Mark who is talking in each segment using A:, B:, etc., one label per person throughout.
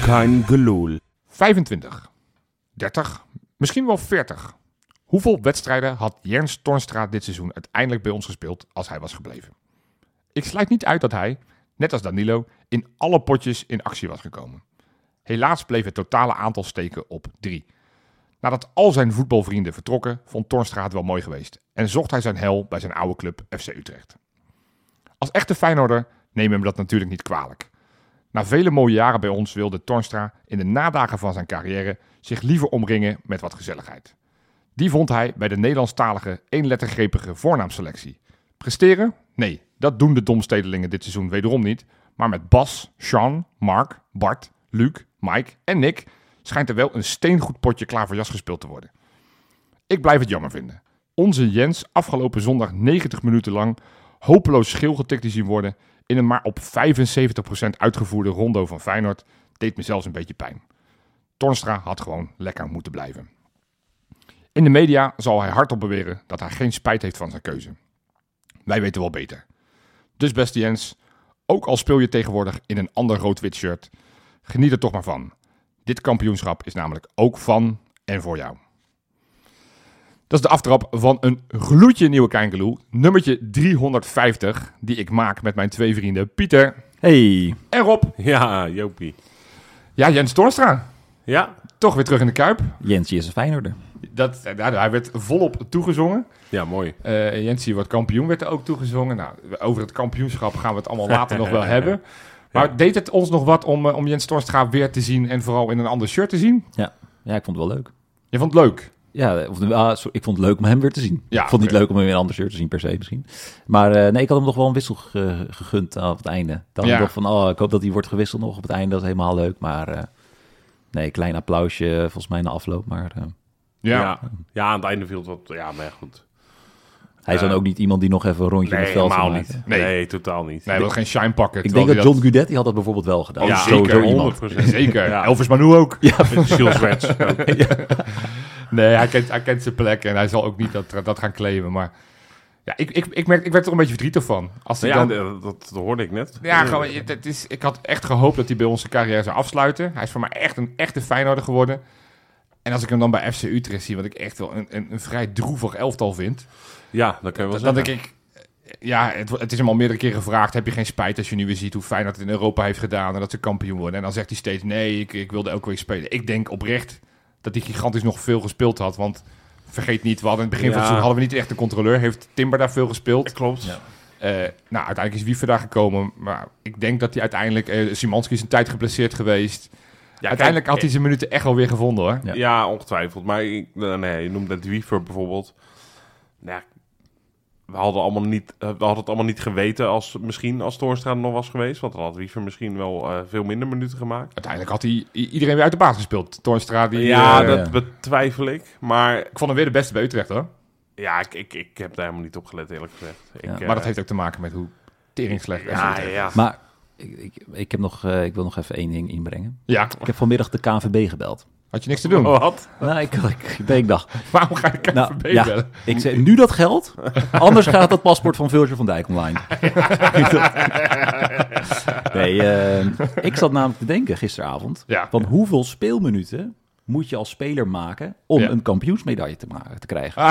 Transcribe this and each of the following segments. A: Kein gelul.
B: 25, 30, misschien wel 40. Hoeveel wedstrijden had Jens Tornstra dit seizoen uiteindelijk bij ons gespeeld als hij was gebleven? Ik sluit niet uit dat hij, net als Danilo, in alle potjes in actie was gekomen. Helaas bleef het totale aantal steken op 3. Nadat al zijn voetbalvrienden vertrokken, vond Tornstra het wel mooi geweest en zocht hij zijn hel bij zijn oude club FC Utrecht. Als echte Feyenoorder nemen we hem dat natuurlijk niet kwalijk. Na vele mooie jaren bij ons wilde Tornstra in de nadagen van zijn carrière zich liever omringen met wat gezelligheid. Die vond hij bij de Nederlandstalige eenlettergrepige voornaamselectie. Presteren? Nee, dat doen de domstedelingen dit seizoen wederom niet. Maar met Bas, Sean, Mark, Bart, Luc, Mike en Nick schijnt er wel een steengoed potje klaar voor jas gespeeld te worden. Ik blijf het jammer vinden. Onze Jens afgelopen zondag 90 minuten lang hopeloos schil getikt te zien worden in een maar op 75% uitgevoerde rondo van Feyenoord deed me zelfs een beetje pijn. Tornstra had gewoon lekker moeten blijven. In de media zal hij hardop beweren dat hij geen spijt heeft van zijn keuze. Wij weten wel beter. Dus beste Jens, ook al speel je tegenwoordig in een ander rood-wit shirt, geniet er toch maar van. Dit kampioenschap is namelijk ook van en voor jou. Dat is de aftrap van een gloedje nieuwe Kijngeloel, nummertje 350, die ik maak met mijn twee vrienden Pieter
A: Hey.
B: en Rob.
C: Ja, Jopie.
B: Ja, Jens Tornstra,
C: Ja,
B: toch weer terug in de Kuip.
A: Jensje is een Feyenoorder.
B: Dat, eh, nou, hij werd volop toegezongen.
C: ja mooi.
B: Eh Jensie wordt kampioen, werd er ook toegezongen. Nou, over het kampioenschap gaan we het allemaal later nog wel hebben. Maar deed het ons nog wat om, eh, om Jens Torstra weer te zien en vooral in een ander shirt te zien?
D: Ja. ja, ik vond het wel leuk.
B: Je vond het leuk.
D: Ja, of, ah, sorry, ik vond het leuk om hem weer te zien.
B: Ja,
D: ik vond het
B: oké.
D: niet leuk om hem in een ander shirt te zien per se misschien. Maar eh, nee, ik had hem nog wel een wissel ge- gegund aan het einde. Dan
B: Ja.
D: dacht ik van, oh, ik hoop dat hij wordt gewisseld nog op het einde. Dat is helemaal leuk. Maar eh, nee, klein applausje volgens mij na afloop. Maar eh,
B: Ja.
C: Ja. Ja, aan het einde viel het wat... Ja, maar ja, goed.
D: hij is dan ook niet iemand die nog even een rondje in
C: Nee,
D: het veld
C: helemaal
D: zou maken.
C: niet.
B: Nee.
C: Nee. totaal niet.
B: Nee, hij wil geen shine pakken.
D: Ik
B: terwijl
D: denk
B: hij
D: dat John Gudet, die had dat bijvoorbeeld wel gedaan.
B: Oh,
C: ja,
B: zeker,
D: Sowieso iemand.
C: 100
B: Zeker.
C: Ja.
B: Elvis Manu ook.
C: Jules Rets.
B: Nee, hij kent, hij kent zijn plek en hij zal ook niet dat, dat gaan claimen. Maar ja, ik, ik, ik, merk, ik werd er een beetje verdrietig van. Als hij
C: Ja,
B: dan,
C: dat, dat hoorde ik net.
B: Ja, gewoon, het- het is, ik had echt gehoopt dat hij bij onze carrière zou afsluiten. Hij is voor mij echt een echte Feyenoorder geworden. En als ik hem dan bij FC Utrecht zie, wat ik echt wel een, een, een vrij droevig elftal vind.
C: Ja, dat kan je wel
B: Dan denk
C: zeggen.
B: ik, eh, ja, het, wo- het is hem al meerdere keren gevraagd. Heb je geen spijt als je nu weer ziet hoe Feyenoord het in Europa heeft gedaan en dat ze kampioen worden? En dan zegt hij steeds, nee, ik, ik wilde elke week spelen. Ik denk oprecht dat hij gigantisch nog veel gespeeld had, want... Vergeet niet, we hadden in het begin van het
C: Ja.
B: seizoen hadden we niet echt een controleur. Heeft Timber daar veel gespeeld?
C: Klopt.
D: Ja.
B: Eh, nou, uiteindelijk is Wiever daar gekomen. Maar ik denk dat hij uiteindelijk... eh Simanski is een tijd geblesseerd geweest. uiteindelijk had hij zijn minuten echt wel weer gevonden, hoor.
D: eh, Ja.
C: eh, Ja, ongetwijfeld. Maar ik, nou, nee, je noemde net Wiever bijvoorbeeld. Nou, ja, we, hadden allemaal niet, eh, we hadden het allemaal niet geweten als misschien als Toornstra er nog was geweest. Want dan had Wiever misschien wel eh, veel minder minuten gemaakt.
B: Uiteindelijk had hij i- iedereen weer uit de baas gespeeld. Toornstra, die...
C: Ja,
B: eh,
C: dat betwijfel ik. Maar
B: Ik vond hem weer de beste bij Utrecht, hoor.
C: ja, ik, ik, ik heb daar helemaal niet op gelet, eerlijk gezegd. Ik,
D: Ja,
C: eh,
B: Maar dat heeft ook te maken met hoe tering slecht FC
C: Ja,
B: Utrecht is.
C: ja.
D: Maar ik, ik, ik, heb nog, eh, ik wil nog even één ding inbrengen.
B: Ja,
D: Ik heb vanmiddag de KNVB gebeld.
B: had je niks te doen.
C: Wat?
D: Nou, ik, ik, nee, ik dacht,
B: Waarom ga ik
D: Nou,
B: KNVB
D: ja.
B: bellen?
D: ik zei nu dat geld, anders gaat dat paspoort van Vilsje van Dijk online. nee, eh, ik zat namelijk te denken gisteravond,
B: Ja.
D: van hoeveel speelminuten moet je als speler maken om
B: Ja.
D: een kampioensmedaille te, maken, te krijgen?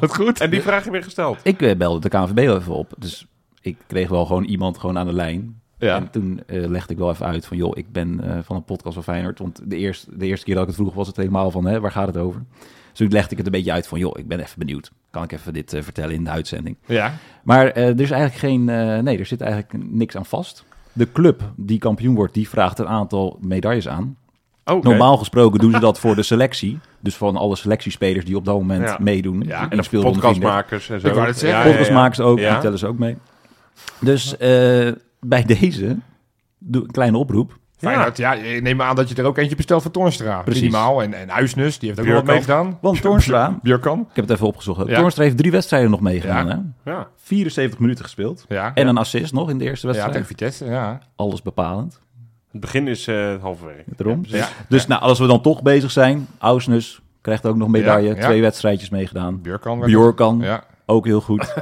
B: Wat goed.
C: En die vraag heb je gesteld.
D: Ik eh, belde de KNVB wel even op, dus ik kreeg wel gewoon iemand gewoon aan de lijn.
B: Ja.
D: En toen eh, legde ik wel even uit van, joh, ik ben eh, van een podcast van Feyenoord. Want de eerste, de eerste keer dat ik het vroeg was het helemaal van, hè, waar gaat het over? Dus toen legde ik het een beetje uit van, joh, ik ben even benieuwd. Kan ik even dit eh, vertellen in de uitzending?
B: Ja.
D: Maar eh, er is eigenlijk geen. eh, nee, er zit eigenlijk niks aan vast. De club die kampioen wordt, die vraagt een aantal medailles aan.
C: Oh,
D: Normaal gesproken doen ze dat voor de selectie. Dus van alle selectiespelers die op dat moment
C: Ja.
B: Ja,
D: meedoen.
B: en
D: Die
C: En de
D: speelronde
C: podcastmakers en zo.
B: Ik wou het zeggen.
C: Ja, ja, ja.
D: Podcastmakers ook,
C: Ja.
D: die tellen ze ook mee. Dus eh, bij deze doe een kleine oproep.
B: Feyenoord, ja, ik neem aan dat je er ook eentje bestelt voor Toornstra.
D: Precies.
B: Minimaal. En, en Huisnus, die heeft ook wel wat mee
C: Björkan.
B: gedaan.
D: Want Toornstra,
B: Björkan.
D: ik heb het even opgezocht.
B: Ja.
D: Toornstra heeft drie wedstrijden nog meegedaan.
B: Ja.
D: Hè?
C: Ja.
D: 74 minuten gespeeld.
B: Ja.
D: En een assist nog in de eerste
B: ja,
D: wedstrijd.
B: tegen Vitesse, ja.
D: Alles bepalend.
C: Het begin is eh het halve werk.
D: Daarom.
B: precies.
D: dus nou, als we dan toch bezig zijn, Ausnus krijgt ook nog een medaille,
B: Ja, ja.
D: twee wedstrijdjes meegedaan.
B: Björkan. werd-
D: Bjorkan,
B: Ja.
D: Ook heel goed.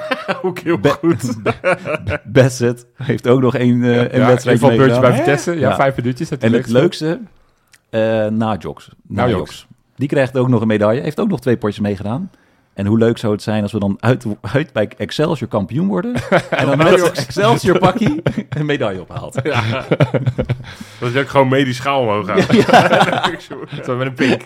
C: Ook heel
D: Be-
C: goed.
D: Bassett heeft ook nog één eh, een
B: ja,
D: wedstrijd
B: even een beurtje bij
D: meegedaan.
B: Vitesse. Ja,
D: Ja.
B: vijf minuutjes. heeft hij
D: En het
B: leuk
D: leukste, eh Najoks.
B: Najoks.
D: Die krijgt ook nog een medaille. Heeft ook nog twee potjes meegedaan. En hoe leuk zou het zijn als we dan uit, uit bij Excelsior kampioen worden. En dan met
C: Najoks.
D: Excelsior pakkie een medaille ophaalt.
C: Dat je ook gewoon mee die schaal omhoog gaat.
B: gespeeld. Zo Met een pink.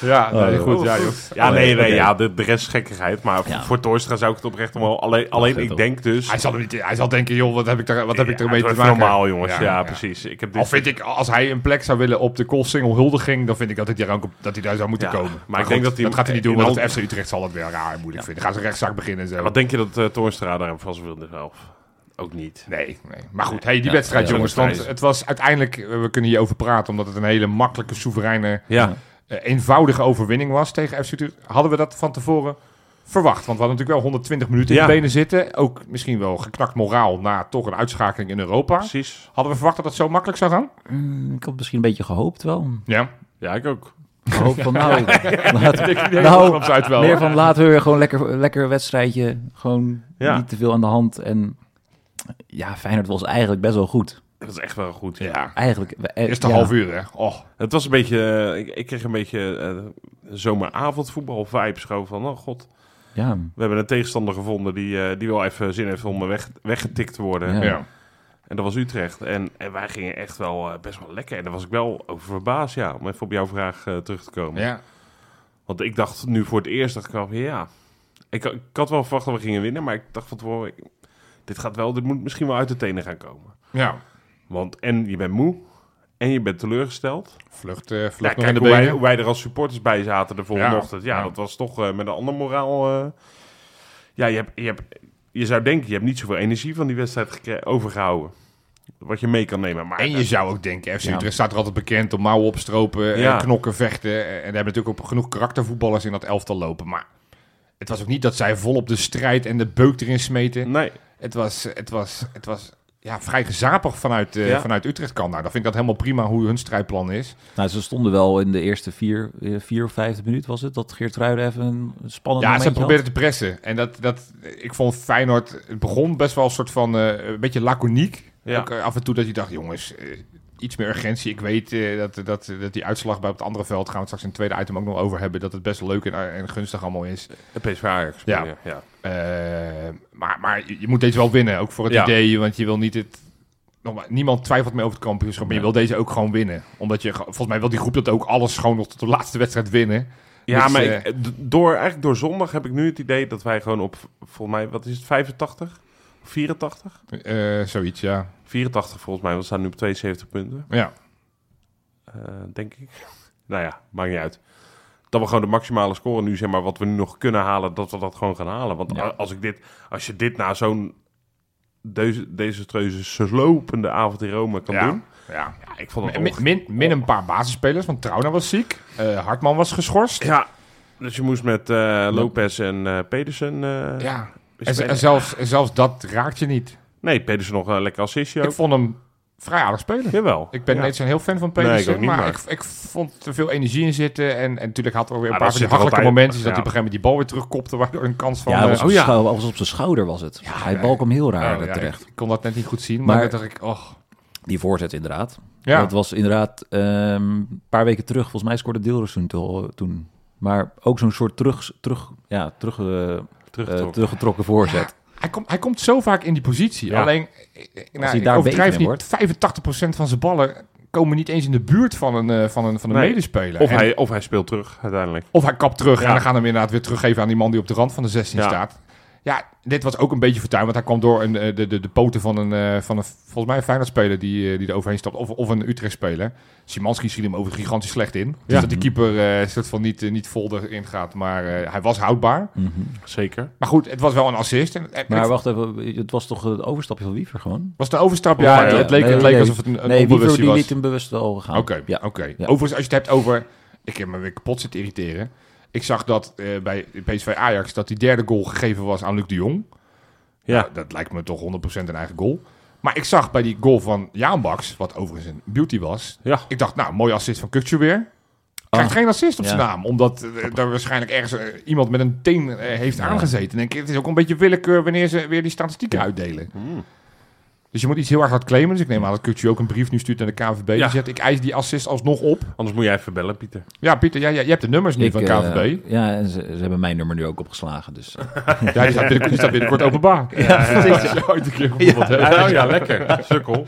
B: Ja, nee,
D: joh.
B: goed. Ja, joh.
C: Ja,
D: Oh,
C: nee, nee,
D: oké.
C: ja, de, de rest is gekkigheid. Maar
D: Ja.
C: voor Toystra zou ik het oprecht omhoog. Alleen, alleen
D: gaat
C: ik
D: op.
C: denk dus...
B: Hij zal, er niet, hij zal denken, joh, wat heb ik, daar, wat heb ik
C: Ja,
B: ermee
C: het
B: te
C: wordt
B: maken?
C: normaal, jongens. Ja,
B: ja.
C: precies. Ik heb dit,
B: Al vind ik, als hij een plek zou willen op de Koolsingel huldiging, dan vind ik dat hij daar, ook op- dat hij daar zou moeten
C: Ja,
B: komen.
C: maar ik denk dat hij-
B: dat gaat hij niet doen,
C: in
B: want
C: al-
B: het FC Utrecht zal het weer raar en moeilijk vinden. Gaat ze rechtszaak beginnen en zo.
C: Wat denk je dat eh Toornstra daar van zijn wilde zelf? Ook niet.
B: Nee, nee. Maar goed, hey, die
D: Ja,
B: wedstrijd,
D: ja,
B: jongens.
C: dat is
B: Want
C: prijs.
B: het was uiteindelijk, eh, we kunnen hierover praten, omdat het een hele makkelijke, soevereine,
C: Ja,
B: eh, eenvoudige overwinning was tegen FC Utrecht. Hadden we dat van tevoren verwacht? Want we hadden natuurlijk wel 120 minuten in
C: Ja.
B: de benen zitten. Ook misschien wel geknakt moraal na toch een uitschakeling in Europa.
C: precies.
B: Hadden we verwacht dat dat zo makkelijk zou gaan?
D: Mm, ik had misschien een beetje gehoopt wel.
B: Ja.
C: Ja, ik ook.
D: Gehoopt van nou, laat-
B: Nou, uit wel.
D: meer
B: hoor.
D: van laten we weer gewoon lekker, lekker wedstrijdje. Gewoon
C: Ja.
D: niet te veel aan de hand. En ja, Feyenoord was eigenlijk best wel goed.
C: Dat is echt wel goed.
B: Ja.
D: Eigenlijk. eh,
B: Eerste
D: ja.
B: half uur, hè? Oh.
C: Het was een beetje... eh, ik, ik kreeg een beetje eh, zomeravondvoetbal vibes. Gewoon van, oh god,
D: Ja,
C: we hebben een tegenstander gevonden... die, eh, die wel even zin heeft om eh, weg, weggetikt te worden.
D: Ja.
B: Ja.
C: En dat was Utrecht. En, en wij gingen echt wel eh, best wel lekker. En daar was ik wel over verbaasd, ja. Om even op jouw vraag eh, terug te komen.
B: ja.
C: Want ik dacht nu voor het eerst, dacht ik wel van, ja. Ik, ik had wel verwacht dat we gingen winnen, maar ik dacht van tevoren, ik- dit gaat wel, dit moet misschien wel uit de tenen gaan komen.
B: Ja.
C: Want en je bent moe, en je bent teleurgesteld.
B: Vlucht, eh vlucht
C: Ja,
B: nog in
C: kijk
B: de
C: hoe wij,
B: benen.
C: hoe wij er als supporters bij zaten de volgende
B: Ja,
C: ochtend. Ja,
B: ja.
C: dat was toch eh, met een ander moraal. eh. ja, je, hebt, je, hebt, je zou denken, je hebt niet zoveel energie van die wedstrijd gekre- overgehouden. Wat je mee kan nemen. Maar
B: En
C: dat-
B: je zou ook denken, FC
D: Ja.
B: Utrecht staat er altijd bekend om mouwen opstropen, eh,
C: Ja.
B: knokken, vechten. eh, En er hebben natuurlijk ook genoeg karaktervoetballers in dat elftal lopen. Maar het was ook niet dat zij volop de strijd en de beuk erin smeten.
C: Nee,
B: Het was, het was, het was ja, vrij gezapig vanuit, eh,
C: Ja.
B: vanuit Utrecht kan. Nou, dan vind ik dat helemaal prima hoe hun strijdplan is.
D: nou, ze stonden wel in de eerste vier, eh, vier of vijfde minuut was het. Dat Geert Ruijden even een spannend
B: Ja,
D: momentje
B: ze
D: had.
B: probeerden te pressen. En dat, dat, ik vond Feyenoord, het begon best wel een soort van, eh, een beetje laconiek.
C: Ja.
B: Ook eh, af en toe dat je dacht, jongens, eh, iets meer urgentie. Ik weet eh, dat, dat, dat die uitslag bij op het andere veld, gaan we het straks in het tweede item ook nog over hebben, dat het best leuk en, eh, en gunstig allemaal is.
C: PSV Ajax.
B: Ja.
C: bedoel je, ja.
B: Eh, maar maar je, je moet deze wel winnen, ook voor het
C: Ja.
B: idee, want je wil niet het... nogmaals, Niemand twijfelt meer over het kampioenschap, maar je wil deze ook gewoon winnen. Omdat je, ge- volgens mij wil die groep dat ook alles gewoon nog tot de laatste wedstrijd winnen.
C: Ja,
B: Dus,
C: maar
B: eh,
C: ik- d- door, eigenlijk door zondag heb ik nu het idee dat wij gewoon op, volgens mij, wat is het, 85? 84?
B: Eh, zoiets, ja.
C: 84 volgens mij, want we staan nu op 72 punten,
B: Ja,
C: eh, denk ik. Nou ja, maakt niet uit. Dat we gewoon de maximale score nu, zeg maar, wat we nu nog kunnen halen, dat we dat gewoon gaan halen. Want
D: Ja.
C: a- als, ik dit, als je dit na zo'n deze, desastreuze, slopende avond in Rome kan
B: Ja.
C: doen,
B: ja.
C: ja, ik vond het
B: Min,
C: onge-
B: min, min een paar basisspelers, want Trauna was ziek. eh, Hartman was geschorst.
C: Ja, dus je moest met eh, Lopez en eh, Pedersen eh,
B: Ja. En, z-
C: spelen.
B: en zelfs, en zelfs dat raakt je niet.
C: Nee, Pedersen nog een lekker assistje
B: Ik
C: ook.
B: vond hem vrij aardig spelen.
C: Jawel.
B: Ik ben
C: Ja.
B: niet zo'n heel fan van
C: Nee, ik
B: Pedersen,
C: ook niet,
B: maar,
C: maar-
B: Ik, ik vond er veel energie in zitten. En, en natuurlijk had er ook weer een
C: Ah,
B: paar
C: dat
B: van die
C: zit er
B: makkelijke
C: altijd.
B: momenten. is Dat
C: Ja.
B: hij op een gegeven moment die bal weer terugkopte, waardoor een kans van...
D: Ja, hij was,
B: eh,
D: op
C: oh ja.
D: zijn schouder- hij was op zijn schouder was het.
B: Ja,
D: hij
B: ja.
D: balk hem heel raar
B: oh, ja,
D: terecht.
B: ik kon dat net niet goed zien, maar,
D: Maar-
B: dat dacht ik, och.
D: Die voorzet inderdaad.
B: Ja,
D: Dat was inderdaad ehm, een paar weken terug. Volgens mij scoorde Deelers toen, to- toen. Maar ook zo'n soort terug, terug, ja, terug, eh, eh,
C: Teruggetrokken.
D: teruggetrokken voorzet.
B: hij, komt, hij komt zo vaak in die positie.
C: Ja.
B: Alleen, eh, eh, nou,
D: hij
B: ik
D: daar
B: overdrijf
D: beter in
B: niet, 85% van zijn ballen komen niet eens in de buurt van een, eh, van een, van een
C: Nee.
B: medespeler.
C: Of
B: En-
C: hij, of hij speelt terug uiteindelijk.
B: Of hij kapt terug
C: Ja.
B: en dan gaan we hem inderdaad weer teruggeven aan die man die op de rand van de 16
C: Ja.
B: staat. Ja, dit was ook een beetje fortuin, want hij kwam door een, eh, de, de, de poten van een, eh, van een, volgens mij een Feyenoord-speler die, eh, die er overheen stapt. Of, of een Utrecht-speler. Simanski schiet hem over gigantisch slecht in. Dus
C: Ja.
B: dat die keeper eh, een soort van niet, eh, niet vol erin gaat, maar eh, hij was houdbaar.
D: Mhm.
C: Zeker.
B: Maar goed, het was wel een assist. En, en
D: Maar
B: het
D: wacht even, het was toch een overstapje van Wiever gewoon?
B: was de overstap,
D: Ja,
B: ja,
D: ja.
B: het leek,
D: Nee,
B: het leek
D: nee.
B: alsof het een, een
D: nee, Wiever
B: onbewustie
D: die
B: was.
D: liet hem bewust wel gaan.
B: Oké,
D: Ja.
B: oké.
D: Ja.
B: Overigens, als je het hebt over... Ik heb me weer kapot zitten irriteren. Ik zag dat eh, bij PSV Ajax dat die derde goal gegeven was aan Luc de Jong.
C: Ja.
B: Nou, dat lijkt me toch 100% een eigen goal. Maar ik zag bij die goal van Jaan Baks, wat overigens een beauty was.
C: Ja.
B: Ik dacht, nou, mooi assist van Kukje weer. krijgt geen assist op zijn
D: Ah. Ja.
B: naam. Omdat eh, daar waarschijnlijk ergens eh, iemand met een teen eh, heeft aangezeten. En ik- het is ook een beetje willekeur wanneer ze weer die statistieken uitdelen.
C: Hmm.
B: Dus je moet iets heel erg hard claimen. Dus ik neem aan dat Kutje ook een brief nu stuurt naar de KVB. Die
C: Ja.
B: zegt, ik eis die assist alsnog op.
C: Anders moet jij even bellen, Pieter.
B: Ja, Pieter, jij, jij, jij hebt de nummers nu van
D: eh,
B: KVB.
D: ja, en ze, ze hebben mijn nummer nu ook opgeslagen. Dus, eh,
B: Ja, die staat binnenkort, die staat binnenkort openbaar. Ja, precies. Als je ooit een keer gevoeld hebt.
C: Nou ja, lekker. Sukkel.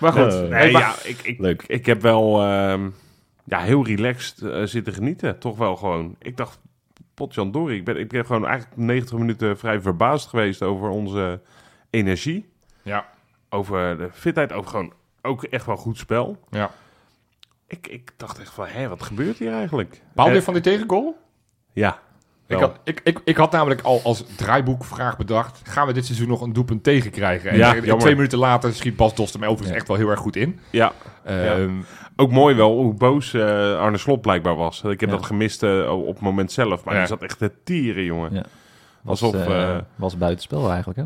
B: Maar goed.
A: Eh,
B: Hey,
C: Nee,
B: maar-
C: ja, ik, ik,
A: Leuk.
C: ik heb wel ehm, ja, heel relaxed eh, zitten genieten. Toch wel gewoon. Ik dacht, potjandori. Ik ben, ik ben gewoon eigenlijk 90 minuten vrij verbaasd geweest over onze energie.
B: Ja.
C: Over de fitheid. Over gewoon ook echt wel goed spel.
B: Ja.
C: Ik, ik dacht echt van, hé, wat gebeurt hier eigenlijk?
B: Paal weer
C: Eh,
B: van die tegengoal?
C: Ja.
B: Ik
C: wel.
B: had, ik, ik, ik had namelijk al als draaiboekvraag bedacht... gaan we dit seizoen nog een doelpunt tegenkrijgen? En
C: Ja,
B: er- en
C: jammer.
B: twee minuten later schiet Bas Dost hem overigens echt wel heel erg goed in.
C: Ja,
B: Ehm,
C: ook mooi wel hoe boos eh, Arne Slot blijkbaar was. Ik heb
D: Ja.
C: dat gemist eh, op het moment zelf. Maar
B: Ja.
C: die zat echt te tieren, jongen.
D: Ja. was,
C: Alsof...
D: eh,
C: eh,
D: was buitenspel eigenlijk, hè?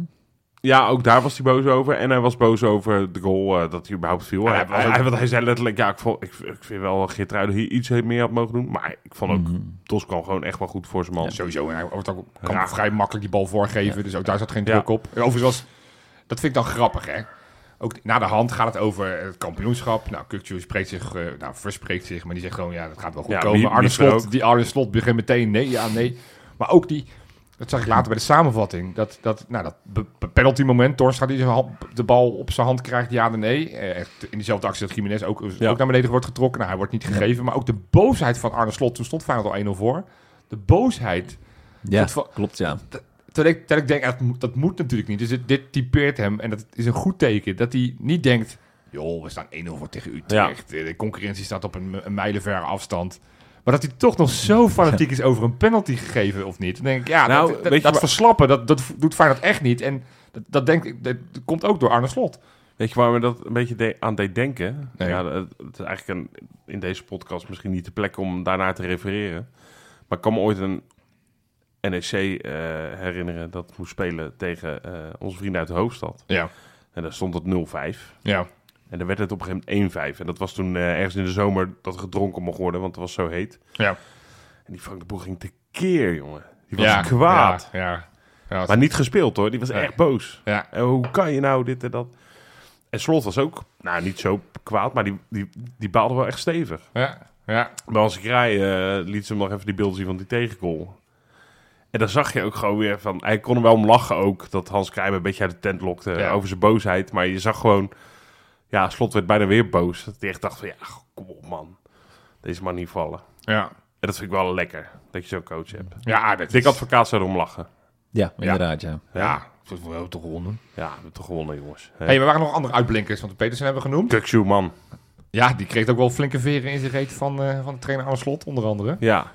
C: Ja, ook daar was hij boos over. En hij was boos over de goal eh, dat hij überhaupt viel.
B: Ja,
C: hij,
B: hij was
C: hij-
B: ook-
C: want hij zei letterlijk, ja, ik, vond, ik, ik vind wel dat Geertruiden hier iets meer had mogen doen. Maar ik vond ook,
D: Mhm.
C: Tos kwam gewoon echt wel goed voor zijn man.
B: Sowieso, en hij wordt ook, kan
C: Ja.
B: vrij makkelijk die bal voorgeven. Dus ook daar zat geen
C: Ja.
B: druk op. En overigens was, dat vind ik dan grappig, hè. Ook na de hand gaat het over het kampioenschap. Nou, Kukcu spreekt zich, eh, nou, verspreekt zich, maar die zegt gewoon, ja, dat gaat wel goed
C: Ja,
B: komen.
C: wie-
B: Arne
C: wie is er
B: Slot,
C: ook?
B: die Arne Slot begint meteen, nee, ja, nee. Maar ook die, dat zag ik later bij de samenvatting, dat, dat, nou, dat be- be- penalty moment, Torstra die zijn hand- de bal op zijn hand krijgt, ja en nee. Eh, echt in diezelfde actie dat Jiménez ook,
C: Ja.
B: ook naar beneden wordt getrokken. Nou, hij wordt niet gegeven, maar ook de boosheid van Arne Slot, toen stond Feyenoord al 1-0 voor. De boosheid
D: Ja,
B: Goed voor-
D: klopt, ja.
B: Terwijl ik, terwijl ik denk, ah, dat moet, dat moet natuurlijk niet. Dus dit, dit typeert hem en dat is een goed teken. Dat hij niet denkt, joh, we staan 1-0 voor tegen Utrecht. De concurrentie staat op een, een mijlenverre afstand. Maar dat hij toch nog zo fanatiek is over een penalty gegeven of niet. Dan denk ik, ja,
C: Nou,
B: dat,
C: weet
B: dat,
C: je
B: dat
C: waar-
B: verslappen, dat, dat doet Feyenoord echt niet. En dat, dat, denk ik, dat komt ook door Arne Slot.
C: Weet je waar me dat een beetje de- aan deed denken?
B: Nee.
C: Ja, het, het is eigenlijk een, in deze podcast misschien niet de plek om daarnaar te refereren. Maar ik kan me ooit een NEC eh, herinneren dat moest spelen tegen eh, onze vrienden uit de hoofdstad.
B: Ja,
C: En daar stond het 0-5.
B: ja.
C: En dan werd het op een gegeven moment 1-5. En dat was toen eh, ergens in de zomer dat gedronken mocht worden, want het was zo heet.
B: Ja.
C: En die Frank de Boer ging tekeer, jongen. Die was
B: ja,
C: kwaad.
B: Ja, ja. Ja,
C: Maar niet gespeeld hoor, die was
B: Ja.
C: echt boos.
B: ja.
C: En hoe kan je nou dit en dat? En Slot was ook, nou niet zo kwaad, maar die, die, die baalde wel echt stevig.
B: ja, ja.
C: Maar als ik rij, eh, liet ze hem nog even die beelden zien van die tegengoal. En dan zag je ook gewoon weer van... Hij kon er wel om lachen ook, dat Hans Krijm een beetje uit de tent lokte
B: Ja.
C: over zijn boosheid. Maar je zag gewoon... Ja, Slot werd bijna weer boos. Dat hij echt dacht van, ja, goh, kom op man. Deze man niet vallen.
B: ja.
C: En dat vind ik wel lekker, dat je zo'n coach hebt.
B: ja dat
C: Dik
B: is-
C: advocaat zou erom lachen.
D: Ja, inderdaad, ja.
B: Ja, dat is wel toch gewonnen.
C: Ja, we hebben toch gewonnen, jongens.
B: Hé, hey, maar waren er nog andere uitblinkers? Want de Petersen hebben we genoemd.
C: Kukshoe, man.
B: Ja, die kreeg ook wel flinke veren in zijn reet van, eh, van de trainer Arne Slot, onder andere.
C: Ja.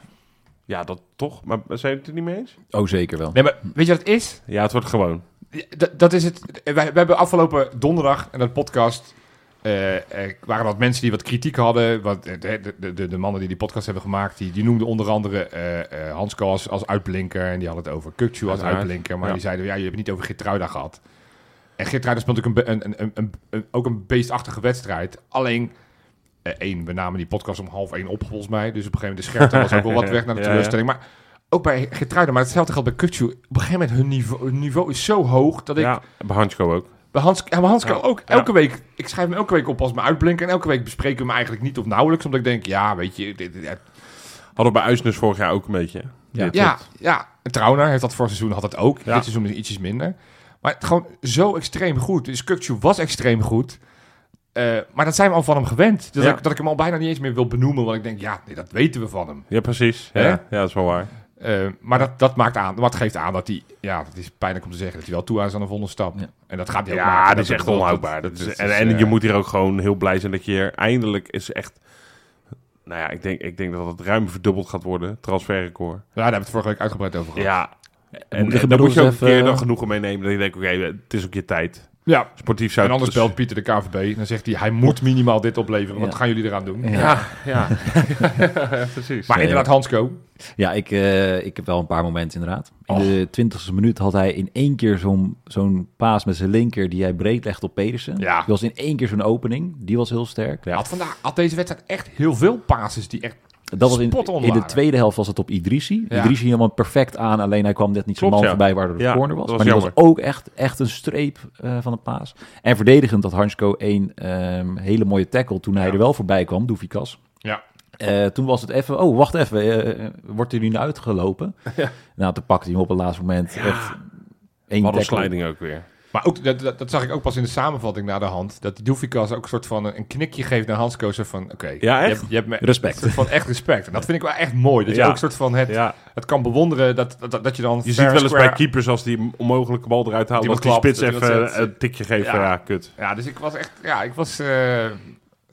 C: Ja, dat toch. Maar zijn jullie het er niet mee eens?
D: Oh, zeker wel.
B: Nee, maar weet je wat het is?
C: Ja, het wordt gewoon.
B: D- dat is het. Wij, wij hebben afgelopen donderdag in dat podcast... eh, eh, waren wat mensen die wat kritiek hadden. Wat, eh, de, de, de, de mannen die die podcast hebben gemaakt... die, die noemden onder andere eh eh Hans Koas als uitblinker. En die hadden het over Kukcu als
C: Uiteraard.
B: uitblinker. Maar
C: Ja.
B: die zeiden, ja, jullie hebben het niet over Gertruida gehad. En Gertruida speelt natuurlijk een, be- een, een, een, een- ook een beestachtige wedstrijd. Alleen... eh, één, we namen die podcast om half één op, volgens mij. Dus op een gegeven moment de scherpte was ook wel wat weg naar de
C: Ja, ja.
B: teleurstelling. Maar ook bij Gertruiden, maar hetzelfde geldt bij Kutsu. Op een gegeven moment, hun niveau, hun niveau is zo hoog dat ik...
C: Ja, bij Hansko ook.
B: Bij Hans, ja, maar Hans kan
C: Ja,
B: ook
C: ja.
B: elke week... Ik schrijf hem elke week op als mijn uitblinker. En elke week bespreken we hem eigenlijk niet of nauwelijks. Omdat ik denk, ja, weet je... dit- dit- dit-
C: Hadden we bij Uisnes vorig jaar ook een beetje.
D: Ja.
C: Dit,
B: ja,
C: dit.
B: ja. Trouwner heeft dat vorig seizoen, had dat ook.
C: Ja.
B: Dit seizoen is ietsjes minder. Maar het gewoon zo extreem goed. Dus Kukcu was extreem goed. Eh, maar dat zijn we al van hem gewend. Dat,
C: Ja.
B: ik, dat ik hem al bijna niet eens meer wil benoemen. Want ik denk, ja, nee, dat weten we van hem.
C: Ja, precies. Ja,
B: Hè?
C: ja, dat is wel waar.
B: Eh, maar dat, dat maakt aan, wat geeft aan dat hij, ja, dat is pijnlijk om te zeggen, dat hij wel toe is aan een volgende stap.
D: Ja.
B: En dat gaat hij ook
C: Ja,
B: maken.
C: dat is echt onhoudbaar. Dat is, en en
B: eh,
C: je moet hier ook gewoon heel blij zijn dat je hier eindelijk is echt... Nou ja, ik denk, ik denk dat het ruim verdubbeld gaat worden, transferrecord.
B: Ja, daar hebben we het vorige week uitgebreid over gehad.
C: Ja, en,
D: Moet ik
C: en daar moet
D: inmiddels
C: je ook een
D: even-
C: keer dan genoegen mee nemen. Dat je denkt, oké, het is ook je tijd.
B: Ja.
C: Sportief zou
B: En anders
C: het- dus
B: belt Pieter de KVB en dan zegt hij, hij moet minimaal dit opleveren. Wat
D: Ja.
B: gaan jullie eraan doen?
D: Ja.
C: Ja, ja. Ja, precies.
B: Maar
D: Nee,
B: inderdaad, Hansco.
D: Ja, ik, eh, ik heb wel een paar momenten inderdaad. In de twintigste minuut had hij in één keer zo'n zo'n paas met zijn linker die hij breed legt op Pedersen.
B: Ja.
D: Die was in één keer zo'n opening. Die was heel sterk.
B: Had, vandaag, had deze wedstrijd echt heel veel passes die echt
D: Dat was in,
B: Spot on
D: in de
B: waren.
D: tweede helft was het op Idrisi.
B: Ja.
D: Idrisi helemaal perfect aan, alleen hij kwam net niet zijn
C: Klopt,
D: man
C: ja.
D: voorbij waardoor de
C: Ja,
D: corner was.
C: dat was
D: maar die
C: jammer.
D: was ook echt, echt een streep eh, van een paas. En verdedigend had Hansko één ehm, hele mooie tackle toen hij
B: Ja.
D: er wel voorbij kwam, Doefikas.
B: Ja.
D: Eh, toen was het even, oh wacht even, eh, wordt hij nu naar uitgelopen? Nou, toen pakte hij hem op het laatste moment. Echt één
C: Wat een
D: tackle.
C: sliding ook weer.
B: Maar ook, dat, dat, dat zag ik ook pas in de samenvatting na de hand. Dat die Doefikas ook een soort van een, een knikje geeft naar Hans Koos. zo Van oké,
C: Ja,
B: je
C: echt?
B: hebt, je hebt me,
D: Respect.
B: een soort van echt respect. En dat vind ik wel echt mooi. Dat je
C: Ja.
B: ook een soort van het,
C: Ja.
B: het kan bewonderen. Dat, dat, dat je dan.
C: Je
B: fair
C: ziet wel eens
B: square-
C: bij keepers als die onmogelijke bal eruit haalt,
B: Die
C: dat die
B: klapt,
C: spits
B: dat
C: even
B: iemand zegt,
C: eh, een tikje geeft.
B: ja.
C: van, Ja, kut.
B: Ja, dus ik was echt. Ja, ik was. eh,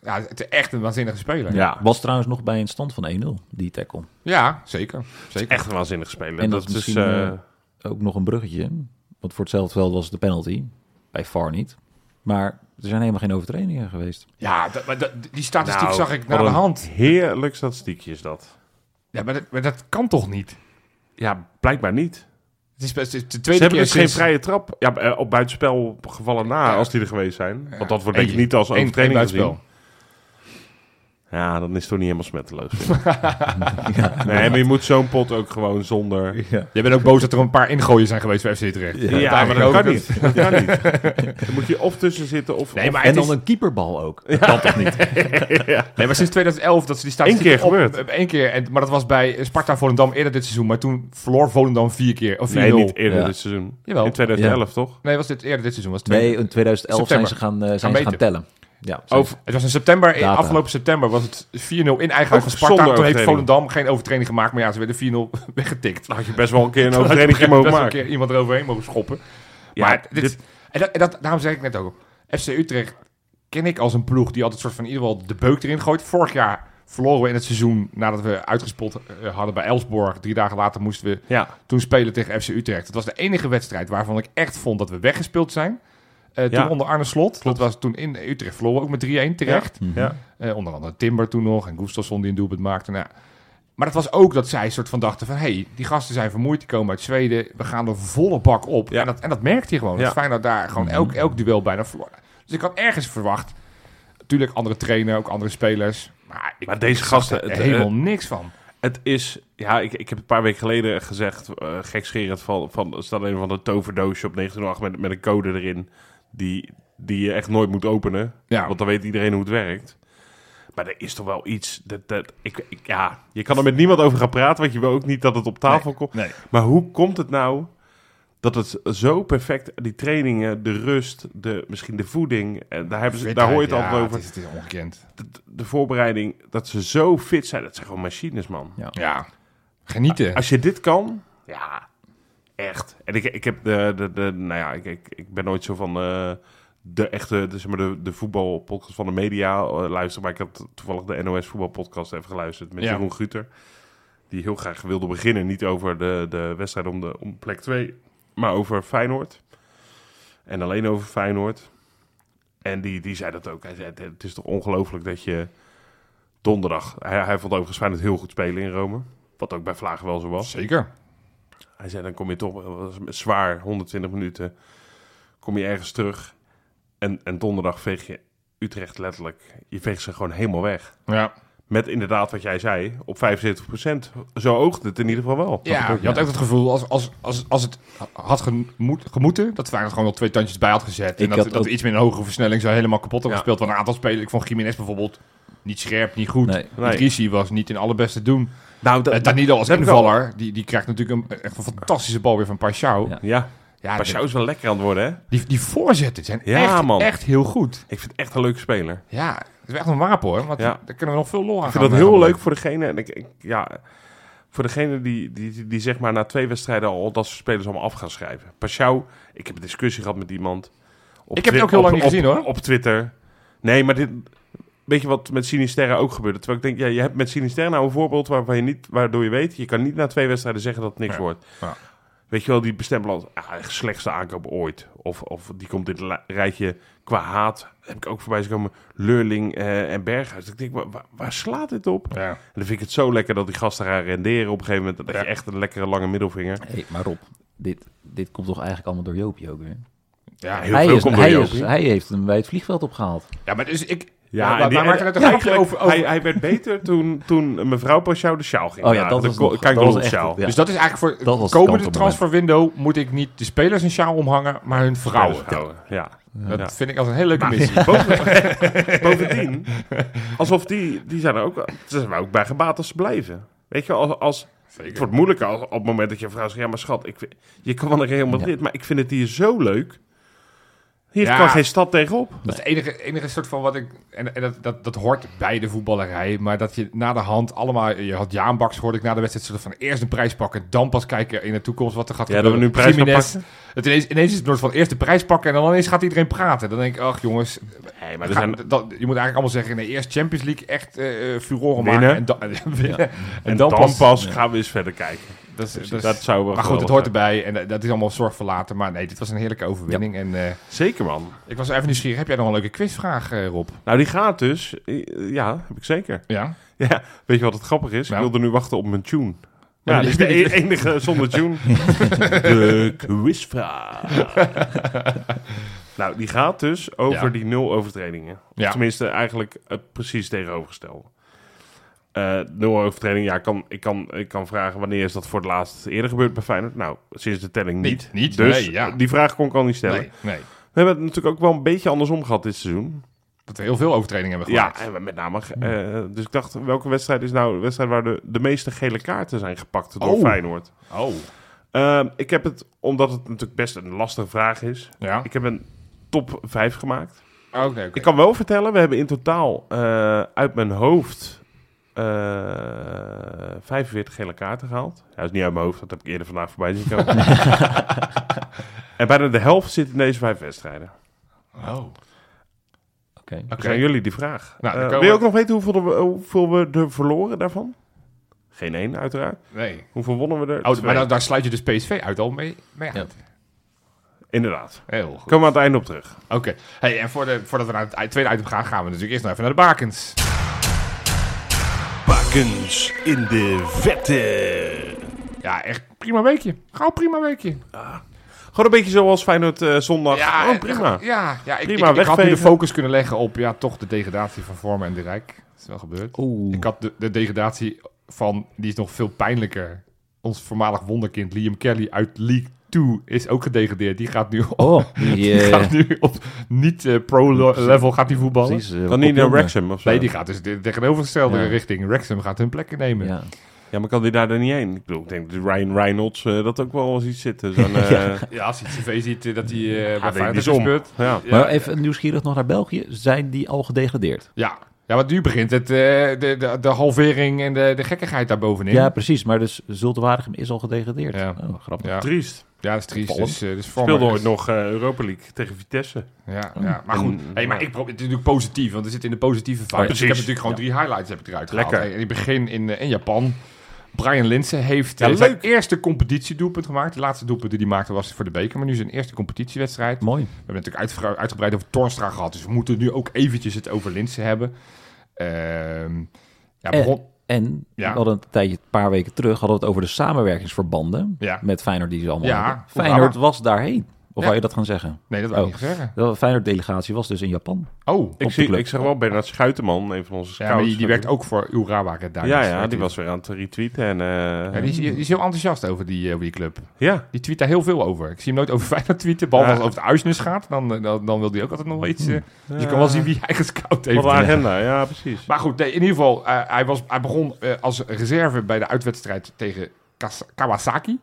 B: ja, het is echt een waanzinnige speler. Ja,
C: Ja,
D: Was trouwens nog bij een stand van 1-0, die tackle.
B: zeker. zeker.
C: echt een waanzinnig spelen.
D: En
C: dat,
D: dat is
C: is...
D: misschien,
C: eh,
D: eh, ook nog een bruggetje. Want voor hetzelfde veld was het de penalty. Bij VAR niet. Maar er zijn helemaal geen overtredingen geweest.
B: Ja, dat, maar dat- die statistiek
C: nou,
B: zag ik
C: wat
B: naar de
C: een
B: hand.
C: Heerlijk statistiekje is dat.
B: Ja, maar dat, maar dat kan toch niet?
C: Ja, blijkbaar niet.
B: Het is best het is de
C: Ze
B: tweede
C: hebben
B: keer
C: dus geen
B: sinds-
C: vrije trap. Ja, eh, op buitenspel gevallen na,
B: Ja.
C: als die er geweest zijn. Want dat wordt denk ik
B: Eén-
C: niet als
B: één- één
C: overtreding
B: buitenspel.
C: gezien. Ja, dan is het toch niet helemaal smetteloos. nee, maar je moet zo'n pot ook gewoon zonder...
B: Jij bent ook boos dat er een paar ingooien zijn geweest bij FC Utrecht.
C: Ja, maar dat kan niet. Dat kan niet. Dan moet je of tussen zitten of...
B: Nee,
C: of-
B: maar
D: En
B: het
D: dan
B: is,
D: een keeperbal ook. Dat kan toch niet?
B: nee, maar sinds 2011 dat ze die
C: Eén
B: statistiek
C: keer gebeurd.
B: Eén keer, en, maar dat was bij Sparta Volendam eerder dit seizoen. Maar toen verloor Volendam vier keer. Of 4-0.
C: Nee,
B: nee,
C: niet eerder
D: Ja.
C: dit seizoen.
B: Jawel.
C: In 2011, toch?
B: was dit eerder dit seizoen. Was het
D: Nee,
B: tweede.
D: in 2011 zijn
B: September.
D: ze gaan, eh, zijn
B: Gaan
D: ze gaan
B: beter.
D: tellen. Ja,
C: Over,
B: Het was in september, in
D: Data.
B: afgelopen september was het 4-0 in eigen huis van Sparta.
C: zonder
B: Toen heeft
C: overtreding.
B: Volendam geen overtreding gemaakt, maar ja, ze werden 4-0 weggetikt.
C: had je best wel een keer een
B: Toen had je
C: overtreding
B: best
C: mogen
B: wel een
C: maken.
B: keer iemand eroverheen mogen schoppen.
C: Ja,
B: maar dit,
C: dit-
B: en, dat, en dat, daarom zeg ik net ook, FC Utrecht ken ik als een ploeg die altijd soort van in ieder geval de beuk erin gooit. Vorig jaar verloren we in het seizoen nadat we uitgespot eh, hadden bij Elsborg. Drie dagen later moesten we
C: Ja,
B: toen spelen tegen FC Utrecht. Het was de enige wedstrijd waarvan ik echt vond dat we weggespeeld zijn. Eh, toen
C: Ja.
B: onder Arne Slot. Dat was toen in Utrecht verloren, ook met 3-1 terecht.
C: ja.
B: Eh, onder andere Timber toen nog en Gustafsson die een doelpunt maakte. Nou, maar dat was ook dat zij soort van dachten van... hey, die gasten zijn vermoeid, die komen uit Zweden. We gaan er volle bak op.
C: Ja.
B: En, dat, en dat merkte je gewoon.
C: Ja.
B: Dat Feyenoord daar gewoon elk, elk duel bijna verloor. Dus ik had ergens verwacht... Natuurlijk andere trainer, ook andere spelers. Maar, ik,
C: Maar deze
B: ik
C: gasten,
B: zag er
C: het- eh,
B: helemaal niks van.
C: Het is, ja, ik, ik heb een paar weken geleden gezegd, eh gekscherend, van, van, er staat een van de toverdoosje op 1908 met, met een code erin, die, die je echt nooit moet openen,
B: Ja.
C: want dan weet iedereen hoe het werkt. Maar er is toch wel iets, dat, dat, ik, ik- ja, je kan er met niemand over gaan praten, want je wil ook niet dat het op tafel komt.
B: Nee.
C: Maar hoe komt het nou dat het zo perfect, die trainingen, de rust, de, misschien de voeding, eh, daar, hebben ze, daar hoor je het
B: Ja,
C: altijd over,
B: Het is, het is ongekend.
C: de, de voorbereiding, dat ze zo fit zijn, dat zijn gewoon machines, man.
B: Ja, genieten.
C: Als je dit kan, ja, echt. En ik, ik heb de, de, de nou ja, ik, ik, ik ben nooit zo van eh, de echte, de, zeg maar de, de voetbalpodcast van de media eh, luisteren. Maar ik had toevallig de NOS voetbalpodcast even geluisterd met
B: Ja.
C: Jeroen Guter. Die heel graag wilde beginnen, niet over de, de wedstrijd om, de, om plek 2, maar over Feyenoord. En alleen over Feyenoord. En die, die zei dat ook. Hij zei, het is toch ongelooflijk dat je donderdag... Hij, hij vond overigens Feyenoord heel goed spelen in Rome. Wat ook bij Vlagen wel zo was.
B: Zeker.
C: Hij zei, dan kom je toch wel eens met zwaar, 120 minuten, kom je ergens terug. En, en donderdag veeg je Utrecht letterlijk, je veegt ze gewoon helemaal weg.
B: Ja.
C: Met inderdaad wat jij zei, op 75%. Zo oogt het in ieder geval wel.
B: Ja, je had ook het gevoel als, als, als, als het had gemoet, gemoeten, dat Feyenoord gewoon nog twee tandjes bij had gezet.
D: Ik
B: en dat,
D: had
B: dat
D: ook-
B: we iets meer een hogere versnelling zou helemaal kapot hebben
C: Ja.
B: gespeeld. Want een aantal spelers, ik vond Jiménez bijvoorbeeld niet scherp, niet goed.
D: Nee.
C: Nee.
B: Idrissi was niet in alle beste doen.
C: Nou,
B: Eh, Danilo als
C: dat heb ik wel.
B: invaller, die, die krijgt natuurlijk een, echt een fantastische bal weer van Pashao. Ja,
D: Ja.
C: Ja,
B: die-
C: Pashao is wel lekker aan het worden, hè?
B: die, die voorzetten zijn
C: Ja,
B: echt,
C: man.
B: echt heel goed.
C: Ik vind het echt een leuke speler.
B: Ja, het is echt een wapen hoor, want
C: Ja.
B: daar kunnen we nog veel lol aan
C: Ik vind dat
B: gaan-
C: heel
B: gaan
C: leuk
B: doen.
C: voor degene, en ik, ik- ja, voor degene die, die, die, die zeg maar na twee wedstrijden al dat soort spelers allemaal af gaan schrijven. Pashao, ik heb een discussie gehad met iemand. Op
B: Ik heb het
C: Twi-
B: ook heel
C: op-
B: lang niet
C: op-
B: gezien, hoor.
C: Op Twitter. Nee, maar dit, weet je wat met Sinisterra ook gebeurde? Terwijl ik denk, ja, je hebt met Sinisterra nou een voorbeeld waarvan je niet, waardoor je weet, je kan niet na twee wedstrijden zeggen dat het niks
B: Ja.
C: wordt.
B: Ja.
C: Weet je wel, die bestempelen als ah, echt slechtste aankoop ooit. Of, of die komt in het la- rijtje qua haat. Heb ik ook voorbij zien komen. Leurling eh, en Berghuis. Ik denk, wa- wa- waar, slaat dit op?
B: Ja.
C: En dan vind ik het zo lekker dat die gasten gaan renderen op een gegeven moment. Dat
B: Ja.
C: je echt een lekkere lange middelvinger.
D: Hey, maar Rob, dit, dit komt toch eigenlijk allemaal door Joopje ook weer?
B: Ja.
C: Heel
D: hij,
C: veel
D: is,
C: komt door
D: hij,
C: Joopie.
D: is, hij heeft hem bij het vliegveld opgehaald.
B: ja, maar dus ik, Ja,
C: Ja, en die-
B: wij
C: en-
B: maken het er
C: ja,
B: geintje
C: eigenlijk,
B: over- over-
C: Hij, hij werd beter toen, toen mevrouw Paschou de sjaal ging.
D: Oh ja,
C: dragen,
D: dat was
C: de
D: nog- dat was
C: kangaroo
D: echt-
C: sjaal.
D: ja.
B: Dus dat is eigenlijk
D: Dat
B: voor
D: was
B: het
D: het
B: komende
D: kantelmoment.
B: transferwindow moet ik niet de spelers een sjaal omhangen, maar hun vrouwen.
C: Vrouwen, Ja.
B: Dat
C: Ja.
B: vind ik als een hele leuke missie.
C: Bovendien- Bovendien, alsof die, die zijn er ook, ze zijn er ook bij gebaat als ze blijven. Weet je, als, als, het wordt moeilijker als, op het moment dat je vrouw zegt, ja maar schat, ik, vind- je kan wel naar Real Madrid, maar ik vind het hier zo leuk. Hier
B: Ja.
C: kan geen stad tegenop.
B: Dat is het enige, enige soort van wat ik... En, en dat, dat, dat hoort bij de voetballerij. Maar dat je na de hand allemaal... Je had Jaan Baks, hoorde ik na de wedstrijd, soort van eerst een prijs pakken. Dan pas kijken in de toekomst wat er gaat
C: Ja, dat
B: gebeuren.
C: we nu een prijs gaan
B: Jiménez.
C: pakken.
B: Het ineens, ineens is het nooit van eerst de prijs pakken en dan ineens gaat iedereen praten. Dan denk ik, ach jongens,
C: Nee, maar
B: ga- dat, je moet eigenlijk allemaal zeggen... Nee, eerst Champions League echt eh eh, furoren
C: Winnen.
B: maken. En, dan winnen. En,
C: en dan pas, gaan we eens verder kijken.
B: Dat, is- dat is-
C: Dus dat zou wel
B: maar goed, het
C: geweldig
B: hoort erbij. En eh, dat is allemaal zorg verlaten. Maar nee, dit was een heerlijke overwinning. En eh,
C: zijn. Zeker man.
B: ik was even nieuwsgierig. Heb jij nog een leuke quizvraag, eh, Rob?
C: Nou, die gaat dus. Eh, Ja, heb ik zeker.
B: Ja.
C: Ja, weet je wat het grappig is?
B: Nou.
C: Ik wilde nu wachten op mijn tune.
B: Ja, dus
C: Ja,
B: maar
C: dit is
B: die
C: de
B: heb je
C: e- enige zonder tune. de quizvraag. nou, die gaat dus over
B: Ja.
C: die nul overtredingen. Of
B: Ja.
C: Tenminste, eigenlijk het precies tegenovergestelde. Eh, nul overtreding, ja, ik kan, ik, kan, ik kan vragen wanneer is dat voor het laatst eerder gebeurd bij Feyenoord? Nou, sinds de telling niet.
B: Niet, niet,
C: dus
B: nee, ja.
C: die vraag kon ik al niet stellen.
B: Nee, nee.
C: We hebben het natuurlijk ook wel een beetje andersom gehad dit seizoen.
B: Dat we heel veel overtredingen hebben
C: Ja,
B: gemaakt.
C: en met name. eh, dus ik dacht, welke wedstrijd is nou de wedstrijd waar de, de meeste gele kaarten zijn gepakt door
B: Oh.
C: Feyenoord?
B: Oh.
C: Ehm, ik heb het, omdat het natuurlijk best een lastige vraag is,
B: Ja.
C: ik heb een top 5 gemaakt.
B: Oké, Oh, oké.
C: Ik kan wel vertellen, we hebben in totaal eh, uit mijn hoofd eh 45 gele kaarten gehaald. Ja, dat is niet uit mijn hoofd, dat heb ik eerder vandaag voorbij zien komen. en bijna de helft zit in deze vijf wedstrijden.
B: Oh.
D: Oké.
C: Zijn jullie die vraag?
B: Nou, dan
C: Eh,
B: komen
C: wil je
B: we-
C: ook nog weten hoeveel we, hoeveel we er verloren daarvan? Geen één, uiteraard.
B: Nee.
C: Hoeveel wonnen we er?
B: Oh,
C: Twee.
B: maar daar, daar sluit je dus PSV uit al mee, mee
D: Ja.
B: uit.
C: Inderdaad.
B: Heel
C: Komen
B: goed.
C: we aan het einde op terug.
B: Oké. Hey, en voor de, voordat we naar het i- tweede item gaan, gaan we natuurlijk eerst nog even naar de bakens.
E: Bakens in de vette.
B: Ja, echt prima weekje. Gauw prima weekje.
C: Gewoon een beetje zoals Feyenoord eh, zondag.
B: Ja, eh,
C: oh, prima.
B: Ja, ja ik,
C: Prima,
B: ik- ik, had nu de
C: wegvegen.
B: focus kunnen leggen op ja, toch de degradatie van Vormen en de Rijk. Dat is wel gebeurd.
D: Oeh.
B: Ik had de, de degradatie van, die is nog veel pijnlijker. Ons voormalig wonderkind Liam Kelly uit League 2 is ook gedegradeerd. Die gaat nu
D: Oh, die, eh,
B: gaat nu op eh, niet-pro-level gaat hij voetballen.
D: precies. eh,
C: Dan niet naar
D: Opjongen.
C: Wrexham of zo.
B: Nee, die gaat dus de tegenovergestelde
D: Ja.
B: richting. Wrexham gaat hun plekken nemen. Ja,
D: Ja.
C: Ja, maar kan die daar dan niet heen? Ik bedoel, ik denk dat Ryan Reynolds eh, dat ook wel eens iets zit. Zo'n, eh,
B: als hij het cv ziet eh, dat hij eh bij
C: weet
B: Feyenoord
C: niet
B: is
C: om.
B: gebeurd.
C: ja.
B: Ja,
D: Maar even nieuwsgierig nog naar België. Zijn die al gedegradeerd?
B: ja. ja, want nu begint het, eh, de, de, de halvering en de, de gekkigheid daarbovenin.
D: Ja, precies. Maar dus Zultewaardigem is al gedegradeerd.
B: Ja.
D: Oh, grappig.
B: ja.
C: Triest.
B: Ja, dat is triest.
D: Opvallend.
B: Dus, eh, dus
C: Speelde
B: Vormer-
C: ooit nog eh, Europa League tegen Vitesse.
B: Ja, ja, maar goed.
C: En-
B: Hey, maar ik probeer, het is natuurlijk positief, want we zitten in de positieve fase.
C: Oh, precies.
B: Ik heb natuurlijk gewoon drie highlights heb ik eruit gehaald.
C: Lekker.
B: Hey, en ik begin in, eh, in Japan. Brian Linsen heeft
C: Ja,
B: eh, zijn
C: leuk.
B: eerste competitiedoelpunt gemaakt. De laatste doelpunt die hij maakte was voor de beker, maar nu zijn eerste competitiewedstrijd. We
D: Mooi.
B: hebben het natuurlijk uitgebreid- uitgebreid over Tornstra gehad, dus we moeten nu ook eventjes het over Linsen hebben. Ehm, ja,
D: Eh.
B: begon...
D: En
B: Ja.
D: we hadden een tijdje, een paar weken terug, hadden we het over de samenwerkingsverbanden
B: Ja.
D: met Feyenoord die ze allemaal
B: Ja,
D: hebben.
B: hoe
D: Feyenoord
B: gaan
D: was daarheen. Of
B: Ja.
D: wou je dat gaan zeggen?
B: Nee, dat wil ik
D: Oh.
B: niet zeggen.
D: De Feyenoord-delegatie was dus in Japan.
B: Oh,
C: Ik,
D: de
C: zie,
D: club.
C: ik zeg wel Bernard Schuiteman, een van onze
B: ja,
C: scouts.
B: maar die, die werkt ook voor Urawa Red Diamonds.
C: Ja, ja,
B: Werkt
C: die
B: hij.
C: was weer aan het retweeten. En, eh,
B: Ja, die, is, die is heel enthousiast over die, eh, over die club.
C: ja.
B: Die tweet daar heel veel over. Ik zie hem nooit over Feyenoord tweeten. Behalve als
C: Ja. Hm.
B: het over het Uisnes gaat, dan, eh, dan, dan wil hij ook altijd nog wel iets. eh, dus je kan wel zien wie hij gescout heeft.
C: Wat een agenda, ja, precies.
B: Maar goed, nee, in ieder geval, eh, hij, was, hij begon eh, als reserve bij de uitwedstrijd tegen Kas- Kawasaki.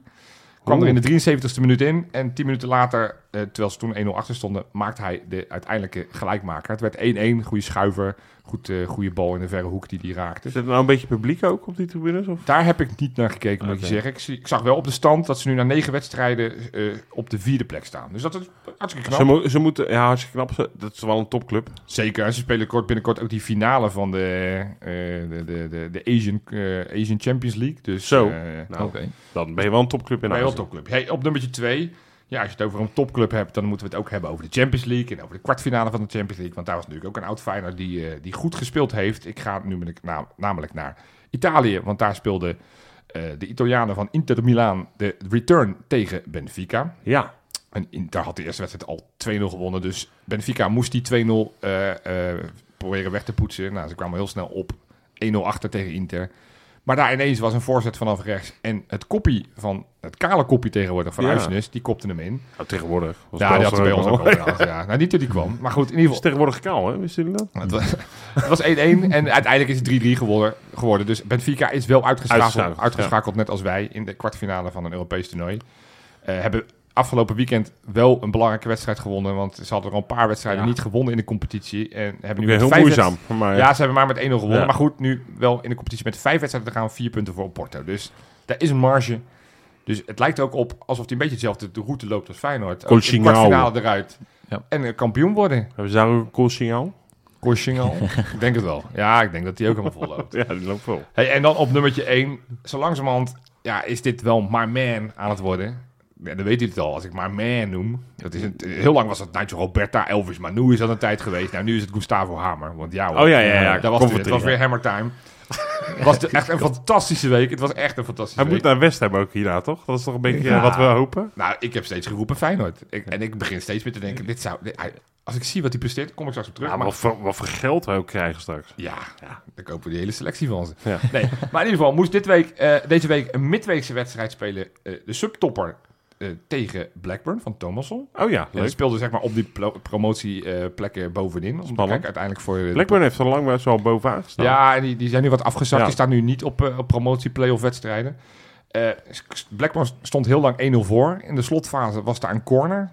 B: Kwam er in de 73ste minuut in. En 10 minuten later, eh, terwijl ze toen 1-0 achter stonden, maakte hij de uiteindelijke gelijkmaker. Het werd 1-1, goede schuiver, goed, eh, goede bal in de verre hoek die hij raakte.
C: Zit er nou een beetje publiek ook op die tribunes? Of?
B: Daar heb ik niet naar gekeken, moet ik
C: Oké.
B: je zeggen. Ik, zie, ik zag wel op de stand dat ze nu na negen wedstrijden eh, op de vierde plek staan. Dus dat is hartstikke knap.
C: Ze, mo- ze moeten, ja, hartstikke knap. Ze- dat is wel een topclub.
B: Zeker, en ze spelen kort, binnenkort ook die finale van de, eh, de, de, de, de Asian, eh, Asian Champions League. Dus,
C: Zo.
B: eh,
C: Nou,
D: Oké.
C: dan ben je wel een topclub in
B: bij heel
C: Azië.
B: topclub. Hey, op nummertje twee. Ja, als je het over een topclub hebt, dan moeten we het ook hebben over de Champions League en over de kwartfinale van de Champions League. Want daar was natuurlijk ook een oud Feyenoord die, eh, die goed gespeeld heeft. Ik ga nu ben ik na- namelijk naar Italië, want daar speelden eh, de Italianen van Inter Milaan de return tegen Benfica.
C: Ja,
B: En Inter had de eerste wedstrijd al 2-0 gewonnen, dus Benfica moest die 2-0 eh, eh, proberen weg te poetsen. Nou, ze kwamen heel snel op. 1-0 achter tegen Inter. Maar daar ineens was een voorzet vanaf rechts. En het kopie van, het kale kopie tegenwoordig van
C: Ja.
B: Uisnes, die kopte hem in.
C: Nou, tegenwoordig. Was
B: Ja, die had er bij ons ook al gehad, ja. Nou, niet dat die kwam. Maar goed, in ieder
C: Is
B: geval,
C: tegenwoordig kaal, hè? Wisten jullie dat?
B: het was, het was 1-1 en uiteindelijk is het 3-3 geworden, geworden. Dus Benfica is wel uitgeschakeld,
C: Uitgeschakeld,
B: uitgeschakeld net als wij, in de kwartfinale van een Europees toernooi. Eh, hebben afgelopen weekend wel een belangrijke wedstrijd gewonnen, want ze hadden er al een paar wedstrijden
D: Ja.
B: niet gewonnen in de competitie. En hebben
C: Ik ben
B: nu met
C: heel
B: vijf
C: moeizaam.
B: wedst-
C: Maar
B: Ja, ze hebben maar met 1-0 gewonnen.
C: Ja.
B: Maar goed, nu wel in de competitie met vijf wedstrijden te gaan, vier punten voor Porto. Dus daar is een marge. Dus het lijkt er ook op alsof hij een beetje dezelfde de route loopt als Feyenoord. Ook in de
C: Cochinou.
B: kwartfinale eruit.
D: Ja.
B: En eh, kampioen worden.
C: hebben ze daar ook een koolsignaal?
B: Korsing al? ik denk het wel. Ja, ik denk dat die ook helemaal vol loopt.
C: Ja, die loopt wel.
B: Hey, en dan op nummertje 1. Zo langzamerhand ja, is dit wel My Man aan het worden. Ja, dan weet hij het al, als ik My Man noem. Dat is een, heel lang was dat Nigel Roberta, Elvis Manu is dat een tijd geweest. Nou, nu is het Gustavo Hamer. Want ja, hoor.
C: Oh, ja, ja, ja.
B: Daar was het,
C: Comfortry,
B: weer. het was
C: ja.
B: weer Hammer Time. was de- echt een fantastische week. Het was echt een fantastische
C: Hij
B: week.
C: moet naar West hebben ook hierna, toch? Dat is toch een beetje
B: Ja.
C: eh, wat we hopen?
B: Nou, ik heb steeds geroepen Feyenoord. Ik, en ik begin steeds meer te denken, dit zou... dit- hij- als ik zie wat hij presteert, kom ik straks op terug.
C: Ja, maar wat voor, wat voor geld we ook krijgen straks.
B: Ja, dan kopen we die hele selectie van ze.
C: Ja.
B: Nee, maar in ieder geval moest dit week, eh, deze week een midweekse wedstrijd spelen. eh, de subtopper eh, tegen Blackburn van Thomasson.
C: Oh ja,
B: En dat
C: leuk.
B: speelde zeg maar op die plo- promotieplekken bovenin. Om te
C: Spannend.
B: kijken uiteindelijk voor... eh, de-
C: Blackburn heeft er lang best wel bovenaan gestaan.
B: Ja, en die, die zijn nu wat afgezakt.
C: Ja.
B: Die staan nu niet op, eh, op promotie-playoff wedstrijden. Eh, Blackburn stond heel lang 1-0 voor. In de slotfase was daar een corner.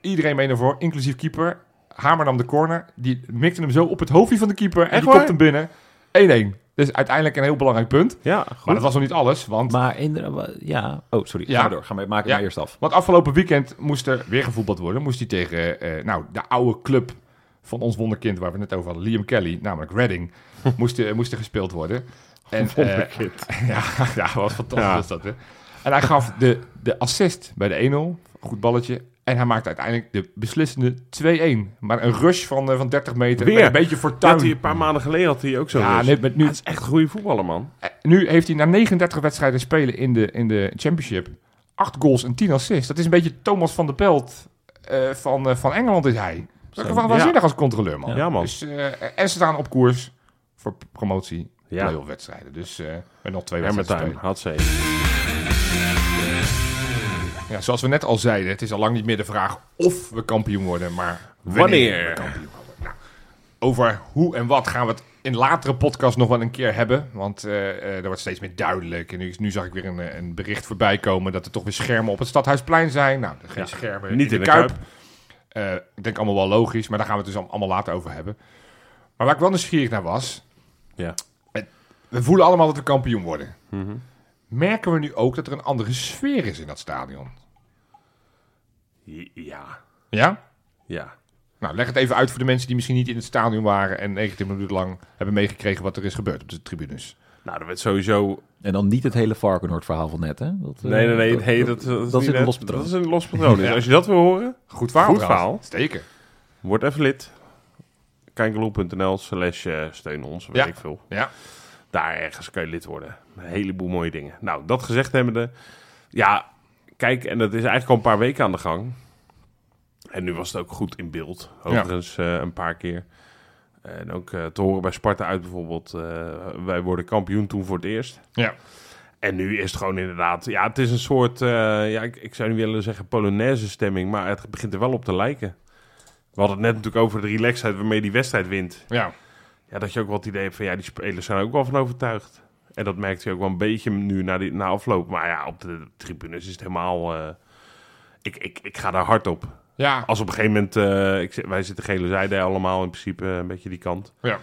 B: Iedereen mee naar voor, inclusief keeper. Hamer nam de corner. Die mikte hem zo op het hoofdje van de keeper. En
C: Echt
B: die kopte
C: waar?
B: hem binnen. 1-1. Dus uiteindelijk een heel belangrijk punt.
C: ja
B: Maar
C: goed.
B: dat was nog niet alles. Want,
D: Maar inderdaad, ja. Oh, sorry.
B: Ja.
D: Ga maar door. Ga maar, maak het
B: Ja.
D: maar eerst af.
B: want afgelopen weekend moest er weer gevoetbald worden. Moest hij tegen eh, nou, de oude club van ons wonderkind... waar we het net over hadden, Liam Kelly, namelijk Reading... moest, er- moest er gespeeld worden. En, eh,
C: Wonderkind.
B: Ja, ja wat fantastisch
C: Ja.
B: was dat, hè? En hij gaf de, de assist bij de 1-0. Goed balletje. En hij maakte uiteindelijk de beslissende 2-1. Maar een rush van, eh, van 30 meter.
C: Weer.
B: Met een beetje
C: Dat
B: fortuin.
C: hij een paar maanden geleden had hij ook zo.
B: ja,
C: Ja,
B: nee, met nu,
C: Dat is echt een goede voetballer, man.
B: eh, nu heeft hij na 39 wedstrijden spelen in de, in de championship... 8 goals en 10 assists. Dat is een beetje Thomas van der Pelt eh, van, eh, van Engeland is hij. Dat is
D: Zo.
B: wel waanzinnig als controleur, man.
C: Ja, man.
B: Dus, eh, en ze staan op koers voor promotie.
C: Ja.
B: Playoff wedstrijden. Dus eh met nog twee wedstrijden te
C: Hermetuin,
B: spelen.
C: had ze.
B: Ja, zoals we net al zeiden, het is al lang niet meer de vraag of we kampioen worden, maar wanneer,
C: Wanneer?
B: we kampioen worden. Nou, over hoe en wat gaan we het in latere podcast nog wel een keer hebben, want eh, eh, er wordt steeds meer duidelijk. En nu, nu zag ik weer een, eh, een bericht voorbij komen dat er toch weer schermen op het Stadhuisplein zijn. Nou, er geen
C: Ja,
B: schermen
C: niet in de Kuip.
B: Eh, ik denk allemaal wel logisch, maar daar gaan we het dus allemaal later over hebben. Maar waar ik wel nieuwsgierig naar was,
C: Ja.
B: we voelen allemaal dat we kampioen worden.
C: Mhm.
B: Merken we nu ook dat er een andere sfeer is in dat stadion?
C: Ja.
B: Ja?
C: Ja.
B: Nou, leg het even uit voor de mensen die misschien niet in het stadion waren en 19 minuten lang hebben meegekregen wat er is gebeurd op de tribunes.
C: Nou, dat werd sowieso...
D: En dan niet het hele Varkenoord verhaal van net, hè? Dat, eh,
C: Nee, nee, nee. nee, dat,
D: dat,
C: is
D: dat
C: niet
D: zit een
C: net-
D: los patroon.
C: Dat is een los patroon. Dus als je dat wil horen,
B: Goed verhaal.
C: Goed
B: trouwens.
C: verhaal.
B: Steken.
C: word even lid. Kijkeloel.nl slash eh, steun ons, weet
B: Ja.
C: ik veel.
B: Ja.
C: daar ergens kan je lid worden. Een heleboel mooie dingen. Nou, dat gezegd hebbende. Ja, kijk, en dat is eigenlijk al een paar weken aan de gang. En nu was het ook goed in beeld. Overigens eh, een paar keer. En ook eh, te horen bij Sparta uit bijvoorbeeld. eh, wij worden kampioen toen voor het eerst.
B: Ja.
C: En nu is het gewoon inderdaad... Ja, het is een soort... eh, ja, ik, ik zou niet willen zeggen Polonaise stemming. Maar het begint er wel op te lijken. We hadden het net natuurlijk over de relaxedheid waarmee die wedstrijd wint.
B: Ja.
C: Ja, dat je ook wel het idee hebt van ja, die spelers zijn er ook wel van overtuigd. En dat merkt je ook wel een beetje nu na, die, na afloop. Maar ja, op de tribunes is het helemaal. eh, ik, ik, ik ga daar hard op.
B: Ja.
C: Als op een gegeven moment. eh, ik, zit- wij zitten gele zijde allemaal in principe eh, een beetje die kant.
B: ja.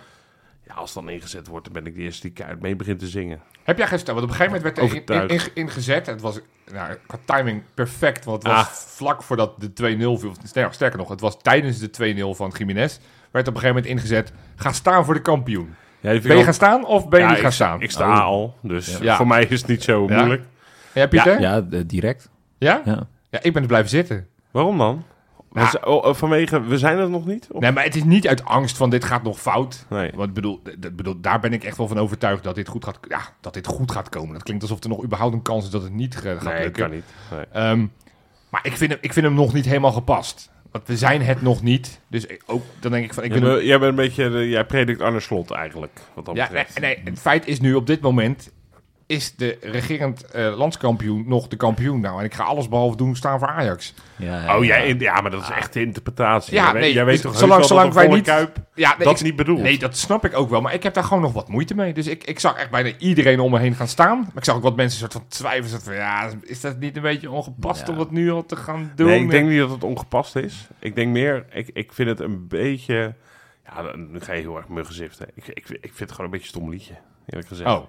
C: Ja, als het dan ingezet wordt, dan ben ik de eerste die keihard mee begint te zingen.
B: Heb jij gesteld? Want op een gegeven moment werd er in- in-
C: Overtuigd.
B: in- ingezet. Het was nou, qua timing perfect, want het was
C: Ah.
B: vlak voordat de 2-0 viel. Sterker, sterker nog, het was tijdens de 2-0 van Jiménez. Werd op een gegeven moment ingezet. Ga staan voor de
C: Ja,
B: kampioen.
C: die vind ik
B: Ben je
C: wel-
B: gaan staan of ben je
C: Ja,
B: niet gaan
C: ik,
B: staan?
C: Ik sta
D: Oh.
C: al, dus
B: Ja.
C: voor mij is het niet zo
B: Ja.
C: moeilijk.
B: Ja, Pieter? Ja?
D: Ja, eh, direct.
B: Ja?
D: Ja.
B: ik ben er blijven zitten.
C: Waarom dan?
B: Ja.
C: We z- oh, eh, vanwege, we zijn het nog niet? Of-
B: Nee, maar het is niet uit angst van dit gaat nog fout.
C: Nee.
B: Want ik bedoel, d- d- bedoel, daar ben ik echt wel van overtuigd dat dit, goed gaat, ja, dat dit goed gaat komen. Dat klinkt alsof er nog überhaupt een kans is dat het niet ge- gaat
C: Nee,
B: lukken.
C: kan niet. Nee.
B: Ehm, maar ik vind, hem, ik vind hem nog niet helemaal gepast. Want we zijn het nog niet. Dus ik- ook, dan denk ik van... Ik
C: Jij
B: ben
C: bent, jij bent een beetje, de- jij predikt Arne Slot eigenlijk, wat dat
B: ja, nee,
C: betreft.
B: nee, het feit is nu op dit moment... Is de regerend eh, landskampioen nog de kampioen? Nou, en ik ga alles behalve doen staan voor Ajax.
D: Ja,
C: Oh, jij, in- ja, maar dat is echt de interpretatie.
B: Ja,
C: jij, weet-
B: nee,
C: jij
B: dus
C: weet toch heus
B: zolang-
C: wel
B: zolang
C: dat een
B: wij
C: volle
B: niet-
C: kuip
B: Ja, nee,
C: dat
B: ik-
C: niet bedoelt.
B: Nee, dat snap ik ook wel. Maar ik heb daar gewoon nog wat moeite mee. Dus ik, ik zag echt bijna iedereen om me heen gaan staan. Maar ik zag ook wat mensen soort van twijfelen. Soort van, ja, is dat niet een beetje ongepast
D: Ja.
B: om dat nu al te gaan doen?
C: Nee, ik denk niet dat het ongepast is. Ik denk meer, ik, ik vind het een beetje... Ja, dan- nu ga je heel erg muggenziften. Ik, ik, ik vind het gewoon een beetje een stom liedje, eerlijk gezegd.
B: Oh, oké.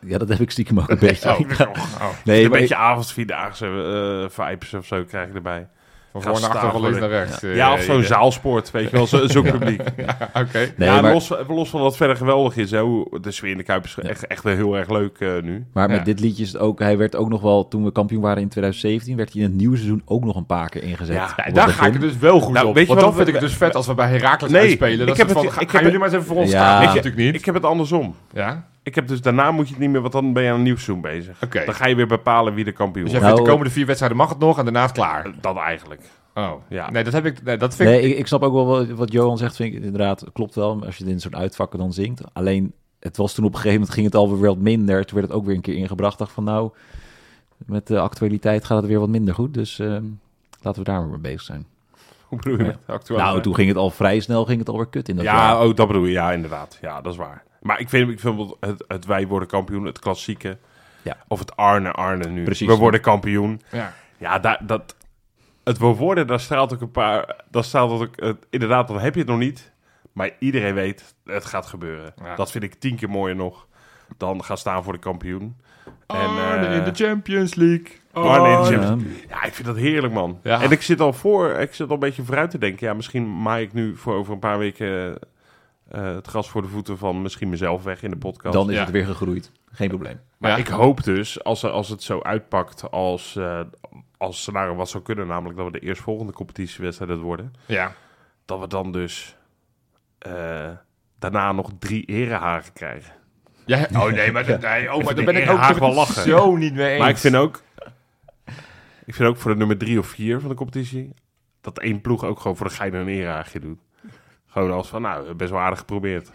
D: ja, dat heb ik stiekem ook een beetje.
B: Oh,
D: nee,
C: een
D: maar
C: beetje avondvierdaagse eh vibes of zo krijg ik erbij.
B: Van
C: Ga
B: voor naar achter,
C: staan
B: van
C: voor
B: links
C: de-
B: naar rechts. eh,
C: ja, of zo'n
B: idee.
C: zaalsport, weet je wel, zo- zo'n publiek.
B: Oké.
D: Nee,
C: ja,
D: maar-
C: los, los van wat verder geweldig is, hè, hoe, de sfeer in de Kuip is echt, echt heel erg leuk eh, nu.
D: Maar met
B: Ja.
D: dit liedje is het ook... Hij werd ook nog wel... Toen we kampioen waren in 2017... werd hij in het nieuwe seizoen ook nog een paar keer ingezet.
C: Ja,
B: Ja,
D: Op
B: daar
D: het
B: ga ik
D: begin.
B: het dus wel goed
C: Nou,
B: op.
C: weet je
B: Want
C: wat
B: dan vind
C: we-
B: ik het dus vet als we bij Herakles
C: Nee,
B: uitspelen. Dat
C: ik heb
B: is van,
C: het-
B: ga,
C: ik
B: gaan
C: heb-
B: jullie maar eens even voor ons
D: Ja.
B: staan.
D: Weet
B: Dat
D: je-
B: natuurlijk niet.
C: Ik heb het andersom.
B: ja?
C: Ik heb dus daarna moet je het niet meer, want dan ben je aan een nieuw seizoen bezig.
B: Oké.
C: Dan ga je weer bepalen wie de kampioen
B: Dus
C: is.
B: jij
D: Nou,
B: vindt de komende vier wedstrijden mag het nog en daarna is het klaar.
C: Dat eigenlijk.
B: Oh,
C: Ja.
B: Nee, dat heb ik... Nee, dat vind ik...
D: Nee, ik, ik snap ook wel wat, wat Johan zegt. Vind ik inderdaad, klopt wel. Als je het in zo'n uitvakken dan zingt. Alleen, het was toen op een gegeven moment ging het alweer wat minder. Toen werd het ook weer een keer ingebracht. Dacht van nou, met de actualiteit gaat het weer wat minder goed. Dus ehm, laten we daar maar mee bezig zijn.
C: Hoe bedoel je
D: Ja.
C: met actueel?
D: nou, toen ging het al vrij snel, ging het alweer kut in dat jaar.
C: Ja, oh, dat bedoel je. Ja, inderdaad. Ja, dat is waar. Maar ik vind, ik vind wel het, het wij worden kampioen, het klassieke.
D: Ja.
C: Of het Arne, Arne nu.
D: Precies.
C: We worden kampioen.
B: Ja.
C: Ja, daar, dat... Het we worden, daar straalt ook een paar... Daar straalt ook, het- inderdaad, dan heb je het nog niet. Maar iedereen weet, het gaat gebeuren.
B: Ja.
C: Dat vind ik tien keer mooier nog. Dan gaan staan voor de kampioen.
B: Arne
C: eh,
B: in Oh, de Champions League. Oh,
C: Arne in de Champions
D: Ja.
C: Ja, ik vind dat heerlijk, man.
B: Ja.
C: En ik zit al voor, ik zit al een beetje vooruit te denken. Ja, misschien maai ik nu voor over een paar weken eh, eh, het gras voor de voeten van misschien mezelf weg in de podcast.
D: Dan is
B: Ja.
D: het weer gegroeid. Geen probleem.
C: maar
B: Ja.
C: ik hoop dus, als, er- als het zo uitpakt als, eh, als scenario wat zou kunnen, namelijk dat we de eerstvolgende competitiewedstrijd het worden,
B: Ja.
C: dat we dan dus eh, daarna nog drie erehagen krijgen.
B: Ja, oh nee, maar, dat- nee, oh, maar
C: vind
B: daar ben
C: die
B: ik ook
C: Haag
B: daar ben
C: wel
B: ik
C: lachen.
B: zo niet mee eens.
C: Maar ik vind ook, ik vind ook voor de nummer drie of vier van de competitie, dat één ploeg ook gewoon voor de gein een erehaagje doet. Gewoon als van, nou, best wel aardig geprobeerd.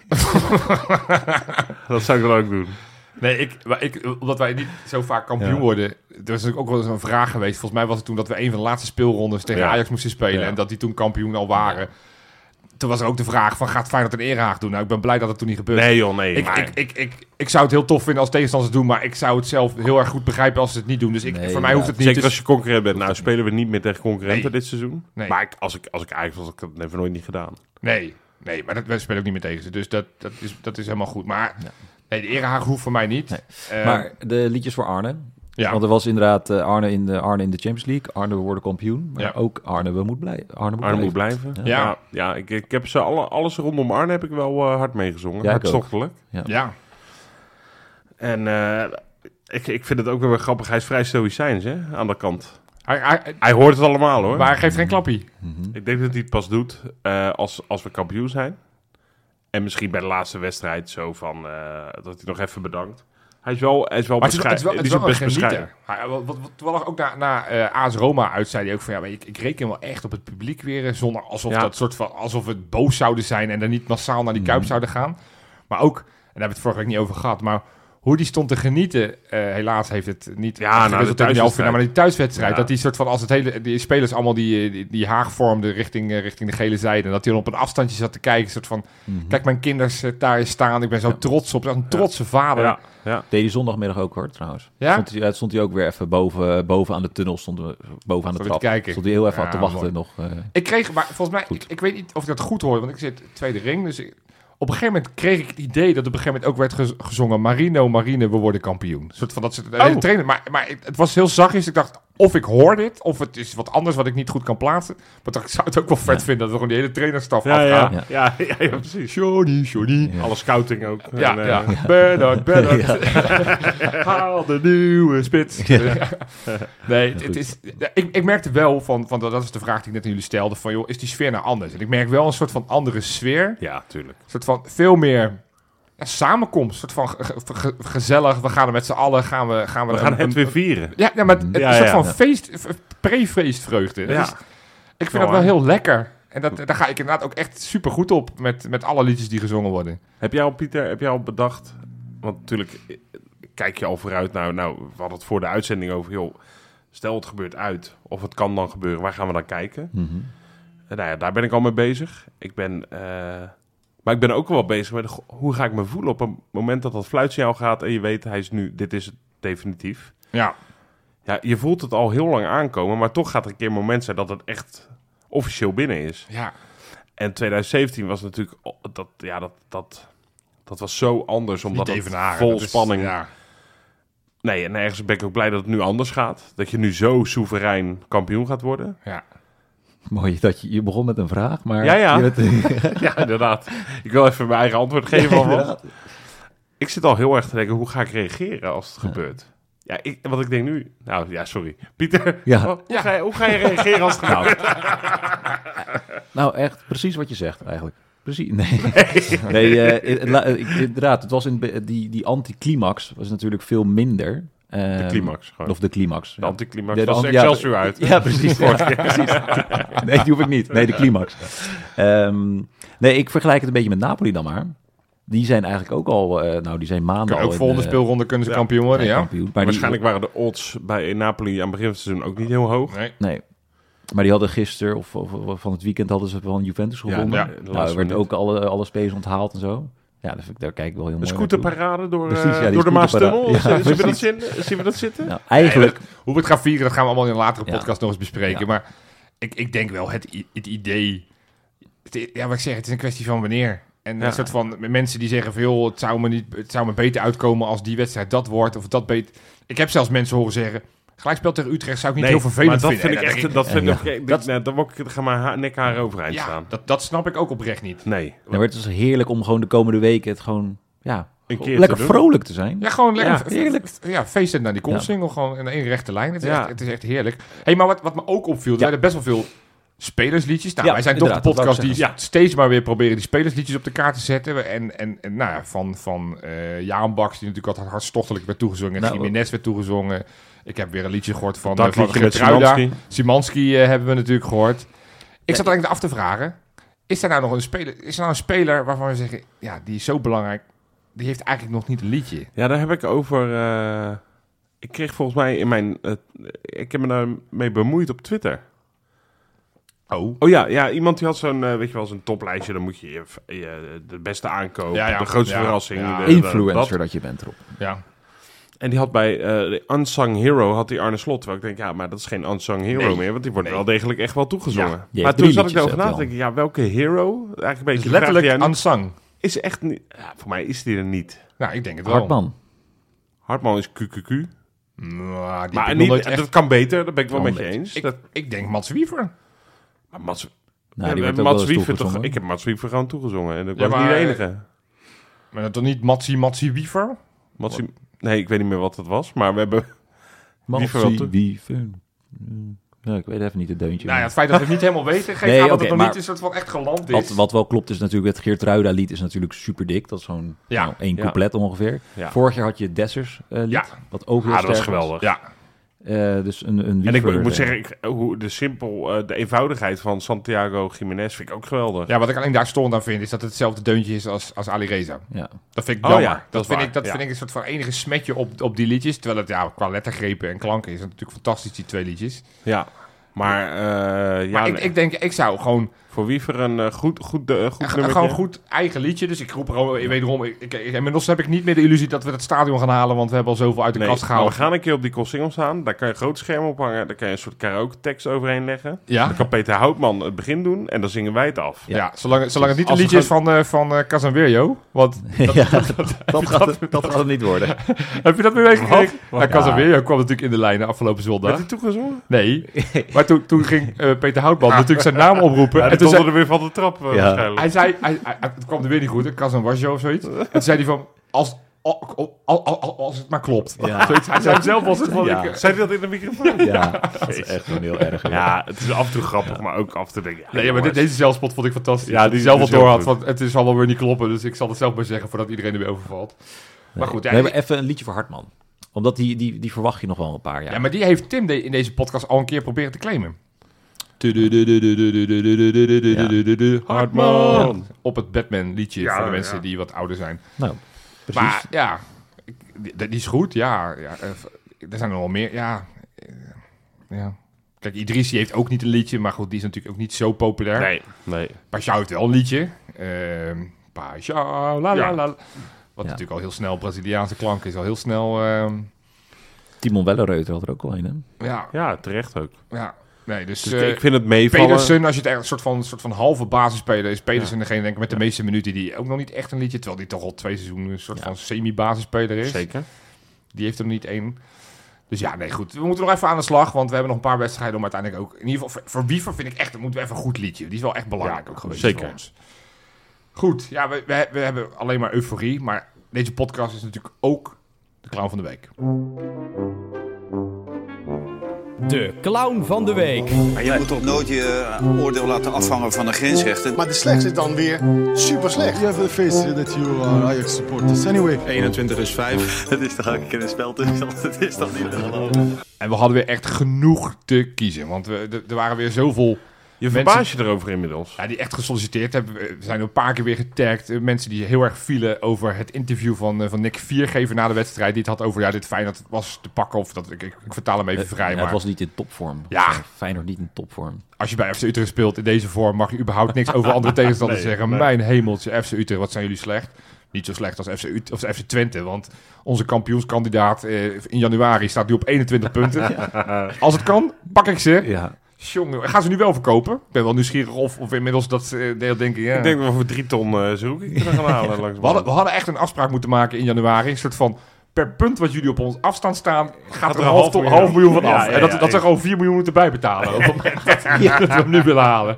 C: dat zou ik dan ook doen.
B: Nee, ik, maar ik, omdat wij niet zo vaak kampioen
D: Ja.
B: worden. Er is natuurlijk ook wel eens een vraag geweest. Volgens mij was het toen dat we een van de laatste speelrondes tegen
C: Ja.
B: Ajax moesten spelen.
C: Ja.
B: En dat die toen kampioen al waren. Toen was er ook de vraag van, gaat Feyenoord een erehaag doen? Nou, ik ben blij dat het toen niet gebeurde.
C: Nee joh, nee.
B: ik,
C: maar-
B: ik, ik, ik, ik zou het heel tof vinden als tegenstanders het doen. Maar ik zou het zelf heel erg goed begrijpen als ze het niet doen. Dus ik,
D: Nee,
B: voor mij hoeft het niet.
C: Zeker als
B: dus,
C: je concurrent bent. Nou, spelen we niet meer tegen concurrenten
B: Nee.
C: dit seizoen.
B: Nee.
C: Maar ik, als, ik, als ik eigenlijk was, had ik dat even nooit niet gedaan.
B: dus- nee, nee, maar dat, wij spelen ook niet meer tegen ze. Dus dat, dat, is, dat is helemaal goed. Maar nee, de erehaag hoeft voor mij niet. Eh,
D: maar de liedjes voor Arne.
B: ja.
D: Want er was inderdaad eh, Arne, in de, Arne in de Champions League. Arne, we worden kampioen. Maar
B: Ja.
D: ook Arne, we moeten blij, Arne moet
C: Arne moet
D: blijven.
C: blijven.
D: Ja.
B: Ja.
C: ja, ja, ik, ik heb ze alle, alles rondom Arne heb ik wel eh, hard meegezongen.
D: Ja, ik
C: Hartstochtelijk.
B: ja.
C: En eh, ik, ik vind het ook wel weer grappig. Hij is vrij stoïcijns hè, aan de kant.
B: Hij, hij,
C: Hij hoort het allemaal hoor.
B: maar hij geeft geen klappie.
D: Mhm.
C: Ik denk dat hij het pas doet eh, als, als we kampioen zijn. En misschien bij de laatste wedstrijd zo van eh, dat hij nog even bedankt. Hij is wel, hij is wel
B: Maar het is,
C: bescheiden.
B: het is wel, het is wel
C: die
B: een
C: is best bescheiden.
B: genieter. Hij- eh, Wat, wat, wat, toevallig ook na, na eh AS Roma uit zei hij ook van... Ja, maar ik, ik reken wel echt op het publiek weer. eh, Zonder alsof,
C: Ja.
B: dat soort van, alsof we boos zouden zijn... en er niet massaal naar die
C: Mm.
B: Kuip zouden gaan. Maar ook, en daar hebben we het vorige week niet over gehad... maar hoe die stond te genieten... eh, helaas heeft het niet...
C: Ja, nou, de
B: resultaat in halve finale, maar die thuiswedstrijd...
C: Ja.
B: dat die soort van... als het hele, die spelers allemaal die, eh, die, die haag vormden... Richting, eh, richting de gele zijde... en dat hij dan op een afstandje zat te kijken... soort van, kijk mijn kinders eh, daar eens staan... ik ben zo trots op... een trotse vader...
C: Mhm. Ja, ja.
D: Deed hij zondagmiddag ook hoor, trouwens.
B: Ja?
D: Stond hij, ja, stond hij ook weer even boven, eh, boven aan de tunnel, stonden we boven aan de
B: Even
D: trap.
B: te kijken.
D: Stond hij heel even
B: Ja,
D: te wachten
B: mooi.
D: nog. eh.
B: Ik kreeg, maar volgens mij, ik, ik weet niet of ik dat goed hoorde, want ik zit tweede ring. Dus ik- op een gegeven moment kreeg ik het idee dat op een gegeven moment ook werd gez- gezongen: Marino, Marine, we worden kampioen. Een soort van dat ze de hele
C: Oh.
B: trainer. Maar, maar het, het was heel zachtjes. Ik dacht, of ik hoor dit, of het is wat anders wat ik niet goed kan plaatsen. Maar toch, ik zou het ook wel vet vinden dat we gewoon die hele trainerstaf
C: Ja,
B: afgaan.
C: ja.
D: Ja.
C: Ja. Ja, ja, precies.
B: Johnny, Johnny.
C: Alle scouting ook.
B: Ja,
C: En, eh,
B: ja. Bernard, Bernard. Haal de nieuwe spits. Nee, het, het is, ja, ik, ik merkte wel van, van, dat is de vraag die ik net aan jullie stelde, van joh, is die sfeer nou anders? En ik merk wel een soort van andere sfeer. Een
C: Ja, tuurlijk.
B: soort van veel meer ja, samenkomst. Een soort van ge- ge- gezellig, we gaan er met z'n allen, gaan we... Gaan we,
C: We
B: er
C: gaan
B: een-
C: het
B: een-
C: weer vieren.
B: Ja, ja, maar het, het
C: Ja,
B: een soort
C: ja.
B: van feest, pre-feestvreugde. Dat
C: Ja.
B: is- Ik vind dat wel
C: waar.
B: heel lekker. En dat, daar ga ik inderdaad ook echt super goed op met, met alle liedjes die gezongen worden.
C: Heb jij al, Pieter, heb jij al bedacht... Want natuurlijk eh, kijk je al vooruit naar... Nou, we hadden het voor de uitzending over... joh, stel het gebeurt uit. Of het kan dan gebeuren. Waar gaan we dan kijken?
D: Mhm.
C: Eh, nou ja, daar ben ik al mee bezig. Ik ben... eh, maar ik ben ook wel bezig met... goh, Hoe ga ik me voelen op het moment dat dat fluitsignaal gaat... en je weet, hij is nu... Dit is het definitief.
B: Ja,
C: Ja, je voelt het al heel lang aankomen... maar toch gaat er een keer een moment zijn dat het echt officieel binnen is.
B: ja.
C: En 2017 was natuurlijk oh, dat ja dat dat dat was zo anders omdat
B: Niet
C: het
B: Evenaren,
C: vol
B: dat is-
C: spanning.
B: ja.
C: Nee, en ergens ben ik ook blij dat het nu anders gaat, dat je nu zo soeverein kampioen gaat worden.
B: ja.
D: Mooi dat je, je begon met een vraag, maar...
C: Ja, ja.
D: Je bent-
C: ja, inderdaad. Ik wil even mijn eigen antwoord geven. want
D: Inderdaad.
C: ik zit al heel erg te denken hoe ga ik reageren als het gebeurt. Ja, ik, want ik denk nu. Nou ja, sorry, Pieter.
D: Ja.
C: Hoe, ga je, hoe ga je reageren als het gebeurt?
D: Nou, nou, echt precies wat je zegt eigenlijk. Precies. Nee, nee eh, in- la- eh, ik- inderdaad. Het was in, be- die, die anticlimax was natuurlijk veel minder.
C: De
D: Ehm,
C: climax gewoon.
D: Of de climax.
C: de
D: ja.
C: anticlimax.
D: De-
C: Dat is
D: de- ja,
C: Excelsior uit.
D: Ja, precies. Ja, precies. Nee, die hoef ik niet. Nee, de climax. Ehm, nee, ik vergelijk het een beetje met Napoli dan maar. Die zijn eigenlijk ook al, eh, nou, die zijn maanden
B: Kan
D: al
B: ook
D: in,
B: volgende
D: eh,
B: speelronde kunnen ze kampioen worden, ja?
D: kampioen. Maar die-
C: Waarschijnlijk waren de odds bij Napoli aan het begin van het seizoen ook niet heel hoog.
B: Nee.
D: Nee. Maar die hadden gisteren of, of- of van het weekend hadden ze van Juventus
C: Ja,
D: gewonnen.
C: ja, de
D: nou, er
C: laatste
D: werd
C: minuut.
D: ook alle, alle spelers onthaald en zo. Ja, daar, vind ik- daar kijk ik wel heel
C: Een
D: mooi naartoe.
C: scooterparade door, eh,
D: Precies, ja, die
C: door de
D: scooterparade.
C: Maastunnel?
D: Ja,
C: zien, we dat
D: precies.
C: zin, zien we dat zitten?
D: Nou, eigenlijk,
B: Hoe we het gaan vieren, dat gaan we allemaal in een latere
D: Ja.
B: podcast nog eens bespreken.
D: Ja.
B: Maar ik, ik denk wel het, i- het idee. het i- ja, wat ik zeg, het is een kwestie van wanneer. En
C: Ja.
B: een soort van mensen die zeggen van, joh, het zou, me niet, het zou me beter uitkomen als die wedstrijd dat wordt. Of dat beter. Ik heb zelfs mensen horen zeggen, gelijkspel tegen Utrecht zou ik niet heel vervelend
C: maar dat Vind ik
B: vinden. En dan
C: echt,
B: denk
C: dat vind
D: Ja.
C: ik echt...
B: Dat-
C: Dat, nee, dan word ik, dan ga mijn haar, nek haar overeind
B: ja,
C: staan.
B: dat, dat snap ik ook oprecht niet.
C: Nee.
D: nou, het was heerlijk om gewoon de komende weken het gewoon, ja,
C: Een keer te
D: lekker
C: doen.
D: vrolijk te zijn.
B: Ja, gewoon lekker.
D: Ja,
B: f-
D: heerlijk.
B: f- Ja, feesten naar die kopsingel gewoon in één rechte lijn. Het is,
C: Ja.
B: echt, het is echt heerlijk. hey, maar wat, wat me ook opviel, er
D: Ja.
B: werden best wel veel spelersliedjes. Nou,
D: Ja,
B: wij zijn toch de
D: inderdaad, dat
B: podcast
D: wou
B: die
D: ik
B: steeds maar weer proberen die spelersliedjes op de kaart te zetten. En, en, en nou ja, van, van eh Jaan Baks, die natuurlijk altijd hartstochtelijk werd toegezongen.
D: Nou,
B: Jiménez werd toegezongen. Ik heb weer een liedje gehoord van,
C: Dat
B: eh, van
C: liedje met
B: Gertruida.
C: Szymanski.
B: Szymanski eh, hebben we natuurlijk gehoord. Ik zat eigenlijk af te vragen, is er nou nog een speler, is er nou een speler waarvan we zeggen, ja, die is zo belangrijk, die heeft eigenlijk nog niet een liedje.
C: Ja, daar heb ik over... eh, ik kreeg volgens mij in mijn... eh, ik heb me daarmee bemoeid op Twitter.
B: Oh.
C: Oh ja, ja iemand die had zo'n, eh, weet je wel, zo'n toplijstje. Dan moet je, je, je de beste aankoop,
B: Ja, ja.
C: de grootste
B: Ja,
C: verrassing.
B: ja.
C: de- de-
D: Influencer
C: dat.
D: dat je bent, Rob.
B: Ja.
C: En die had bij eh, de Unsung Hero had die Arne Slot. Terwijl ik denk, ja, maar dat is geen Unsung Hero
B: Nee.
C: meer. Want die wordt
B: Nee.
C: wel degelijk echt wel toegezongen.
D: heeft
C: maar
D: drie
C: toen zat ik
D: liedjes,
C: erover
D: hè,
C: na te
D: Jan.
C: denken, ja, welke hero? Eigenlijk een beetje de
B: Dus
C: vraag die
B: letterlijk
C: jij nu-
B: aan sang.
C: Is echt niet... Ja, voor mij is die er niet.
B: Nou, ik denk het wel.
D: Hartman.
C: Hartman is QQQ.
B: Nou, die
C: Maar
B: maar
C: niet,
B: nooit
C: en
B: echt...
C: dat kan beter, dat ben ik wel
D: Kan
C: met je
D: beter.
C: eens.
B: ik,
C: dat,
B: ik denk Mats Wiever.
C: maar Mats,
D: Nou,
C: ja,
D: die werd ook
C: Mats
D: wel eens
C: Wiever toch,
D: toegezongen.
C: ik heb Mats Wiever gewoon toegezongen. En ik
B: Ja,
C: was niet
B: maar-
C: de enige.
B: Maar dat toch niet Matsi Matsi Wiever?
C: Mats, nee, ik weet niet meer wat dat was. Maar we hebben...
D: Matsie
C: Wiever wel toe-
D: Wiever. Mm, Ja, ik weet even niet het deuntje.
B: Nou ja,
D: maar-
B: het feit dat we het niet helemaal weten, geeft
D: Nee,
B: aan dat
D: oké,
B: het nog
D: maar-
B: niet een soort van echt geland is.
D: wat, wat wel klopt is natuurlijk, het Geert lied is natuurlijk super dik. Dat is zo'n
B: Ja.
D: nou, één
C: Ja.
D: couplet ongeveer.
C: Ja.
D: Vorig jaar had je Dessers eh, lied,
B: Ja.
D: wat ook heel
C: Ah, dat
D: sterk
C: is geweldig.
B: Ja,
D: Eh, dus een, een
C: En ik,
D: Wiever,
C: ik moet
D: eh,
C: zeggen, ik, hoe de simpel, eh, de eenvoudigheid van Santiago Jiménez vind ik ook geweldig.
B: ja, wat ik alleen daar storend aan vind, is dat het hetzelfde deuntje is als, als Ali Reza.
D: Ja.
B: Dat vind ik
C: Oh
B: jammer.
C: ja,
B: dat
C: dat is
B: vind,
C: waar,
B: ik, dat
C: ja.
B: vind ik een soort van enige smetje op, op die liedjes. Terwijl het ja, qua lettergrepen en klanken is het natuurlijk fantastisch, die twee liedjes.
C: Ja. Maar, eh, ja,
B: Maar ik,
C: nee.
B: ik denk, ik zou gewoon
C: voor Wiever een eh, goed, goed, eh, goed
B: Ja,
C: nummertje.
B: gewoon goed eigen liedje. Dus ik roep er al- wederom. Ik, ik, ik- inmiddels heb ik niet meer de illusie dat we het stadion gaan halen. Want we hebben al zoveel uit de
C: Nee,
B: kast
C: maar we
B: gehaald.
C: gaan een keer op die Colsingel staan. Daar kan je een groot scherm op hangen. Daar kan je een soort karaoke tekst overheen leggen.
B: Ja,
C: Dan kan Peter Houtman het begin doen en dan zingen wij het af.
B: ja. zolang, het- zolang het niet een
C: Als we
B: liedje is van, eh van eh Casemiro. Want
D: Ja, dat, gaat, dat gaat het niet worden.
B: heb je dat nu meegekregen? Nou,
D: Ja.
B: Casemiro kwam natuurlijk in de lijnen afgelopen
C: Werd
B: zondag.
C: hij toegezongen?
B: Nee, maar toen, toen ging eh, Peter Houtman natuurlijk zijn naam oproepen.
C: Ja,
B: en
C: die
B: toen
C: konden
B: zei,
C: er weer van de trap eh,
D: Ja.
C: waarschijnlijk.
B: hij zei, hij, hij- het kwam er weer niet goed. Casemiro of zoiets. En toen zei hij van, als, al- al- al- al- als het maar klopt.
D: Ja.
B: Zoiets. hij zei zelf als het van,
D: Ja.
B: ik-
C: Zei hij dat in de microfoon?
D: Ja, dat is echt gewoon heel erg.
C: Ja, het is af en toe grappig, maar ook af en toe denk ik... Ja,
B: Nee, ja, maar dit,
C: jongens.
B: deze zelfspot vond ik fantastisch.
C: Ja,
B: Ja, die
C: die-
B: zelf
C: die
B: wat
C: is
B: door
C: heel
B: had.
C: goed.
B: Want het is allemaal weer niet kloppen, dus ik zal het zelf maar zeggen voordat iedereen er weer overvalt. Maar goed, ja,
D: we hebben
B: die-
D: even een liedje voor Hartman. Omdat die, die, die verwacht je nog wel een paar jaar.
B: ja, maar die heeft Tim de- in deze podcast al een keer proberen te claimen.
C: Hartman.
B: Op het Batman-liedje
C: Ja,
B: voor de
C: ja.
B: mensen die wat ouder zijn.
D: Nou, precies.
B: Maar ja, ik- die, die is goed, ja. ja eh, er zijn er wel meer, ja. Eh, ja. Kijk, Idris die heeft ook niet een liedje, maar goed, die is natuurlijk ook niet zo populair.
C: Nee, nee.
B: Pajau heeft wel een liedje. Ehm Pajau, la la
C: Ja.
B: la. Wat
D: Ja.
B: natuurlijk al heel snel Braziliaanse klank is, al heel snel... ehm,
D: Timon Wellereuter had er ook al een, hè?
B: ja,
C: Ja, terecht ook.
B: ja. Nee, dus...
C: Dus
B: eh,
C: ik vind het eh, meevallen.
B: Pedersen, als je het echt een soort van, soort van halve basisspeler is, Pedersen degene denk ik met de meeste minuten die ook nog niet echt een liedje, terwijl die toch al twee seizoenen een soort
D: Ja.
B: van semi-basisspeler is.
C: Zeker.
B: Die heeft er nog niet één. Dus ja, nee, goed. We moeten nog even aan de slag, want we hebben nog een paar wedstrijden om uiteindelijk ook... In ieder geval, voor, voor Wiever vind ik echt, moeten we even een goed liedje. Die is wel echt belangrijk ook geweest
C: zeker.
B: voor ons. Goed, ja, we, we, we hebben alleen maar euforie, maar deze podcast is natuurlijk ook de clown van de week.
F: De clown van de week.
G: Maar je moet toch nooit je eh, oordeel laten afhangen van de grensrechten.
H: Maar de slecht is dan weer super slecht. You have to face it that you are Ajax supporters anyway.
E: 21 is 5. Het is toch ook een keer een spel tussen ons. Het is toch niet te geloven.
B: En we hadden weer echt genoeg te kiezen, want we, er- er waren weer zoveel...
C: Je
B: Mensen-
C: verbaas je erover inmiddels.
B: Ja, die echt gesolliciteerd hebben. We zijn een paar keer weer getagd. Eh, Mensen die heel erg vielen over het interview van, eh, van Nick Viergever na de wedstrijd. Die het had over, ja, dit Feyenoord was te pakken. Of dat, ik, ik, ik vertaal hem even vrij,
D: Ja,
B: maar
D: Eh, Het was niet in topvorm. Eh,
B: Ja.
D: Feyenoord niet in topvorm.
B: als je bij FC Utrecht speelt in deze vorm... mag je überhaupt niks over andere tegenstanders zeggen. Mijn hemeltje, FC Utrecht, wat zijn jullie slecht. Niet zo slecht als FC, Ut- of FC Twente, want onze kampioenskandidaat eh, in januari staat nu op 21 punten. Als het kan, pak ik ze.
D: Ja.
B: Jongen, gaan ze nu wel verkopen? Ik ben wel nieuwsgierig of, of inmiddels dat ze eh, deel denken... Ja.
C: Ik denk dat we voor drie ton eh zoek ik gaan halen. langs
B: We hadden, we hadden echt een afspraak moeten maken in januari. Een soort van, per punt wat jullie op ons afstand staan, gaat er een half, ton- half miljoen van
C: Ja,
B: af.
C: ja,
B: en dat,
C: ja,
B: dat
C: ja.
B: we gewoon 4 miljoen moeten bijbetalen. Op het moment dat dat we hem nu willen halen.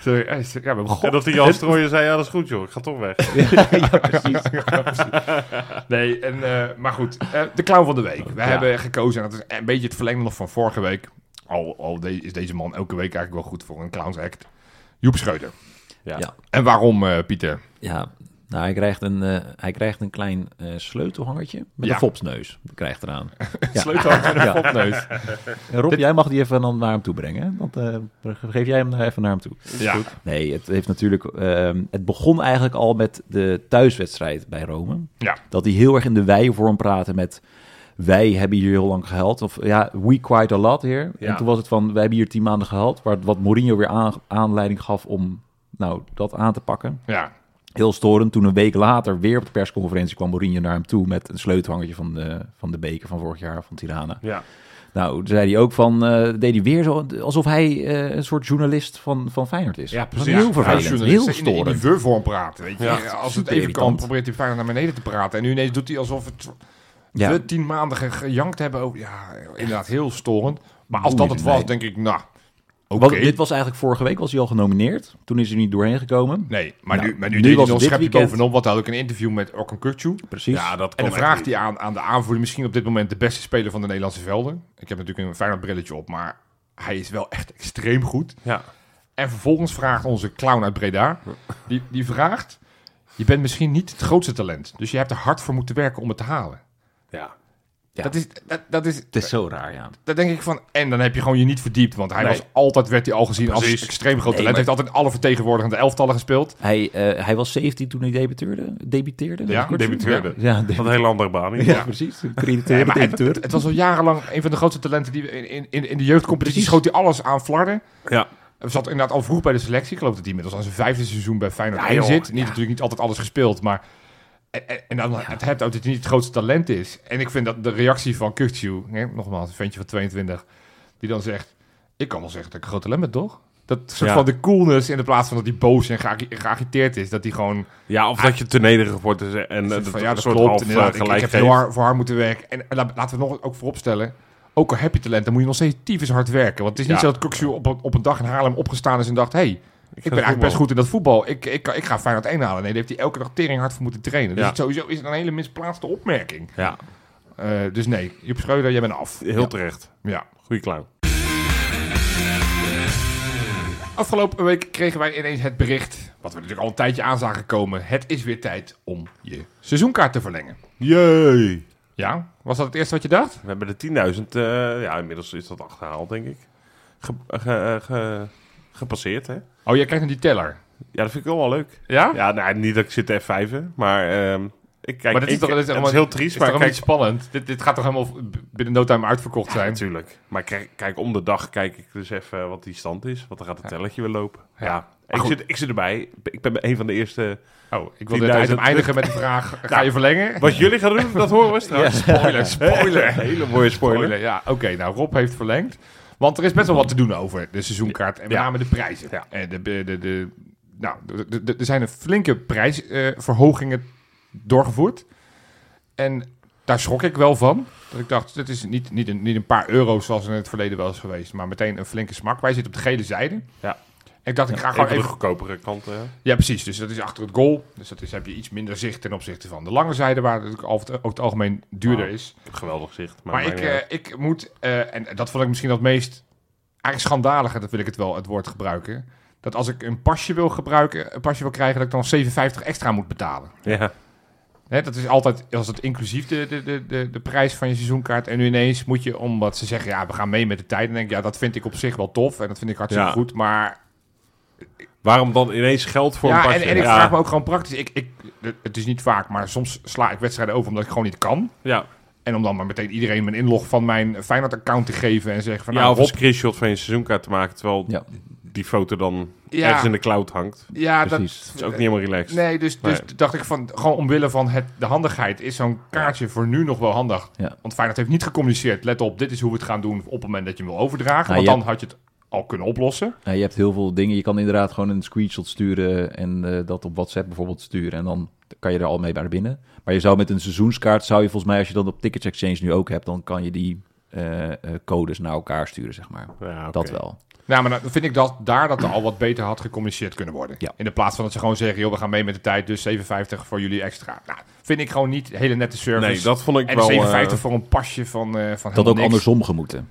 B: Zo, eh, Ja, we hebben
C: En dat die Jan Strooijen zei, ja dat is goed joh, ik ga toch weg.
B: Nee, en, eh, maar goed. eh, de clown van de week. We hebben gekozen, en dat is een beetje het verlengde nog van vorige week. Al, al de- is deze man elke week eigenlijk wel goed voor een clowns-act. Joep Schreuder.
C: Ja.
D: Ja.
B: En waarom, eh, Pieter?
D: Ja, nou, hij krijgt een, eh, hij krijgt een klein eh, sleutelhangertje met
B: Ja.
D: een fopsneus. Dat krijgt eraan. Ja.
B: Sleutelhangertje en een fopneus.
D: En Rob, jij mag die even dan naar hem toe brengen. Hè? Want, eh, geef jij hem nou even naar hem toe.
B: Ja.
D: Nee, het heeft natuurlijk. ehm, het begon eigenlijk al met de thuiswedstrijd bij Rome.
B: Ja.
D: Dat die heel erg in de wij-vorm praten met. Wij hebben hier heel lang gehaald. Of ja, we quite a lot hier.
C: Ja.
D: En toen was het van, wij hebben hier tien maanden gehaald. Waar, wat Mourinho weer aan- aanleiding gaf om nou, dat aan te pakken.
B: ja.
D: Heel storend. Toen een week later weer op de persconferentie kwam Mourinho naar hem toe... met een sleutelhangertje van de, van de beker van vorig jaar, van Tirana.
C: Ja.
D: Nou, toen zei hij ook van, eh, deed hij weer zo, alsof hij eh, een soort journalist van, van Feyenoord is.
B: Ja,
D: Dat is
B: precies.
D: Heel vervelend,
B: Journalisten
D: heel
B: In, de- in
D: storend.
B: die vorm praten, weet je.
C: Ja,
B: Als het
D: super
B: even kan,
D: irritant.
B: probeert hij fijn naar beneden te praten. En nu ineens doet hij alsof het
D: Ja.
B: we tien maanden ge- gejankt hebben. over- ja, inderdaad, heel storend. Maar als dat het was,
D: Nee.
B: denk ik, nou, oké.
D: Want dit was eigenlijk vorige week, was hij al genomineerd. Toen is hij niet doorheen gekomen.
B: Nee, maar
D: Nou,
B: nu, maar nu,
D: nu
B: deed
D: was
B: hij
D: het
B: nog een schepje
D: dit weekend.
B: bovenop. Want hij had ook een interview met Orkan Kukcu.
D: Precies.
C: Ja, dat
B: En
C: kan
B: dan
C: echt
B: vraagt
C: niet.
B: hij aan, aan de aanvoerder, misschien op dit moment de beste speler van de Nederlandse velden. Ik heb natuurlijk een Feyenoord brilletje op, maar hij is wel echt extreem goed.
C: Ja.
B: En vervolgens vraagt onze clown uit Breda, die, die vraagt, je bent misschien niet het grootste talent, dus je hebt er hard voor moeten werken om het te halen.
C: Ja.
D: Ja.
B: Dat, is, dat, dat is,
D: Het is zo raar, ja.
B: dat denk ik van, en dan heb je gewoon je niet verdiept, want hij
C: Nee.
B: was altijd, werd hij al gezien als
C: Precies.
B: extreem groot
D: Nee,
B: talent.
D: maar-
B: heeft altijd in alle vertegenwoordigende elftallen gespeeld.
D: Hij, eh, hij was 17 toen hij debuteerde. Debuteerde?
B: Ja,
D: Kort-
C: debuteerde.
D: Ja,
C: Dat
D: de-
C: een hele andere baan.
D: ja, precies. Crediteerde
B: maar het,
D: debuteur.
B: het was al jarenlang een van de grootste talenten die we in, in, in de jeugdcompetitie
D: Precies.
B: schoot hij alles aan flarden.
C: Ja.
B: We zat inderdaad al vroeg bij de selectie. Ik geloof dat hij inmiddels aan zijn vijfde seizoen bij Feyenoord
C: Ja,
B: 1
C: joh,
B: zit. Niet natuurlijk niet altijd alles gespeeld, maar... En, en- en dan het hebt ook dat hij niet het grootste talent is. En ik vind dat de reactie van Kukcu, hè, nogmaals, een ventje van 22, die dan zegt... Ik kan wel zeggen dat ik een groot talent ben, toch? Dat soort
C: Ja.
B: van de coolness in de plaats van dat hij boos en geagi- geagiteerd is. Dat hij gewoon...
C: Ja, of dat je te nederig wordt en, eh, en eh,
B: zegt
C: dat
B: van, ja,
C: een
B: dat
C: soort
B: klopt.
C: half eh,
B: inderdaad. Ik- ik,
C: gelijk
B: heb
C: geeft.
B: heel hard, voor haar moeten werken. En, en la- laten we nog ook vooropstellen... Ook al heb je talent, dan moet je nog steeds tyfus hard werken. Want het is niet
C: Ja.
B: zo dat Kukcu op, een- op een dag in Haarlem opgestaan is en dacht... Hey, ik ben eigenlijk best goed in dat voetbal. Ik, ik, ik ga Feyenoord 1 halen. Nee, daar heeft hij elke dag tering hard voor moeten trainen. Dus
C: Ja.
B: het sowieso is het een hele misplaatste opmerking.
C: Ja,
B: Eh, dus nee, Joep Schreuder, jij bent af.
C: heel terecht.
B: Ja.
C: Goeie clown.
B: Afgelopen week kregen wij ineens het bericht, wat we natuurlijk al een tijdje aan zagen komen. Het is weer tijd om je seizoenkaart te verlengen.
C: Jee.
B: Ja, was dat het eerste wat je dacht?
C: We hebben de 10.000, eh, ja, inmiddels is dat achterhaald, denk ik. ge- ge- ge- gepasseerd. Hè?
B: Oh, jij kijkt naar die teller.
C: Ja, dat vind ik wel wel leuk.
B: Ja?
C: Ja, nou, niet dat ik zit te F5'en, maar ehm, ik kijk...
B: maar dit is
C: ik-
B: toch, dit is
C: het
B: allemaal-
C: is heel triest,
B: is
C: maar
B: toch
C: ik
B: allemaal
C: kijk...
B: niet spannend. Dit, dit gaat toch helemaal v- binnen no time uitverkocht
C: Ja,
B: zijn.
C: natuurlijk. Maar kijk, kijk, om de dag kijk ik dus even wat die stand is. Want dan gaat het telletje weer lopen. Ja, ik,
B: goed.
C: zit, ik zit erbij. Ik ben een van de eerste...
B: Oh, ik wil dit
C: 10.000
B: item eindigen met de vraag: ga je verlengen?
C: Wat jullie gaan doen, dat horen we straks.
B: Spoiler, spoiler.
C: Hele mooie spoiler.
B: spoiler. Ja, oké. nou, Rob heeft verlengd. Want er is best wel wat te doen over de seizoenkaart. En met
C: Ja.
B: name de prijzen.
C: Ja.
B: En de, de, de, de- nou, de- de- de- er zijn een flinke prijsverhogingen eh, doorgevoerd. En daar schrok ik wel van. Dat ik dacht, het is niet, niet, een, niet een paar euro's zoals in het verleden wel is geweest. Maar meteen een flinke smak. Wij zitten op de gele zijde.
C: Ja.
B: En ik dacht, ik ga
C: Een
B: gewoon
C: van de
B: even
C: goedkopere eh. kanten. hè.
B: ja, precies. Dus dat is achter het goal. Dus dat is, heb je iets minder zicht ten opzichte van de lange zijde, waar het ook over het- over het algemeen duurder
C: Ah,
B: is.
C: Ik heb geweldig zicht. Maar,
B: Maar ik,
C: mijn, eh,
B: eh, ik moet, eh, en dat vond ik misschien wel het meest eigenlijk schandalige, dat wil ik het wel het woord gebruiken. Dat als ik een pasje wil gebruiken, een pasje wil krijgen, dat ik dan 7,50 extra moet betalen.
C: ja.
B: Hè, dat is altijd, als het inclusief de, de, de, de, de prijs van je seizoenkaart. En nu ineens moet je, omdat ze zeggen, ja, we gaan mee met de tijd. En denk ik, ja, dat vind ik op zich wel tof en dat vind ik hartstikke
C: Ja.
B: goed. Maar
C: Waarom dan ineens geld voor een
B: ja,
C: pasje?
B: en, en ik
C: ja.
B: vraag me ook gewoon praktisch. Ik, ik, het is niet vaak, maar soms sla ik wedstrijden over omdat ik gewoon niet kan.
C: Ja,
B: En om dan maar meteen iedereen mijn inlog van mijn Feyenoord-account te geven en zeggen van...
C: ja
B: nou,
C: of een
B: Rob,
C: screenshot van je seizoenkaart te maken, terwijl
D: Ja.
C: die foto dan
B: Ja.
C: ergens in de cloud hangt.
B: ja, dat,
D: precies.
C: Dat is ook niet helemaal relaxed.
B: Nee, dus, dus dacht ik van, gewoon omwille van het, de handigheid is zo'n kaartje voor nu nog wel handig.
D: Ja.
B: Want Feyenoord heeft niet gecommuniceerd, let op, dit is hoe we het gaan doen op het moment dat je hem wil overdragen.
D: Ja,
B: want
D: Nou, je
B: dan had je het al kunnen oplossen.
D: Ja, Nou, je hebt heel veel dingen. Je kan inderdaad gewoon een screenshot sturen en eh, dat op WhatsApp bijvoorbeeld sturen. En dan kan je er al mee naar binnen. Maar je zou met een seizoenskaart, zou je volgens mij, als je dat op Tickets Exchange nu ook hebt, dan kan je die eh, eh, codes naar elkaar sturen, zeg maar.
C: Ja, oké.
D: Dat wel.
B: Nou, maar dan vind ik dat daar dat er al wat beter had gecommuniceerd kunnen worden.
D: Ja.
B: In de plaats van dat ze gewoon zeggen, joh, we gaan mee met de tijd, dus 7,50 voor jullie extra. Nou, vind ik gewoon niet hele nette service.
C: Nee, dat vond ik
B: en
C: wel...
B: 7,50
C: eh,
B: voor een pasje van, eh van
D: Dat
B: helemaal
D: ook
B: niks.
D: andersom gemoeten.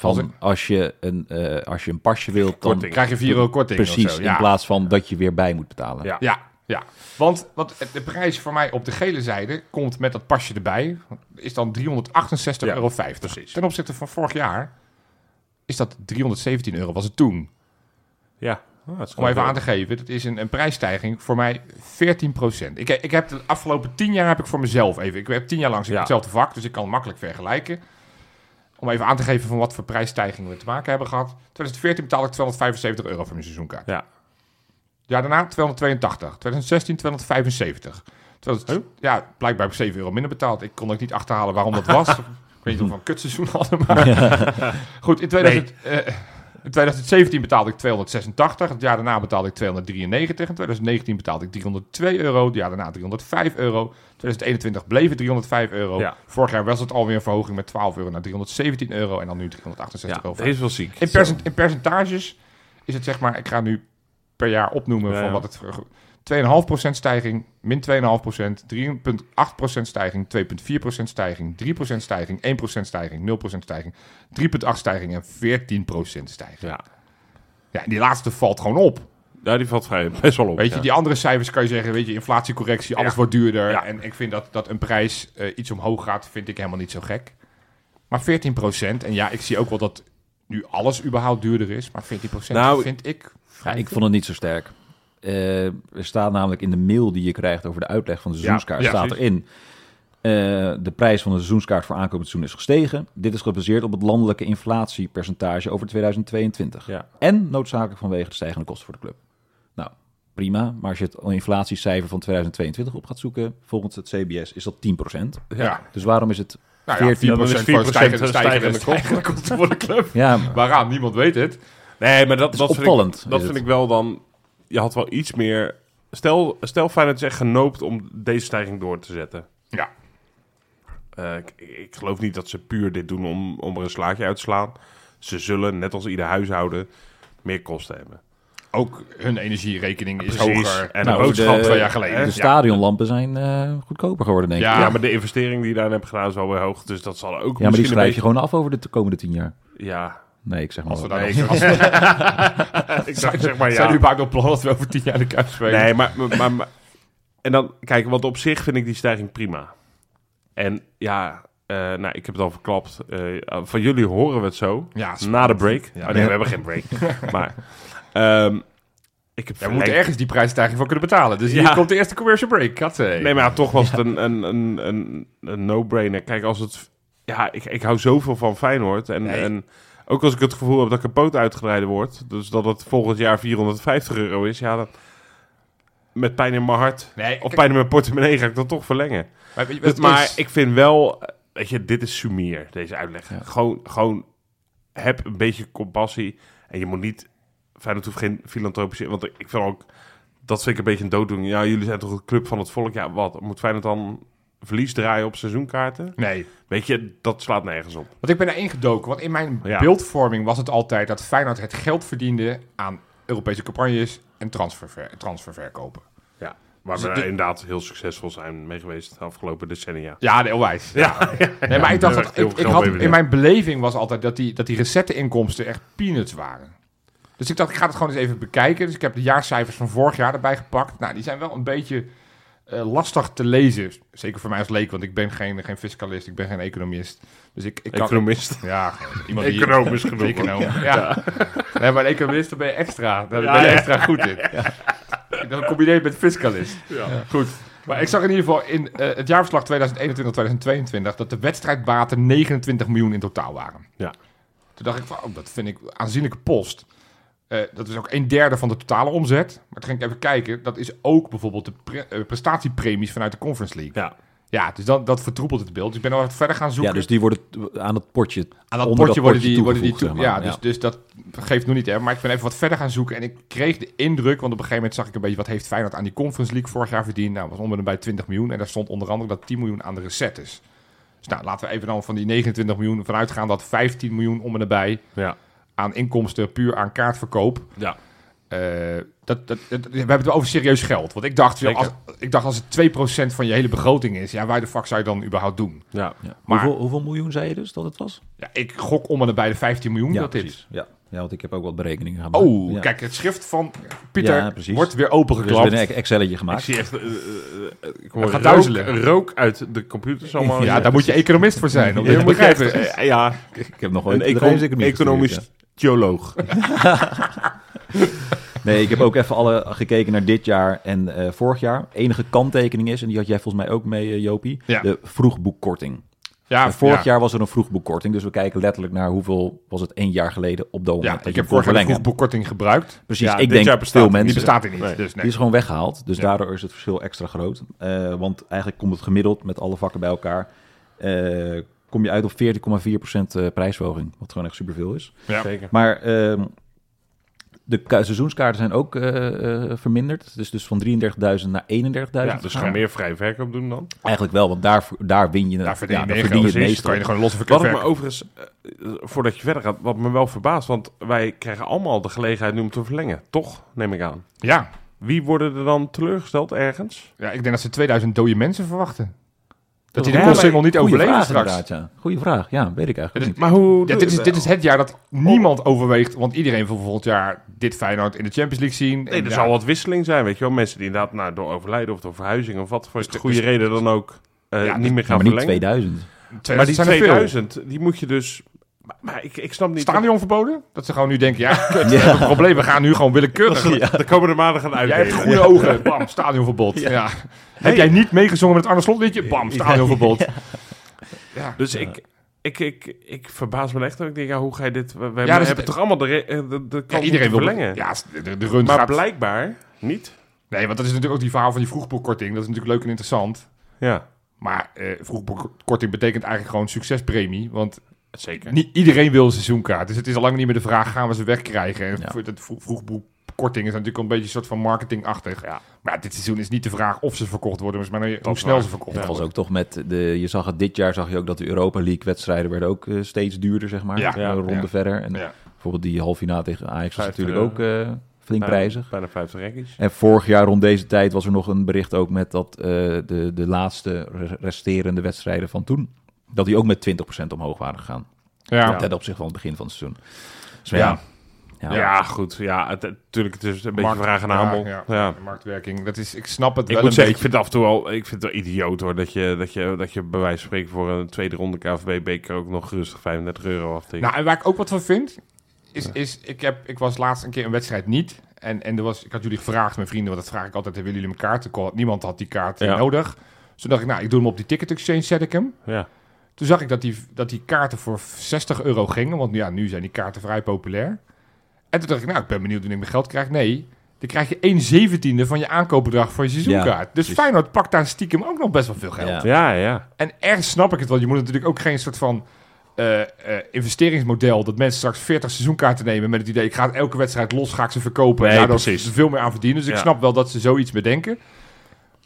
B: Als
D: Van
B: ik-
D: als je een, eh, als je een pasje wilt, dan
C: Korting.
B: Krijg je 4 euro korting of
D: precies.
B: zo.
D: In plaats van dat je weer bij moet betalen.
C: Ja.
B: Ja, ja. Want, want de prijs voor mij op de gele zijde komt met dat pasje erbij. Is dan 368,50
C: Ja,
B: euro. Ten opzichte van vorig jaar is dat 317 euro, was het toen.
C: Ja. Ah, dat is
B: Om even aan
C: gewoon-
B: te geven, dat is een, een prijsstijging voor mij 14%. Ik, ik heb de afgelopen 10 jaar heb ik voor mezelf even. Ik heb 10 jaar lang zit ik
C: Ja.
B: in hetzelfde vak, dus ik kan makkelijk vergelijken. Om even aan te geven van wat voor prijsstijgingen we te maken hebben gehad. 2014 betaalde ik 275 euro voor mijn seizoenkaart.
C: Ja.
B: Ja, daarna 282. 2016 275. Terwijl het- ja, blijkbaar heb ik 7 euro minder betaald. Ik kon ook niet achterhalen waarom dat was. ik weet niet of we een kutseizoen hadden, maar... Goed, in, 2000, eh, in 2017 betaalde ik 286. Het jaar daarna betaalde ik 293. In 2019 betaalde ik 302 euro. Het jaar daarna 305 euro. 2021 bleef het 305 euro.
C: Ja.
B: Vorig jaar was het alweer een verhoging met 12 euro naar 317 euro. En dan nu 368
C: Ja,
B: euro.
C: deze is wel ziek.
B: In, percent- in percentages is het zeg maar, ik ga nu per jaar opnoemen
C: Ja,
B: van
C: ja.
B: wat het. voor- 2,5% stijging, min 2,5%, 3,8% stijging, 2,4% stijging, 3% stijging, 1% stijging, 0% stijging, 3,8% stijging en 14% stijging.
C: Ja.
B: Ja, en die laatste valt gewoon op.
C: ja, die valt vrij best wel op.
B: Weet je,
C: ja.
B: die andere cijfers kan je zeggen, weet je, inflatiecorrectie, alles
C: Ja.
B: wordt duurder.
C: Ja.
B: En ik vind dat, dat een prijs eh, iets omhoog gaat, vind ik helemaal niet zo gek. Maar 14 En ja, ik zie ook wel dat nu alles überhaupt duurder is. Maar 14
C: Nou,
B: vind ik...
D: Ja, ik vond het niet zo sterk. Eh, er staat namelijk in de mail die je krijgt over de uitleg van de seizoenskaart,
B: ja,
D: staat
B: precies.
D: erin. eh, de prijs van de seizoenskaart voor aankomend seizoen is gestegen. Dit is gebaseerd op het landelijke inflatiepercentage over 2022.
C: Ja.
D: En noodzakelijk vanwege de stijgende kosten voor de club. Nou, prima. Maar als je het inflatiecijfer van 2022 op gaat zoeken, volgens het CBS is dat 10%.
B: Ja,
D: Dus waarom is het
B: nou ja,
D: 14?
B: 4
C: dan is
B: voor
C: 4% stijgende
B: stijgende, stijgende, stijgende kosten voor de club.
D: Ja,
B: Waaraan, niemand weet het.
C: Nee, maar dat,
D: is
C: dat Vind
D: opvallend,
C: ik, dat
D: is
C: vind
D: het.
C: ik wel dan... Je had wel iets meer... Stel, stel Feyenoord is echt genoopt om deze stijging door te zetten.
B: Ja.
C: Eh, ik, ik geloof niet dat ze puur dit doen om, om er een slaatje uit te slaan. Ze zullen, net als ieder huishouden, meer kosten hebben.
B: Ook hun energierekening is
C: Precies.
B: hoger.
C: En
D: Nou,
C: de boodschap
D: de-
C: twee jaar geleden.
D: de stadionlampen zijn eh, goedkoper geworden, denk ik.
B: Ja,
C: Ja, maar de investering die je daarin hebt gedaan is wel weer hoog. Dus dat zal ook
D: Ja, maar die
C: misschien
D: schrijf je
C: een
D: gewoon af over de t- komende 10 jaar.
C: beetje... Ja,
D: Nee, ik zeg maar.
B: als we
D: wat.
B: daar
C: Nee,
B: nog-
C: ik-
B: als we-
C: ik dacht zeg maar ja.
B: Zijn nu vaak nog plannen dat we over 10 jaar de Kuip spelen?
C: Nee, maar, maar, maar- maar- En dan, kijk, want op zich vind ik die stijging prima. En ja, eh, nou, ik heb het al verklapt. Eh, van jullie horen we het zo.
B: Ja,
C: na de break.
B: Ja.
C: Oh, nee, we hebben geen break. maar ehm, ik heb
B: Ja, we
C: verlengd-
B: moeten ergens die prijsstijging voor kunnen betalen. Dus hier
C: Ja.
B: komt de eerste commercial break. Katzee.
C: Nee, maar ja, toch was het een, een, een, een, een no-brainer. Kijk, als het... Ja, ik, ik hou zoveel van Feyenoord. En,
B: Nee.
C: en ook als ik het gevoel heb dat ik een poot uitgereden word... dus dat het volgend jaar 450 euro is... ja, dan, met pijn in mijn hart
B: Nee,
C: of
B: kijk,
C: pijn in mijn portemonnee ga ik dat toch verlengen.
B: maar, weet je wat
C: Dus,
B: het
C: maar
B: is?
C: ik vind wel... eh, Weet je, dit is sumier, deze uitleg. Gewoon, gewoon heb een beetje compassie. En je moet niet... Feyenoord hoeft geen filantropische... Want ik vind ook... Dat vind ik een beetje een dooddoening. Ja, jullie zijn toch een club van het volk? Ja, wat? Moet Feyenoord dan verlies draaien op seizoenkaarten?
B: Nee,
C: Weet je, dat slaat nergens op.
B: want ik ben daar ingedoken. Want in mijn
C: Ja.
B: beeldvorming was het altijd dat Feyenoord het geld verdiende aan Europese campagnes en transferver, transferverkopen.
C: Ja. Waar we
B: Dus
C: eh,
B: dit-
C: inderdaad heel succesvol zijn mee geweest de afgelopen decennia.
B: Ja, heel wijs. Ja. Nee, maar ik dacht
C: Ja,
B: dat,
C: heel
B: ik, ik
C: veel
B: had,
C: mee
B: in mijn beleving was altijd dat die, dat die recette-inkomsten echt peanuts waren. Dus ik dacht, ik ga het gewoon eens even bekijken. Dus ik heb de jaarcijfers van vorig jaar erbij gepakt. Nou, die zijn wel een beetje eh, lastig te lezen. Zeker voor mij als leek, want ik ben geen, geen fiscalist, ik ben geen economist. Dus ik, ik kan...
C: Economist.
B: Ja, iemand die...
C: Economisch genoeg.
B: Econoom. Ja. Nee, maar een economist, daar ben je extra. Daar ben je extra goed in. Dan combineer je met fiscalist. Goed. Maar ik zag in ieder geval in eh, het jaarverslag 2021-2022 dat de wedstrijdbaten 29 miljoen in totaal waren.
C: Ja.
B: Toen dacht ik van, oh, dat vind ik een aanzienlijke post. Eh, dat is ook een derde van de totale omzet. Maar toen ging ik even kijken, dat is ook bijvoorbeeld de pre- eh, prestatiepremies vanuit de Conference League.
C: Ja.
B: Ja, dus dat, dat vertroepelt het beeld. Dus ik ben al wat verder gaan zoeken.
D: Ja, dus die worden t- aan het potje.
B: Aan dat
D: onder
B: potje worden die, worden die toe,
D: toegevoegd, zeg
B: ja,
D: maar.
B: dus, dus dat geeft nu niet, hè. Maar ik ben even wat verder gaan zoeken en ik kreeg de indruk, want op een gegeven moment zag ik een beetje wat heeft Feyenoord aan die Conference League vorig jaar verdiend. Nou, was onder en bij 20 miljoen en daar stond onder andere dat 10 miljoen aan de recettes. Dus nou, laten we even dan van die 29 miljoen vanuit gaan dat 15 miljoen om en nabij
C: Ja.
B: aan inkomsten puur aan kaartverkoop.
C: Ja.
B: Eh, dat, dat, dat- we hebben het over serieus geld. Want ik dacht, joh, als,
C: Zeker.
B: ik dacht als het 2% van je hele begroting is, ja, waar de fuck zou je dan überhaupt doen?
C: Ja.
D: Ja.
B: Maar-
D: hoeveel, hoeveel miljoen zei je dus dat het was?
B: Ja, ik gok om en nabij de 15 miljoen dat dit is.
D: Ja. ja, want ik heb ook wat berekeningen gemaakt.
B: Oh,
D: Ja.
B: kijk, het schrift van Pieter
D: Ja, precies. Dus
B: wordt weer
D: Er is weer
B: opengeklapt.
D: een Excelletje
C: Ik
D: gemaakt.
C: zie echt... eh, eh, eh, ik hoor
B: Het gaat
C: rook,
B: duizelen.
C: rook uit de computers allemaal.
B: ja, daar moet je economist voor zijn. Om dit
C: Ja,
B: te
C: moet je echt,
B: begrijpen.
C: eh, ja,
D: Ik heb nog
C: een
D: ooit
C: econom-
D: bedrijfseconomie
C: economisch
D: gestudeerd,
C: theoloog.
D: ja. Nee, ik heb ook even alle gekeken naar dit jaar en eh, vorig jaar. Enige kanttekening is, en die had jij volgens mij ook mee, eh, Jopie,
B: Ja.
D: de vroegboekkorting.
B: Ja,
D: En vorig
B: ja.
D: jaar was er een vroegboekkorting, dus we kijken letterlijk naar hoeveel was het één jaar geleden op dat moment.
B: Ja,
D: dat
B: ik
D: je
B: heb
D: kon
B: vorig jaar de
D: verlengen.
B: vroegboekkorting gebruikt.
D: Precies,
C: Ja,
D: ik
C: dit jaar
D: denk
C: bestaat
D: veel
C: het niet.
B: Die
D: mensen.
B: bestaat er niet.
C: Nee.
B: Dus nee.
D: Die is gewoon weggehaald. Dus daardoor is het verschil extra groot. Eh, want eigenlijk komt het gemiddeld met alle vakken bij elkaar. eh, kom je uit op 14,4% eh, prijsverhoging. Wat gewoon echt superveel is.
B: Ja.
C: Zeker.
D: Maar ehm, de ka- seizoenskaarten zijn ook eh, eh, verminderd. Dus, dus van 33.000 naar 31.000.
C: Ja, dus ga meer vrij verkoop doen dan.
D: Eigenlijk wel, want daar, daar win je,
B: Daar
D: daar
B: verdien
D: ja,
B: je
D: daar
B: meer
D: verdien
B: geld.
D: je
B: Precies,
D: het meeste.
B: dan kan je er
D: op.
B: gewoon losse
C: Wat
B: verkoop
C: ik me
B: werken.
C: overigens, eh, eh, voordat je verder gaat, wat me wel verbaast, want wij krijgen allemaal de gelegenheid nu om te verlengen. Toch, neem ik aan.
B: Ja.
C: Wie worden er dan teleurgesteld ergens?
B: ja, ik denk dat ze 2000 dode mensen verwachten. Dat die
C: Ja,
B: de
C: maar-
B: postsingel niet
D: Goeie
B: overleven
D: vraag
B: straks.
D: inderdaad, ja. Goeie vraag, ja, weet ik eigenlijk niet.
C: Maar hoe...
B: Ja, dit, is, dit is het jaar
D: Oh.
B: dat niemand overweegt, want iedereen wil volgend jaar dit Feyenoord in de Champions League zien.
C: Nee,
B: En
C: er
B: ja,
C: zal wat wisseling zijn, weet je wel. Mensen die inderdaad nou, door overlijden of door verhuizing of wat voor
B: Dus de-
C: goede
B: dus-
C: reden dan ook eh,
B: Ja,
C: niet meer
D: Ja,
C: gaan
D: maar niet
C: verlengen.
D: 2000.
C: Maar die
B: zijn er veel.
C: 2000, die moet je dus... Maar, maar ik, ik snap niet...
B: Stadion verboden? Dat ze gewoon nu denken, ja, kut, we hebben een probleem, we gaan nu gewoon willekeurig
C: De komende maanden gaan
B: Jij hebt
C: uitdelen.
B: groene ogen. Bam, stadionverbod. Ja. Heb jij niet meegezongen met het Arne Slot liedje? Bam, stadionverbod. Ja,
C: Dus ik, ik, ik, ik verbaas me echt. dat Ik denk, ja, hoe ga je dit... We, we
B: Ja, dus
C: hebben
B: het-
C: toch allemaal de, re- eh, de, de kans
B: iedereen
C: om
B: wil
C: te verlengen.
B: Ja, de, de run
C: maar
B: gaat...
C: blijkbaar niet.
B: Nee, want dat is natuurlijk ook die verhaal van die vroegboekkorting. Dat is natuurlijk leuk en interessant.
C: Ja,
B: Maar eh, vroegboekkorting betekent eigenlijk gewoon succespremie. Want
C: zeker.
B: niet iedereen wil een seizoenkaart. Dus het is al lang niet meer de vraag, gaan we ze wegkrijgen? En
D: Ja.
B: voor dat vroeg, vroegboekkorting is natuurlijk een beetje een soort van marketingachtig.
C: Ja.
B: Maar dit seizoen is niet de vraag of ze verkocht worden, maar hoe
C: is
B: snel
C: waar.
B: ze verkocht
D: Dat
B: worden.
D: was ook toch met de. Je zag het dit jaar zag je ook dat de Europa League wedstrijden werden ook eh, steeds duurder, zeg maar.
B: Ja.
D: Een
C: Ja.
D: ronde
B: Ja.
D: verder. En
B: Ja.
D: bijvoorbeeld die halve finale tegen Ajax was
C: Vijf,
D: natuurlijk
C: eh, nou,
D: ook eh, flink
C: Bijna-
D: prijzig.
C: Bijna 50 rekjes.
D: En vorig jaar rond deze tijd was er nog een bericht ook met dat eh, de, de laatste re- resterende wedstrijden van toen. Dat die ook met 20% omhoog waren gegaan.
B: Ja.
D: Ten opzichte van het begin van het seizoen. Dus ja, Ja.
C: Ja, goed. Ja, het- natuurlijk. Het is een beetje
B: Markt-
C: vraag en aanbod.
B: Ja, ja.
C: ja.
B: De marktwerking. Dat is, ik snap het
C: Ik
B: wel
C: moet
B: een
C: zeggen, ik
B: beetje.
C: vind het af en toe wel, ik vind het wel idioot hoor, dat je, dat je, dat je bij wijze van spreken voor een tweede ronde KVB-beker ook nog rustig 35 euro aftikt.
B: Nou, en waar ik ook wat van vind, is, is ik, heb, ik was laatst een keer een wedstrijd niet. En, en er was, ik had jullie gevraagd, mijn vrienden, want dat vraag ik altijd, willen jullie mijn kaart? Ik kon- Niemand had die kaart eh,
C: Ja.
B: nodig. Dus toen dacht ik, nou, ik doe hem op die ticket exchange, zet ik hem.
C: ja.
B: Toen zag ik dat die, dat die kaarten voor 60 euro gingen, want ja, nu zijn die kaarten vrij populair. En toen dacht ik, nou, ik ben benieuwd wanneer ik mijn geld krijg. Nee, dan krijg je 1 zeventiende van je aankoopbedrag voor je seizoenkaart. dus
D: precies.
B: Feyenoord pakt daar stiekem ook nog best wel veel geld.
D: Ja.
C: ja, ja.
B: En ergens snap ik het, want je moet natuurlijk ook geen soort van eh, eh, investeringsmodel dat mensen straks 40 seizoenkaarten nemen met het idee ik ga elke wedstrijd los, ga ik ze verkopen
C: Nee,
B: en daardoor
C: precies.
B: ze veel meer aan verdienen. Dus ik
C: Ja.
B: snap wel dat ze zoiets bedenken.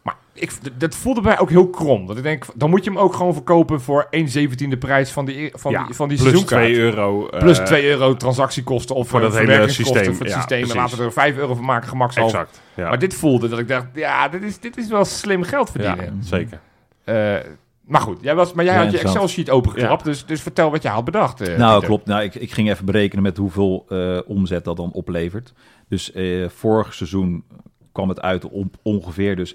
B: Maar ik, d- dat voelde mij ook heel krom. Dat ik denk, dan moet je hem ook gewoon verkopen voor 1 zeventiende prijs van die, e-, van
C: Ja,
B: die, van die
C: plus
B: seizoenkaart.
C: 2 euro. eh,
B: plus 2 euro transactiekosten of voor
C: dat
B: dat
C: hele
B: verwerkingskosten
C: systeem.
B: voor het
C: Ja,
B: systeem. En
C: precies.
B: laten we er 5 euro van maken, gemakshalve.
C: Exact. Ja,
B: Maar dit voelde dat ik dacht, ja, dit is, dit is wel slim geld
C: ja,
B: verdienen.
C: zeker.
B: Eh, maar goed, jij was, maar jij
D: Ja,
B: had je
D: interessant.
B: Excel-sheet opengeklapt, dus, dus vertel wat je had bedacht. eh,
D: Nou,
B: Pieter.
D: klopt. Nou, ik, ik ging even berekenen met hoeveel eh, omzet dat dan oplevert. Dus eh, vorig seizoen kwam het uit op ongeveer dus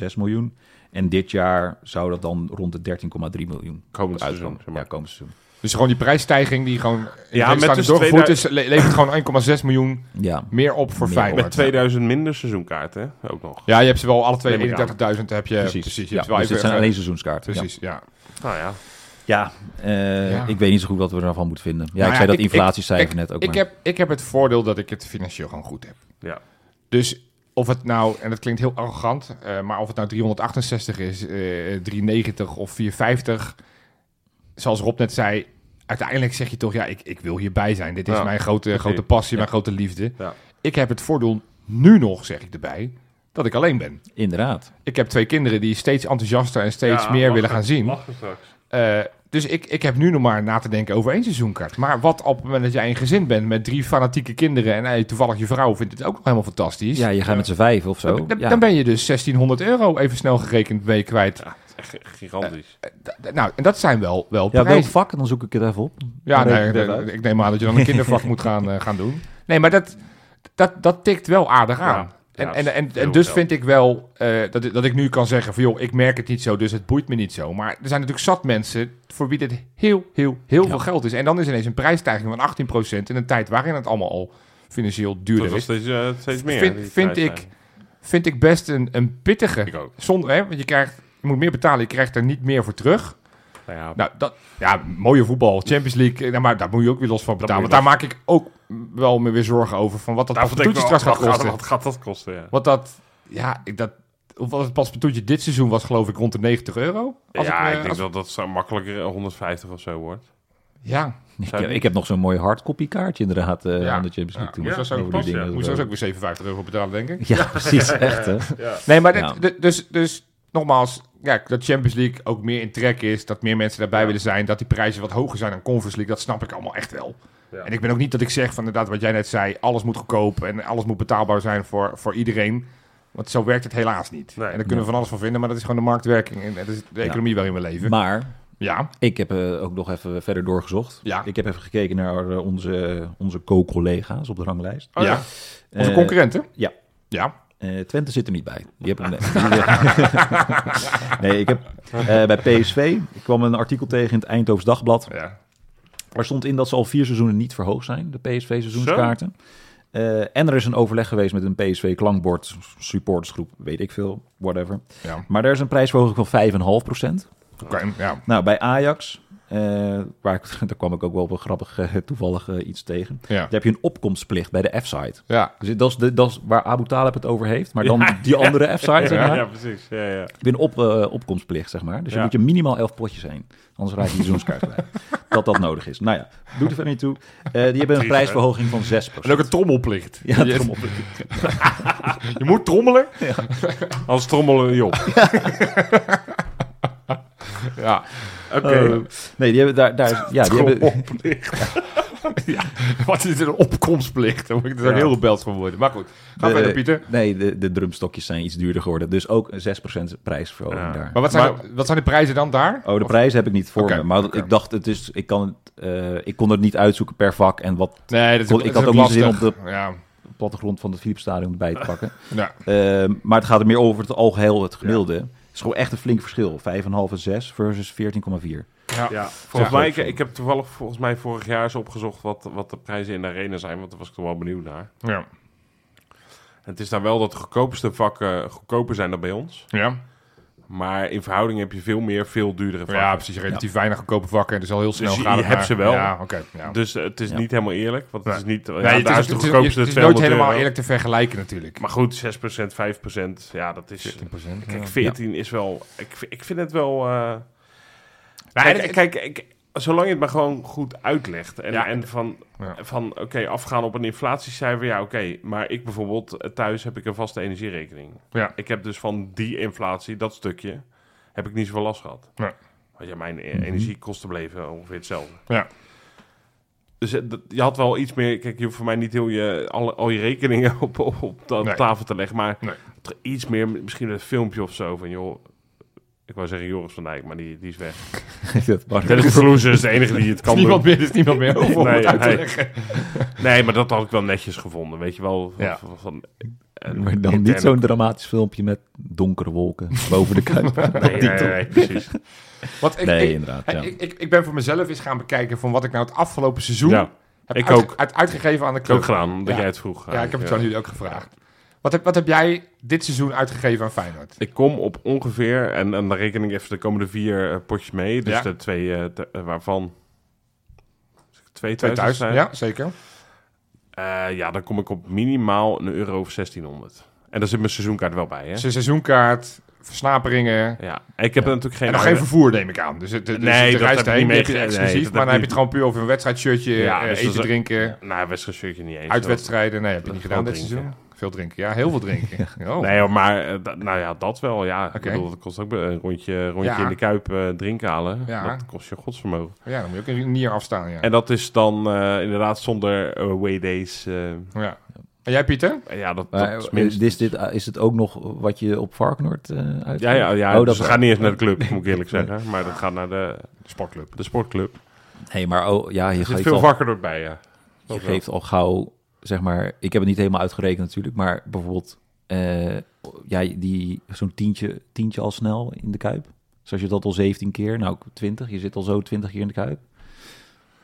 D: 11,6 miljoen. En dit jaar zou dat dan rond de 13,3 miljoen
C: Komend
D: uitkomen.
C: seizoen, zeg maar.
D: Ja, komend seizoen.
B: Dus gewoon die prijsstijging die gewoon
C: Ja,
B: ja,
C: met
B: met
C: dus
B: doorgevoerd
C: 2000
B: is, le- levert gewoon 1,6 miljoen
D: Ja,
B: meer op voor
D: Meer op.
B: Feyenoord.
C: Met 2000 minder seizoenkaarten ook nog.
B: Ja, je hebt ze wel alle twee,
C: Neem ik aan.
B: 31.000 heb je.
D: precies.
B: precies je
D: ja,
B: hebt wel
D: dus dit
B: even-
D: zijn alleen seizoenskaarten. ja.
B: Precies, ja.
C: Nou ja.
D: Ja, eh,
B: Ja.
D: ik weet niet zo goed wat we daarvan moeten vinden. Ja,
B: Nou
D: ik
B: ja,
D: zei dat
B: ik- ik-
D: inflatiecijfer
B: ik-
D: net ook.
B: Ik
D: maar.
B: heb, ik heb het voordeel dat ik het financieel gewoon goed heb.
C: ja.
B: Dus of het nou, en dat klinkt heel arrogant, eh, maar of het nou 368 is, eh, 390 of 450, zoals Rob net zei, uiteindelijk zeg je toch, ja, ik, ik wil hierbij zijn. Dit is
C: Ja.
B: mijn grote, grote passie, mijn grote liefde.
C: Ja.
B: Ik heb het voordeel nu nog, zeg ik erbij, dat ik alleen ben.
D: Inderdaad.
B: Ik heb twee kinderen die steeds enthousiaster en steeds
C: Ja,
B: meer willen
C: lachen,
B: gaan zien.
C: lachen straks.
B: Eh, dus ik, ik heb nu nog maar na te denken over één seizoenkaart. Maar wat op het moment dat jij een gezin bent met drie fanatieke kinderen... en eh, toevallig je vrouw vindt het ook nog helemaal fantastisch...
D: Ja, je gaat met z'n vijf of zo.
B: Dan, dan-
D: ja.
B: dan ben je dus 1600 euro even snel gerekend mee kwijt.
C: Echt gigantisch.
B: D- d- Nou, en dat zijn wel, wel
D: ja, welk
B: prijzen.
D: vak? Dan zoek ik het even op.
B: Ja,
D: Dan
B: nee,
D: reken ik
B: d-
D: dat uit.
B: ik neem aan dat je dan een kindervak moet gaan, eh, gaan doen. Nee, maar dat, dat, dat tikt wel aardig aan.
C: ja,
B: en,
C: dat
B: en,
C: is
B: en, en
C: heel
B: dus
C: veel.
B: vind ik wel eh, dat, ik- dat ik nu kan zeggen van... joh, ik merk het niet zo, dus het boeit me niet zo. Maar er zijn natuurlijk zat mensen voor wie dit heel, heel, heel veel geld is. En dan is ineens een prijsstijging van 18% in een tijd waarin het allemaal al financieel
C: Dat
B: duurder
C: was
B: is.
C: steeds, eh, steeds meer.
B: Vind-
C: die
B: vind
C: prijs,
B: ik-
C: eh.
B: Vind ik best een, een pittige.
C: Ik ook.
B: Zonder, hè, want je, krijgt, je moet meer betalen, je krijgt er niet meer voor terug.
C: Nou ja,
B: Nou, dat, ja, mooie voetbal, Champions League, eh, nou, maar daar moet je ook weer los van betalen.
C: moet
B: Want
C: je
B: daar maak ik ook wel me weer zorgen over, van wat dat
C: daarvan denk ik
B: paspoortje
C: wel,
B: straks gaat
C: wat
B: kosten.
C: Wat gaat dat kosten, ja.
B: Want dat, ja, ik, dat, of wat het paspoortje dit seizoen was, geloof ik, rond de 90 euro. Als
C: ja,
B: me-
C: ik, denk
B: als-
C: dat dat zo makkelijker 150 of zo wordt.
B: Ja,
D: Ik heb, ik heb nog zo'n mooi hardcopy kaartje inderdaad eh
B: Ja.
D: aan de Champions League toen.
B: moest dat
C: zo
B: ook
D: Over die
C: passen,
D: dingen
B: moet
D: zo.
B: zelfs ook weer 57 euro betalen, denk ik.
D: Ja, precies. Echt, hè?
B: Nee, maar dit-
D: Ja.
B: dit- dus, dus nogmaals, ja, dat Champions League ook meer in trek is, dat meer mensen daarbij willen zijn, dat die prijzen wat hoger zijn dan Conference League, dat snap ik allemaal echt wel. En ik ben ook niet dat ik zeg van inderdaad wat jij net zei, alles moet goedkoop en alles moet betaalbaar zijn voor, voor iedereen. Want zo werkt het helaas niet.
C: Nee.
B: en daar kunnen we van alles van vinden, maar dat is gewoon de marktwerking en dat is de economie waarin we leven.
D: Maar
B: ja,
D: ik heb eh, ook nog even verder doorgezocht.
B: Ja.
D: Ik heb even gekeken naar eh, onze, onze co-collega's op de ranglijst.
B: Oh ja. onze
D: Eh,
B: concurrenten.
D: ja.
B: Ja,
D: Eh, Twente zit er niet bij. Die heb ik, nee, die- nee, ik heb eh, bij PSV ik kwam een artikel tegen in het Eindhoofs Dagblad.
B: ja.
D: Er stond in dat ze al vier seizoenen niet verhoogd zijn, de PSV-seizoenskaarten. Eh, en er is een overleg geweest met een PSV-klankbord, supportersgroep, weet ik veel, whatever.
B: Ja.
D: Maar daar is een prijsverhoging van 5,5%.
B: Oké, ja.
D: Nou, bij Ajax, eh, waar ik, daar kwam ik ook wel op een grappig, eh, toevallig eh, iets tegen.
B: Ja.
D: Daar heb je een opkomstplicht bij de F-site.
B: Ja.
D: Dus dat is, de, dat is waar Abu Talib het over heeft, maar dan die andere F-site. zeg
C: Ja,
D: maar.
C: ja, precies. Ja, ja.
D: Ik ben op, eh, opkomstplicht, zeg maar. Dus je
C: Ja.
D: moet je minimaal elf potjes zijn. Anders raak je die seizoenskaart kwijt. Dat dat nodig is. Nou ja, doet er verder niet toe. Eh, die hebben een prijsverhoging van 6
B: En ook een trommelplicht.
D: Ja,
B: je,
D: kom op.
B: je moet trommelen.
C: Als eh, trommelen joh.
B: Ja.
C: Oké.
D: Eh, Nee, die hebben daar... daar ja, die hebben,
B: Wat is er een opkomstplicht? Daar word ik er heel gebeld van worden. Maar goed, ga verder Pieter.
D: Nee, de, de drumstokjes zijn iets duurder geworden. Dus ook een 6% prijsverhoging
C: Ja.
D: daar.
B: Maar wat zijn,
C: Maar-
B: de, wat zijn de prijzen dan daar?
D: Oh, de prijs heb ik niet voor
B: Oké,
D: me. Maar
B: oké.
D: ik dacht, het is, ik, kan het, eh, ik kon het niet uitzoeken per vak en wat
B: Nee, dat
D: Ik had ook niet zin om
B: de... Ja,
D: plattegrond van het Philipsstadion erbij te pakken.
B: ja.
D: Ehm, maar het gaat er meer over het algeheel, het gemiddelde. Het is gewoon echt een flink verschil. 5,5 en 6 versus 14,4.
C: Ja, volgens mij, ik,
B: Ja.
C: ik heb toevallig volgens mij vorig jaar eens opgezocht wat, wat de prijzen in de arena zijn, want daar was ik toch wel benieuwd naar.
B: ja.
C: Het is daar wel dat de goedkoopste vakken eh, goedkoper zijn dan bij ons,
B: ja.
C: maar in verhouding heb je veel meer, veel duurdere vakken.
B: Ja, precies. Relatief weinig goedkope vakken. En dus al heel snel
C: je-
B: gaat
C: je
B: het
C: hebt
B: naar-
C: ze wel.
B: Ja, oké. ja.
C: Dus eh, het is
D: Ja.
C: niet helemaal eerlijk, want het
B: Nee.
C: is niet... ja,
B: Nee, het
C: daar
B: is,
C: is de
B: het is-
C: goedkoopste
B: het is
C: 200
B: nooit helemaal
C: euro.
B: eerlijk te vergelijken natuurlijk.
C: Maar goed, 6%, 5%, ja, dat is...
B: 14%. ja.
C: Kijk, 14 is wel... Ik, v- ik vind het wel... eh,
B: Nou,
C: kijk,
B: en-
C: kijk, ik, zolang je het maar gewoon goed uitlegt. En,
B: Ja.
C: en van,
B: Ja.
C: van oké, afgaan op een inflatiecijfer, ja, oké. maar ik bijvoorbeeld, eh, thuis heb ik een vaste energierekening.
B: Ja.
C: Ik heb dus van die inflatie, dat stukje, heb ik niet zoveel last gehad.
B: Ja.
C: Want ja, mijn eh, energiekosten bleven ongeveer hetzelfde.
B: Ja.
C: Dus eh, dat- je had wel iets meer... Kijk, je hoeft voor mij niet heel je, alle, al je rekeningen op, op, op ta-
B: Nee.
C: tafel te leggen. Maar
B: Nee.
C: toch iets meer, misschien een filmpje of zo. Van joh, ik wou zeggen Joris van Dijk, maar die, die is weg.
D: Dat was-
C: Dennis Verloezen is de enige die het kan
B: Is niemand
C: doen.
B: meer, is niemand meer over om
C: Nee,
B: het uit te
C: nee.
B: leggen.
C: Nee, maar dat had ik wel netjes gevonden. Weet je wel. Van,
B: Ja.
C: van- van- en-
D: Maar dan
C: interne-
D: niet zo'n dramatisch filmpje met donkere wolken boven de kuip.
C: Nee, nee, nee, nee, precies.
B: Want ik,
D: Nee,
B: ik-
D: inderdaad.
B: Hey,
D: Ja.
B: ik, ik, ik ben voor mezelf eens gaan bekijken van wat ik nou het afgelopen seizoen
C: Ja,
B: heb
C: ik
B: uitge-
C: ook.
B: uit- uitgegeven aan de
C: ik heb
B: club.
C: ook gedaan, omdat
B: Ja.
C: jij het vroeg. eh,
B: ja, ik heb het aan jullie ook gevraagd. Wat heb, wat heb jij dit seizoen uitgegeven aan Feyenoord?
C: Ik kom op ongeveer, en, en dan reken ik even de komende vier eh, potjes mee. Dus
B: Ja.
C: de twee eh, te- eh, waarvan... Twee thuis
B: 2000,
C: zijn.
B: ja, zeker.
C: Eh, ja, dan kom ik op minimaal een euro of 1600. En daar zit mijn seizoenkaart wel bij, hè?
B: Zijn Dus seizoenkaart, versnaperingen.
C: Ja, en ik heb er natuurlijk geen...
B: En nog geen vervoer, neem ik aan. Dus het, het- dus
C: Nee,
B: de
C: dat
B: reis
C: heb ik
B: daarheen
C: niet
B: heb je
C: meege-
B: exclusief.
C: nee, dat
B: maar dan
C: heb
B: heb
C: ik
B: je het gewoon puur over een wedstrijdshirtje,
C: Ja,
B: eh,
C: dus dat
B: eten,
C: is-
B: drinken,
C: Nou, wedstrijdshirtje niet eens.
B: uitwedstrijden. Nee, heb je
C: dat
B: niet
C: is
B: gedaan dit
C: gewoon
B: seizoen.
C: drinken.
B: Veel drinken, ja. Heel veel drinken. Oh.
C: Nee, hoor, maar eh, da- nou ja, dat wel. Ja, ik
B: Oké.
C: bedoel, dat kost ook be- een rondje, rondje
B: Ja.
C: in de kuip eh, drinken halen.
B: Ja.
C: Dat kost je godsvermogen.
B: Ja, dan moet je ook een nier afstaan, ja.
C: En dat is dan eh, inderdaad zonder eh, waydays. eh,
B: ja. En jij, Pieter?
C: ja, dat, dat
D: Maar,
C: is
D: eh, is,
C: minstens.
D: dit, eh, is het ook nog wat je op Varkenoord eh uitgeeft?
C: Ja, ja, ja.
D: Oh, dat
C: dus
D: is-
C: dat gaat niet eens naar de club, moet ik eerlijk zeggen. Maar dat gaat naar de,
B: Sportclub.
C: de sportclub.
D: hey, maar oh, ja, je
C: Er zit
D: geeft
C: veel
D: al
C: vakker erbij, ja.
D: Je geeft al gauw, zeg maar, ik heb het niet helemaal uitgerekend natuurlijk, maar bijvoorbeeld, eh, ja, die zo'n tientje, tientje al snel in de kuip. Dus als je dat al 17 keer, nou 20, je zit al zo 20 keer in de kuip.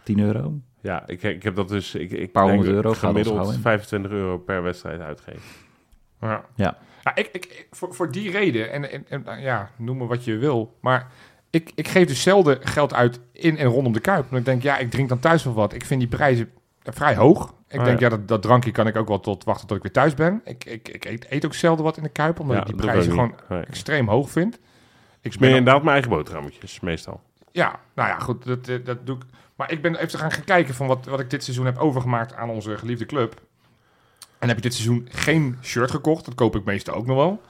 D: 10 euro.
C: Ja, ik, ik heb dat dus... Ik, ik
D: Paar
C: denk
D: honderd euro gaat ons
C: Gemiddeld
D: houden.
C: 25 euro per wedstrijd uitgeven.
B: Ja.
D: Ja.
B: Ja, ik, ik, ik- voor, voor die reden, en, en, en nou ja, noem me wat je wil, maar ik, ik geef dus zelden geld uit in en rondom de Kuip. Want ik denk, ja, ik drink dan thuis wel wat. Ik vind die prijzen eh, vrij hoog. Ik
C: Ah,
B: denk, ja,
C: ja.
B: dat, dat drankje kan ik ook wel tot wachten tot ik weer thuis ben. Ik, ik, ik eet, eet ook zelden wat in de Kuip, omdat
C: Ja,
B: ik die
C: dat
B: prijzen
C: doe ik
B: gewoon
C: niet. Nee.
B: extreem hoog vind. Ik
C: Ik smeer
B: ben ook-
C: inderdaad mijn eigen boterhammetjes, meestal.
B: ja, nou ja, goed, dat, eh, dat doe ik. Maar ik ben even gaan gaan kijken van wat, wat ik dit seizoen heb overgemaakt aan onze geliefde club. En heb ik dit seizoen geen shirt gekocht. Dat koop ik meestal ook nog wel.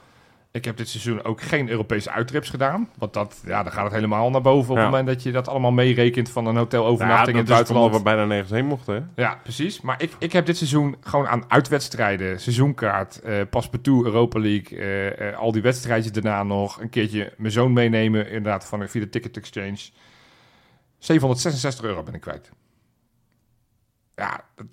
B: Ik heb dit seizoen ook geen Europese uittrips gedaan. Want dat, ja, dan gaat het helemaal naar boven op
C: Ja.
B: het moment dat je dat allemaal meerekent van een
C: Ja,
B: hotelovernachting
C: dat
B: in het
C: is toch
B: buitenland.
C: omdat we bijna nergens heen mochten, hè?
B: Ja, precies. Maar ik, ik heb dit seizoen gewoon aan uitwedstrijden, seizoenkaart, eh paspartout, Europa League, eh, eh, al die wedstrijdjes daarna nog, een keertje mijn zoon meenemen, inderdaad, van, via de Ticket Exchange. 766 euro ben ik kwijt. Ja, dat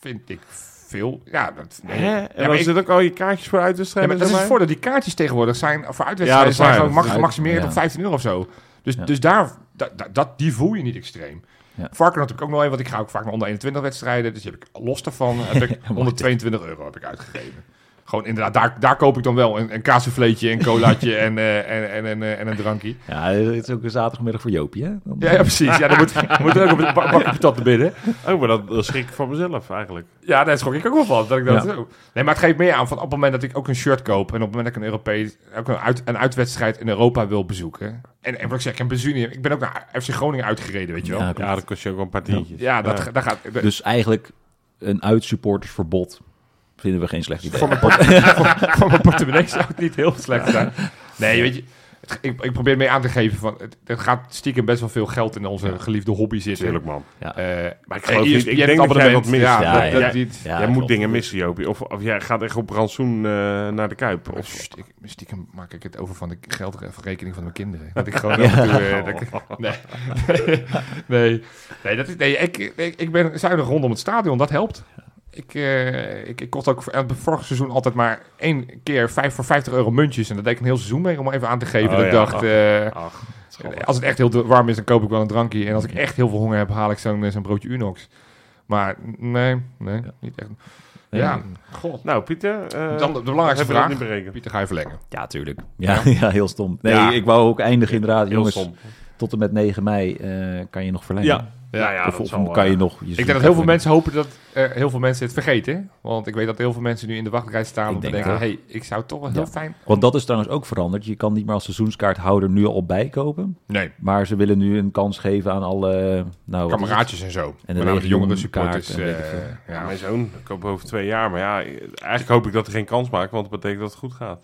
B: vind ik veel. Ja, dat... nee.
C: Hè?
B: Ja,
C: En
B: maar
C: dan
B: ik-
C: zit ook al je kaartjes voor
B: ja,
C: uitwedstrijden
B: maar dat is het
C: erbij?
B: voordeel. Die kaartjes tegenwoordig zijn voor
C: Ja, dat
B: uitwedstrijden
C: is
B: zijn
C: waar,
B: gewoon
C: dat is
B: max,
D: waar.
B: maximeerd
D: Ja.
B: op 15 euro of zo. Dus,
D: Ja.
B: dus daar, da- da- dat, die voel je niet extreem.
D: Ja.
B: Varken heb ik ook nog even, want ik ga ook vaak naar onder 21 wedstrijden. Dus die heb ik los daarvan heb ik 122 euro heb ik uitgegeven. Gewoon inderdaad, daar, daar koop ik dan wel een, een kaassouffleetje, een colaatje en, eh, en, en, en, eh, en een drankje.
D: Ja, het is ook een zaterdagmiddag voor Joopie, hè? Dan-
B: Ja, ja, precies. Ja, dan moet, moet er ook een bak- bakje patat naar binnen.
C: Oh, maar dat, dat schrik ik van mezelf eigenlijk.
B: Ja, daar schrok ik ook wel van. Dat ik dat
D: Ja.
B: zo. Nee, maar het geeft meer aan van op het moment dat ik ook een shirt koop en op het moment dat ik een Europees, ook een, uit, een uitwedstrijd in Europa wil bezoeken. En, en wat ik zeg, ik, heb benzine, ik ben ook naar FC Groningen uitgereden, weet je wel.
D: Ja,
B: Ja,
D: klopt.
C: Ja, dat kost je ook wel een paar tientjes.
B: dat, ga- daar gaat.
D: Dus eigenlijk een uitsupportersverbod vinden we geen slecht idee.
B: voor, mijn port- voor- voor mijn portemonnee zou het niet heel slecht zijn. Nee, weet je. Het het- ik, ik probeer mee aan te geven van het, het gaat stiekem best wel veel geld in onze geliefde hobby zitten.
C: Tuurlijk, man.
B: Eh,
C: Maar ik
B: en
C: geloof
B: je-
C: niet.
B: je
C: Ik
B: hebt
C: denk dat jij wat
B: abonnement.
C: mist.
B: Ja,
D: Ja,
B: dat-
D: ja,
B: dat- die-
D: Ja,
C: jij moet
D: klopt.
C: dingen missen, Jopie. Of, of jij gaat echt op rantsoen eh, naar de Kuip.
B: Of
C: Of,
B: Oh, stiekem, stiekem maak ik het over van de geldrekening van mijn kinderen. Dat ik gewoon af en toe, eh, dat ik- nee. nee. Nee, dat is, nee ik, ik, ik ben zuinig rondom het stadion. Dat helpt. Ik, eh, ik, ik kocht ook voor- aan het vorig seizoen altijd maar één keer vijf voor 50 euro muntjes. En daar deed ik een heel seizoen mee om even aan te geven.
C: Oh,
B: dat ik
C: ja.
B: dacht, eh,
C: Ach, schattig.
B: als het echt heel warm is, dan koop ik wel een drankje. En als ik echt heel veel honger heb, haal ik zo'n zo'n broodje Unox. Maar nee, nee, niet echt.
D: Nee.
B: Ja, god.
C: Nou, Pieter. eh,
B: Dan de belangrijkste
C: hebben we dat
B: vraag.
C: niet berekend.
B: Pieter, ga je verlengen.
D: Ja, tuurlijk. Ja, ja. heel stom. Nee,
C: Ja.
D: ik wou ook eindigen inderdaad.
C: Heel
D: Jongens,
C: stom.
D: tot en met 9 mei eh, kan je nog verlengen.
C: Ja. Nou ja,
D: of
C: dat
D: of
C: zal,
D: kan
C: eh,
D: je nog...
B: Ik
D: je zoekt
B: denk dat heel veel
D: even-
B: mensen hopen dat eh, heel veel mensen het vergeten. hè? Want ik weet dat heel veel mensen nu in de wachtrij staan
D: Ik
B: om te
D: denk
B: denken... hey, ik zou toch wel heel fijn...
D: Want dat is trouwens ook veranderd. Je kan niet meer als seizoenskaarthouder nu al bijkopen.
B: Nee,
D: Maar ze willen nu een kans geven aan alle... Nou, wat is het?
B: kameraadjes en zo.
D: de
B: En de jongere
D: legioenkaart
B: supporters.
D: en weet ik
B: eh,
D: veel.
C: Ja,
B: ja.
C: mijn zoon koopt over twee jaar. Maar ja, eigenlijk hoop ik dat hij geen kans maakt, want dat betekent dat het goed gaat.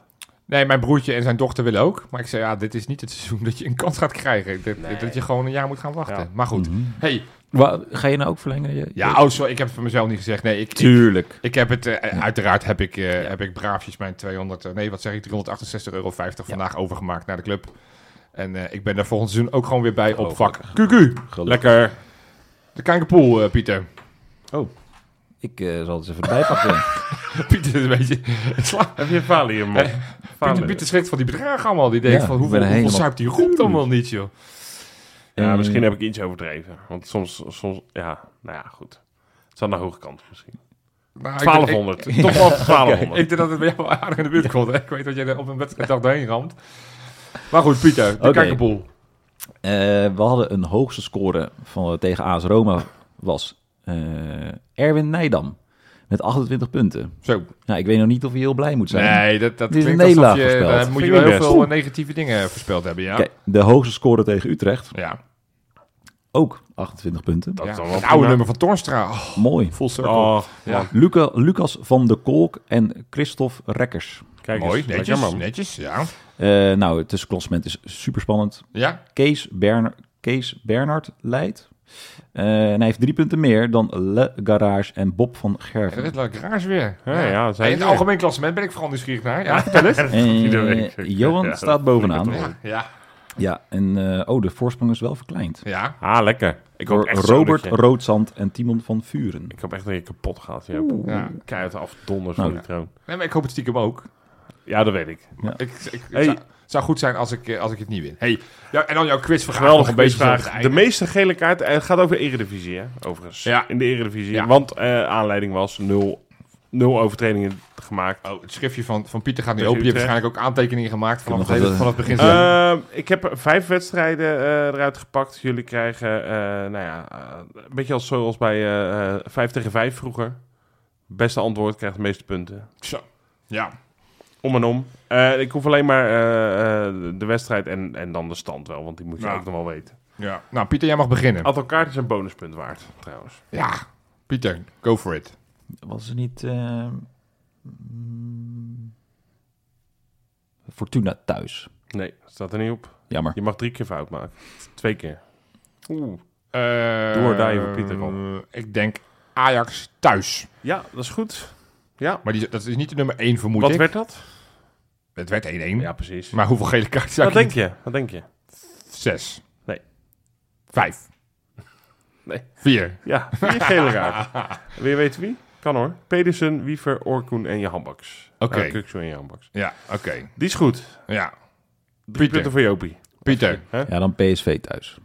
B: Nee, mijn broertje en zijn dochter willen ook. Maar ik zei, ja, dit is niet het seizoen dat je een kans gaat krijgen. Dat, dat je gewoon een jaar moet gaan wachten.
C: Ja.
B: Maar
D: Mhm.
B: goed. hey,
D: Wa- Ga je nou ook verlengen? Je-
B: ja, oh, sorry, ik heb het voor mezelf niet gezegd. Nee, ik, ik,
D: Tuurlijk.
B: ik heb het... eh, Uiteraard heb ik, eh, heb ik braafjes mijn 200... eh, nee, wat zeg ik? 368,50 euro vandaag overgemaakt naar de club. En eh, ik ben daar volgend seizoen ook gewoon weer bij op vak. QQ.
C: Lekker.
B: De Kankerpoel, eh, Pieter.
D: Ik eh, zal het eens even bijpakken.
B: Pieter is een beetje... Sla-
C: Heb je Valium, man?
B: Pieter,
C: Valium.
B: Pieter schrikt van die bedragen allemaal. Die denkt
D: Ja,
B: van,
D: ik
B: hoeveel,
D: ben
B: hoeveel
D: helemaal-
B: zuipt die roept allemaal niet, joh.
C: Ja,
D: Eh,
C: misschien heb ik iets overdreven. Want soms, soms ja, nou ja, goed. Het is aan de hoge kant misschien.
B: Nou, ik-
C: 1200. Toch wel
B: Ik,
C: 1200.
B: ik denk dat het bij jou wel aardig in de buurt komt. Hè? Ik weet dat jij er op een wedstrijddag doorheen ramt. Maar goed, Pieter, de
D: Oké.
B: Kankerpoel.
D: Eh, we hadden een hoogste score van, eh, tegen AS Roma was eh, Erwin Nijdam met 28 punten.
B: Zo.
D: Nou, ik weet nog niet of hij heel blij moet zijn.
B: Nee, dat, dat
D: Dit is
B: klinkt
D: een
B: alsof
D: nederlaag
B: je...
D: voorspeld.
B: Daar moet
C: Vind
B: je wel
C: ik
B: heel
C: best.
B: veel eh, negatieve dingen voorspeld hebben, ja.
D: Kijk, de hoogste score tegen Utrecht,
B: Ja,
D: ook 28 punten.
C: Dat
B: ja.
C: is dan wel
B: het oude
C: prima.
B: nummer van Tornstra. Oh,
D: Mooi.
B: full circle.
C: Oh,
B: ja.
D: Luca, Lucas van de Kolk en Christophe Rekkers.
C: kijk
B: Mooi,
C: eens.
B: netjes,
C: Lekker, man.
B: netjes, ja.
D: Eh, nou, het tussenklassement is super spannend.
B: Ja,
D: Kees, Berner, Kees Bernhard leidt. Eh, en hij heeft drie punten meer dan Le Garage en Bob van
B: dat
D: Gerven.
B: is leuk. Raars weer.
C: Ja, ja,
B: En
C: zijn
B: in het algemeen klassement ben ik vooral nieuwsgierig naar. Ja, vertel eens.
D: Eh,
C: Iedere week.
D: Johan
C: Ja,
D: staat bovenaan.
B: Ja, ja.
D: Ja, en eh, oh, de voorsprong is wel verkleind.
B: ja.
C: Ah, lekker. Ik hoop
D: Door
C: echt zo dat
D: Robert
C: je-
D: Roodzand en Timon van Vuren.
C: Ik hoop echt dat je kapot gaat, Joop.
B: Ja.
C: Keihard afdonders van
D: Nou,
C: die troon.
B: Nee, maar ik hoop het stiekem ook.
C: Ja, dat weet ik.
B: Ik, ik, ik-
C: Hey.
B: zou, zou goed zijn als ik, eh, als ik het niet win. Hey, ja, en dan jouw quiz nog
C: Geweldige
B: een beetje zo op het
C: vraag. De
B: einde.
C: meeste gele kaart. eh, Het gaat over Eredivisie, hè? Overigens.
B: Ja.
C: In de Eredivisie.
B: Ja.
C: Want eh, aanleiding was nul, nul overtredingen gemaakt.
B: Oh, het schriftje van, van Pieter gaat nu
C: Tegen
B: open. Je hebt
C: Utrecht. eh,
B: waarschijnlijk ook aantekeningen gemaakt vanaf het,
D: nog
B: hele-
D: wat,
B: vanaf het begin.
C: Ehm, ik heb vijf wedstrijden eh, eruit gepakt. Jullie krijgen, eh, nou ja, eh, een beetje als zoals bij eh, eh, vijf tegen vijf vroeger. Beste antwoord krijgt de meeste punten.
B: Zo. Ja.
C: Om en om. Eh, ik hoef alleen maar eh, eh, de wedstrijd en, en dan de stand wel, want die moet je
B: Ja.
C: ook nog wel weten.
B: ja. Nou, Pieter, jij mag beginnen.
C: Aantal kaarten zijn bonuspunt waard, trouwens.
B: Ja. Pieter, go for it.
D: Was er niet... eh, mm, Fortuna thuis.
C: Nee, staat er niet op.
D: Jammer.
C: Je mag drie keer fout maken. Twee keer. Oeh.
B: Eh,
C: Doe or die voor Pieter
B: Ik denk Ajax thuis.
C: Ja, dat is goed. Ja.
B: Maar die, dat is niet de nummer 1 vermoed
C: Wat
B: ik.
C: werd dat?
B: het werd 1-1.
C: Ja, precies.
B: Maar hoeveel gele kaarten zou
C: Wat
B: ik
C: denk je? Wat denk je?
B: Zes.
C: Nee.
B: Vijf.
C: Nee.
B: Vier.
C: Ja, vier gele kaart. Wil je weten wie? Kan hoor. Pedersen, Wiever, Orkoen en je handbaks.
B: Oké.
C: Eh, Kukzu en je handbaks.
B: Ja, oké.
C: Die is goed.
B: Ja.
C: Drie
B: Pieter.
C: punten voor Jopie.
B: Pieter.
D: Ja, dan PSV thuis.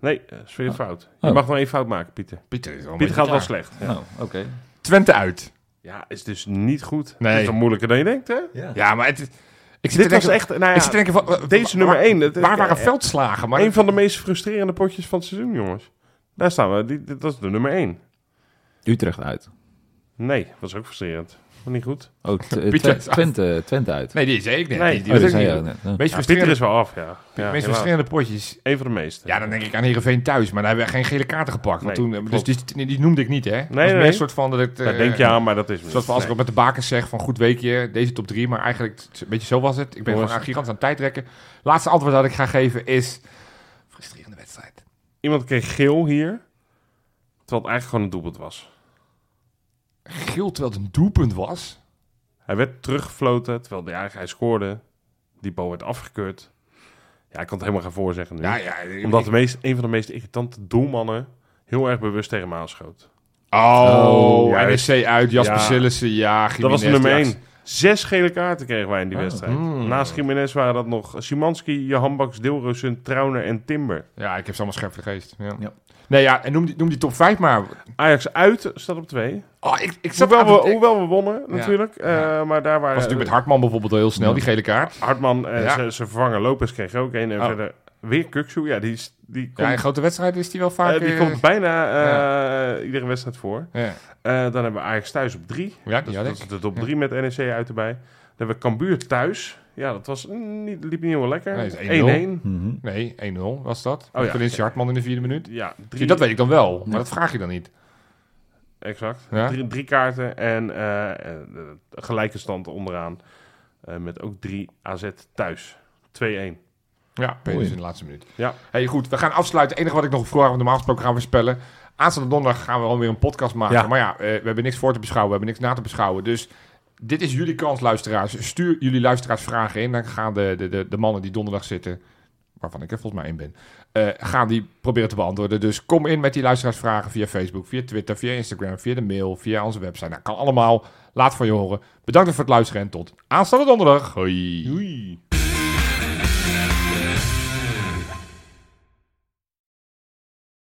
C: Nee, dat is weer een fout. Je
D: Oh.
C: mag nog één fout maken, Pieter.
B: Pieter is al een
C: Pieter
B: beetje
C: gaat wel
B: klaar.
C: slecht. Ja.
D: Oh, oké.
B: Twente uit.
C: ja, is dus niet goed.
B: Nee.
C: Het is toch moeilijker dan je denkt, hè?
B: Ja, maar het is... Ik zit
C: Dit
B: te
C: was
B: denken-
C: echt, nou ja,
B: ik zit te denken van... wa- wa-
C: deze
B: wa-
C: nummer één. het-
B: Waar waren
C: eh,
B: veldslagen? Maar
C: Een van de meest frustrerende potjes van het seizoen, jongens. Daar staan we. Die, dit- dat is de nummer één.
D: Utrecht uit.
C: Nee, dat is ook frustrerend. Maar niet goed.
D: Oh, t- eh,
B: Pieter is
D: Twen-
B: uit.
D: Twente, Twente uit.
B: Nee, die is ik net.
C: Nee,
B: die, die
D: Oh,
B: was ik
D: dat zei je
B: niet.
D: ook net, ja.
B: Meest
C: Ja, Pieter
B: frustrerende,
C: is wel af, ja. ja
B: meest
C: helaas.
B: frustrerende potjes.
C: Een van de meeste.
B: Ja, dan denk ik aan Heerenveen thuis, maar daar hebben we geen gele kaarten gepakt. Want
C: Nee,
B: toen, dus
C: klopt.
B: die, die, die noemde ik niet, hè? Het was
C: nee.
B: meer een soort van dat ik...
C: Daar
B: eh,
C: denk je aan, maar dat is hem
B: Zoals
C: niet.
B: we als ik
C: Nee.
B: wat met de bakers zeg van goed weekje, deze top 3. Maar eigenlijk t- een beetje zo was het. Ik ben
C: Jongens.
B: gewoon aan gigantisch aan het tijdrekken. Laatste antwoord dat ik ga geven is... Frustrerende wedstrijd.
C: Iemand kreeg geel hier, terwijl het eigenlijk gewoon een doelpunt was.
B: Geel terwijl het een doelpunt was.
C: Hij werd teruggefloten, terwijl hij eigenlijk hij scoorde. Die bal werd afgekeurd. Ja, ik kan het helemaal gaan voorzeggen nu.
B: Ja, ja.
C: Omdat de meest, een van de meest irritante doelmannen heel erg bewust tegen me aanschoot.
B: Oh,
C: Oh, juist.
B: NEC uit, Jasper
C: Ja.
B: Sillissen, ja,
C: Dat was
B: Gimenez,
C: nummer
B: die Oh, hmm.
C: 1.
B: achter-
C: Zes gele kaarten kregen wij in die
D: Ah.
C: wedstrijd. Naast Jiménez waren dat nog Simanski, Jehambaks, Deelrussen, Trauner en Timber.
B: Ja, ik heb ze allemaal scherp vergeest. Ja.
D: Ja.
B: Nee, ja, en noem die, noem die top 5 maar.
C: Ajax uit staat op 2.
B: Oh, ik, ik zat aan
C: Hoewel
B: het-
C: we,
B: ik-
C: hoewel we wonnen natuurlijk. eh,
B: Ja.
C: Maar daar waren...
B: was natuurlijk met Hartman bijvoorbeeld al heel snel, die gele kaart.
C: Hartman, eh,
B: Ja.
C: ze, ze vervangen Lopez kreeg ook een. En
B: Oh.
C: verder weer Kuksu. Ja, die, is- die, komt,
B: Ja, in grote wedstrijden is die wel
C: eh,
B: vaak...
C: die
B: eh,
C: komt bijna eh, iedere wedstrijd voor.
B: ja.
C: Eh, dan hebben we Ajax thuis op 3.
B: Ja,
C: Dat,
B: die
C: is-
B: had
C: dat
B: ik.
C: is de top 3 met NEC uit erbij. Dan hebben we Cambuur thuis. Ja, dat was niet, liep niet heel lekker.
B: Nee, dat is
C: 1-1.
D: Mhm.
B: Nee, 1-0 was dat.
C: Oh ja.
B: Corinthians Hartman in de vierde minuut.
C: Ja,
B: Zie,
C: drie,
B: dat weet ik dan wel, maar dat vraag je dan niet.
C: exact.
B: Ja?
C: Drie, drie kaarten en eh, eh, de gelijke stand onderaan. eh, met ook 3 AZ thuis. 2-1.
B: Ja, Peters in de laatste minuut.
C: Ja.
B: Hey, goed, we gaan afsluiten. Het enige wat ik nog vroeg, want normaal gesproken gaan we spellen. Aanstaande donderdag gaan we alweer een podcast maken.
C: Ja.
B: Maar ja, eh, we hebben niks voor te beschouwen, we hebben niks na te beschouwen. Dus dit is jullie kans, luisteraars. Stuur jullie luisteraars vragen in. Dan gaan de, de, de, de mannen die donderdag zitten, waarvan ik er volgens mij in ben, eh, gaan die proberen te beantwoorden. Dus kom in met die luisteraarsvragen via Facebook, via Twitter, via Instagram, via de mail, via onze website. Nou, kan allemaal. Laat van je horen. Bedankt voor het luisteren en tot aanstaande donderdag. Hoi.
C: Doei.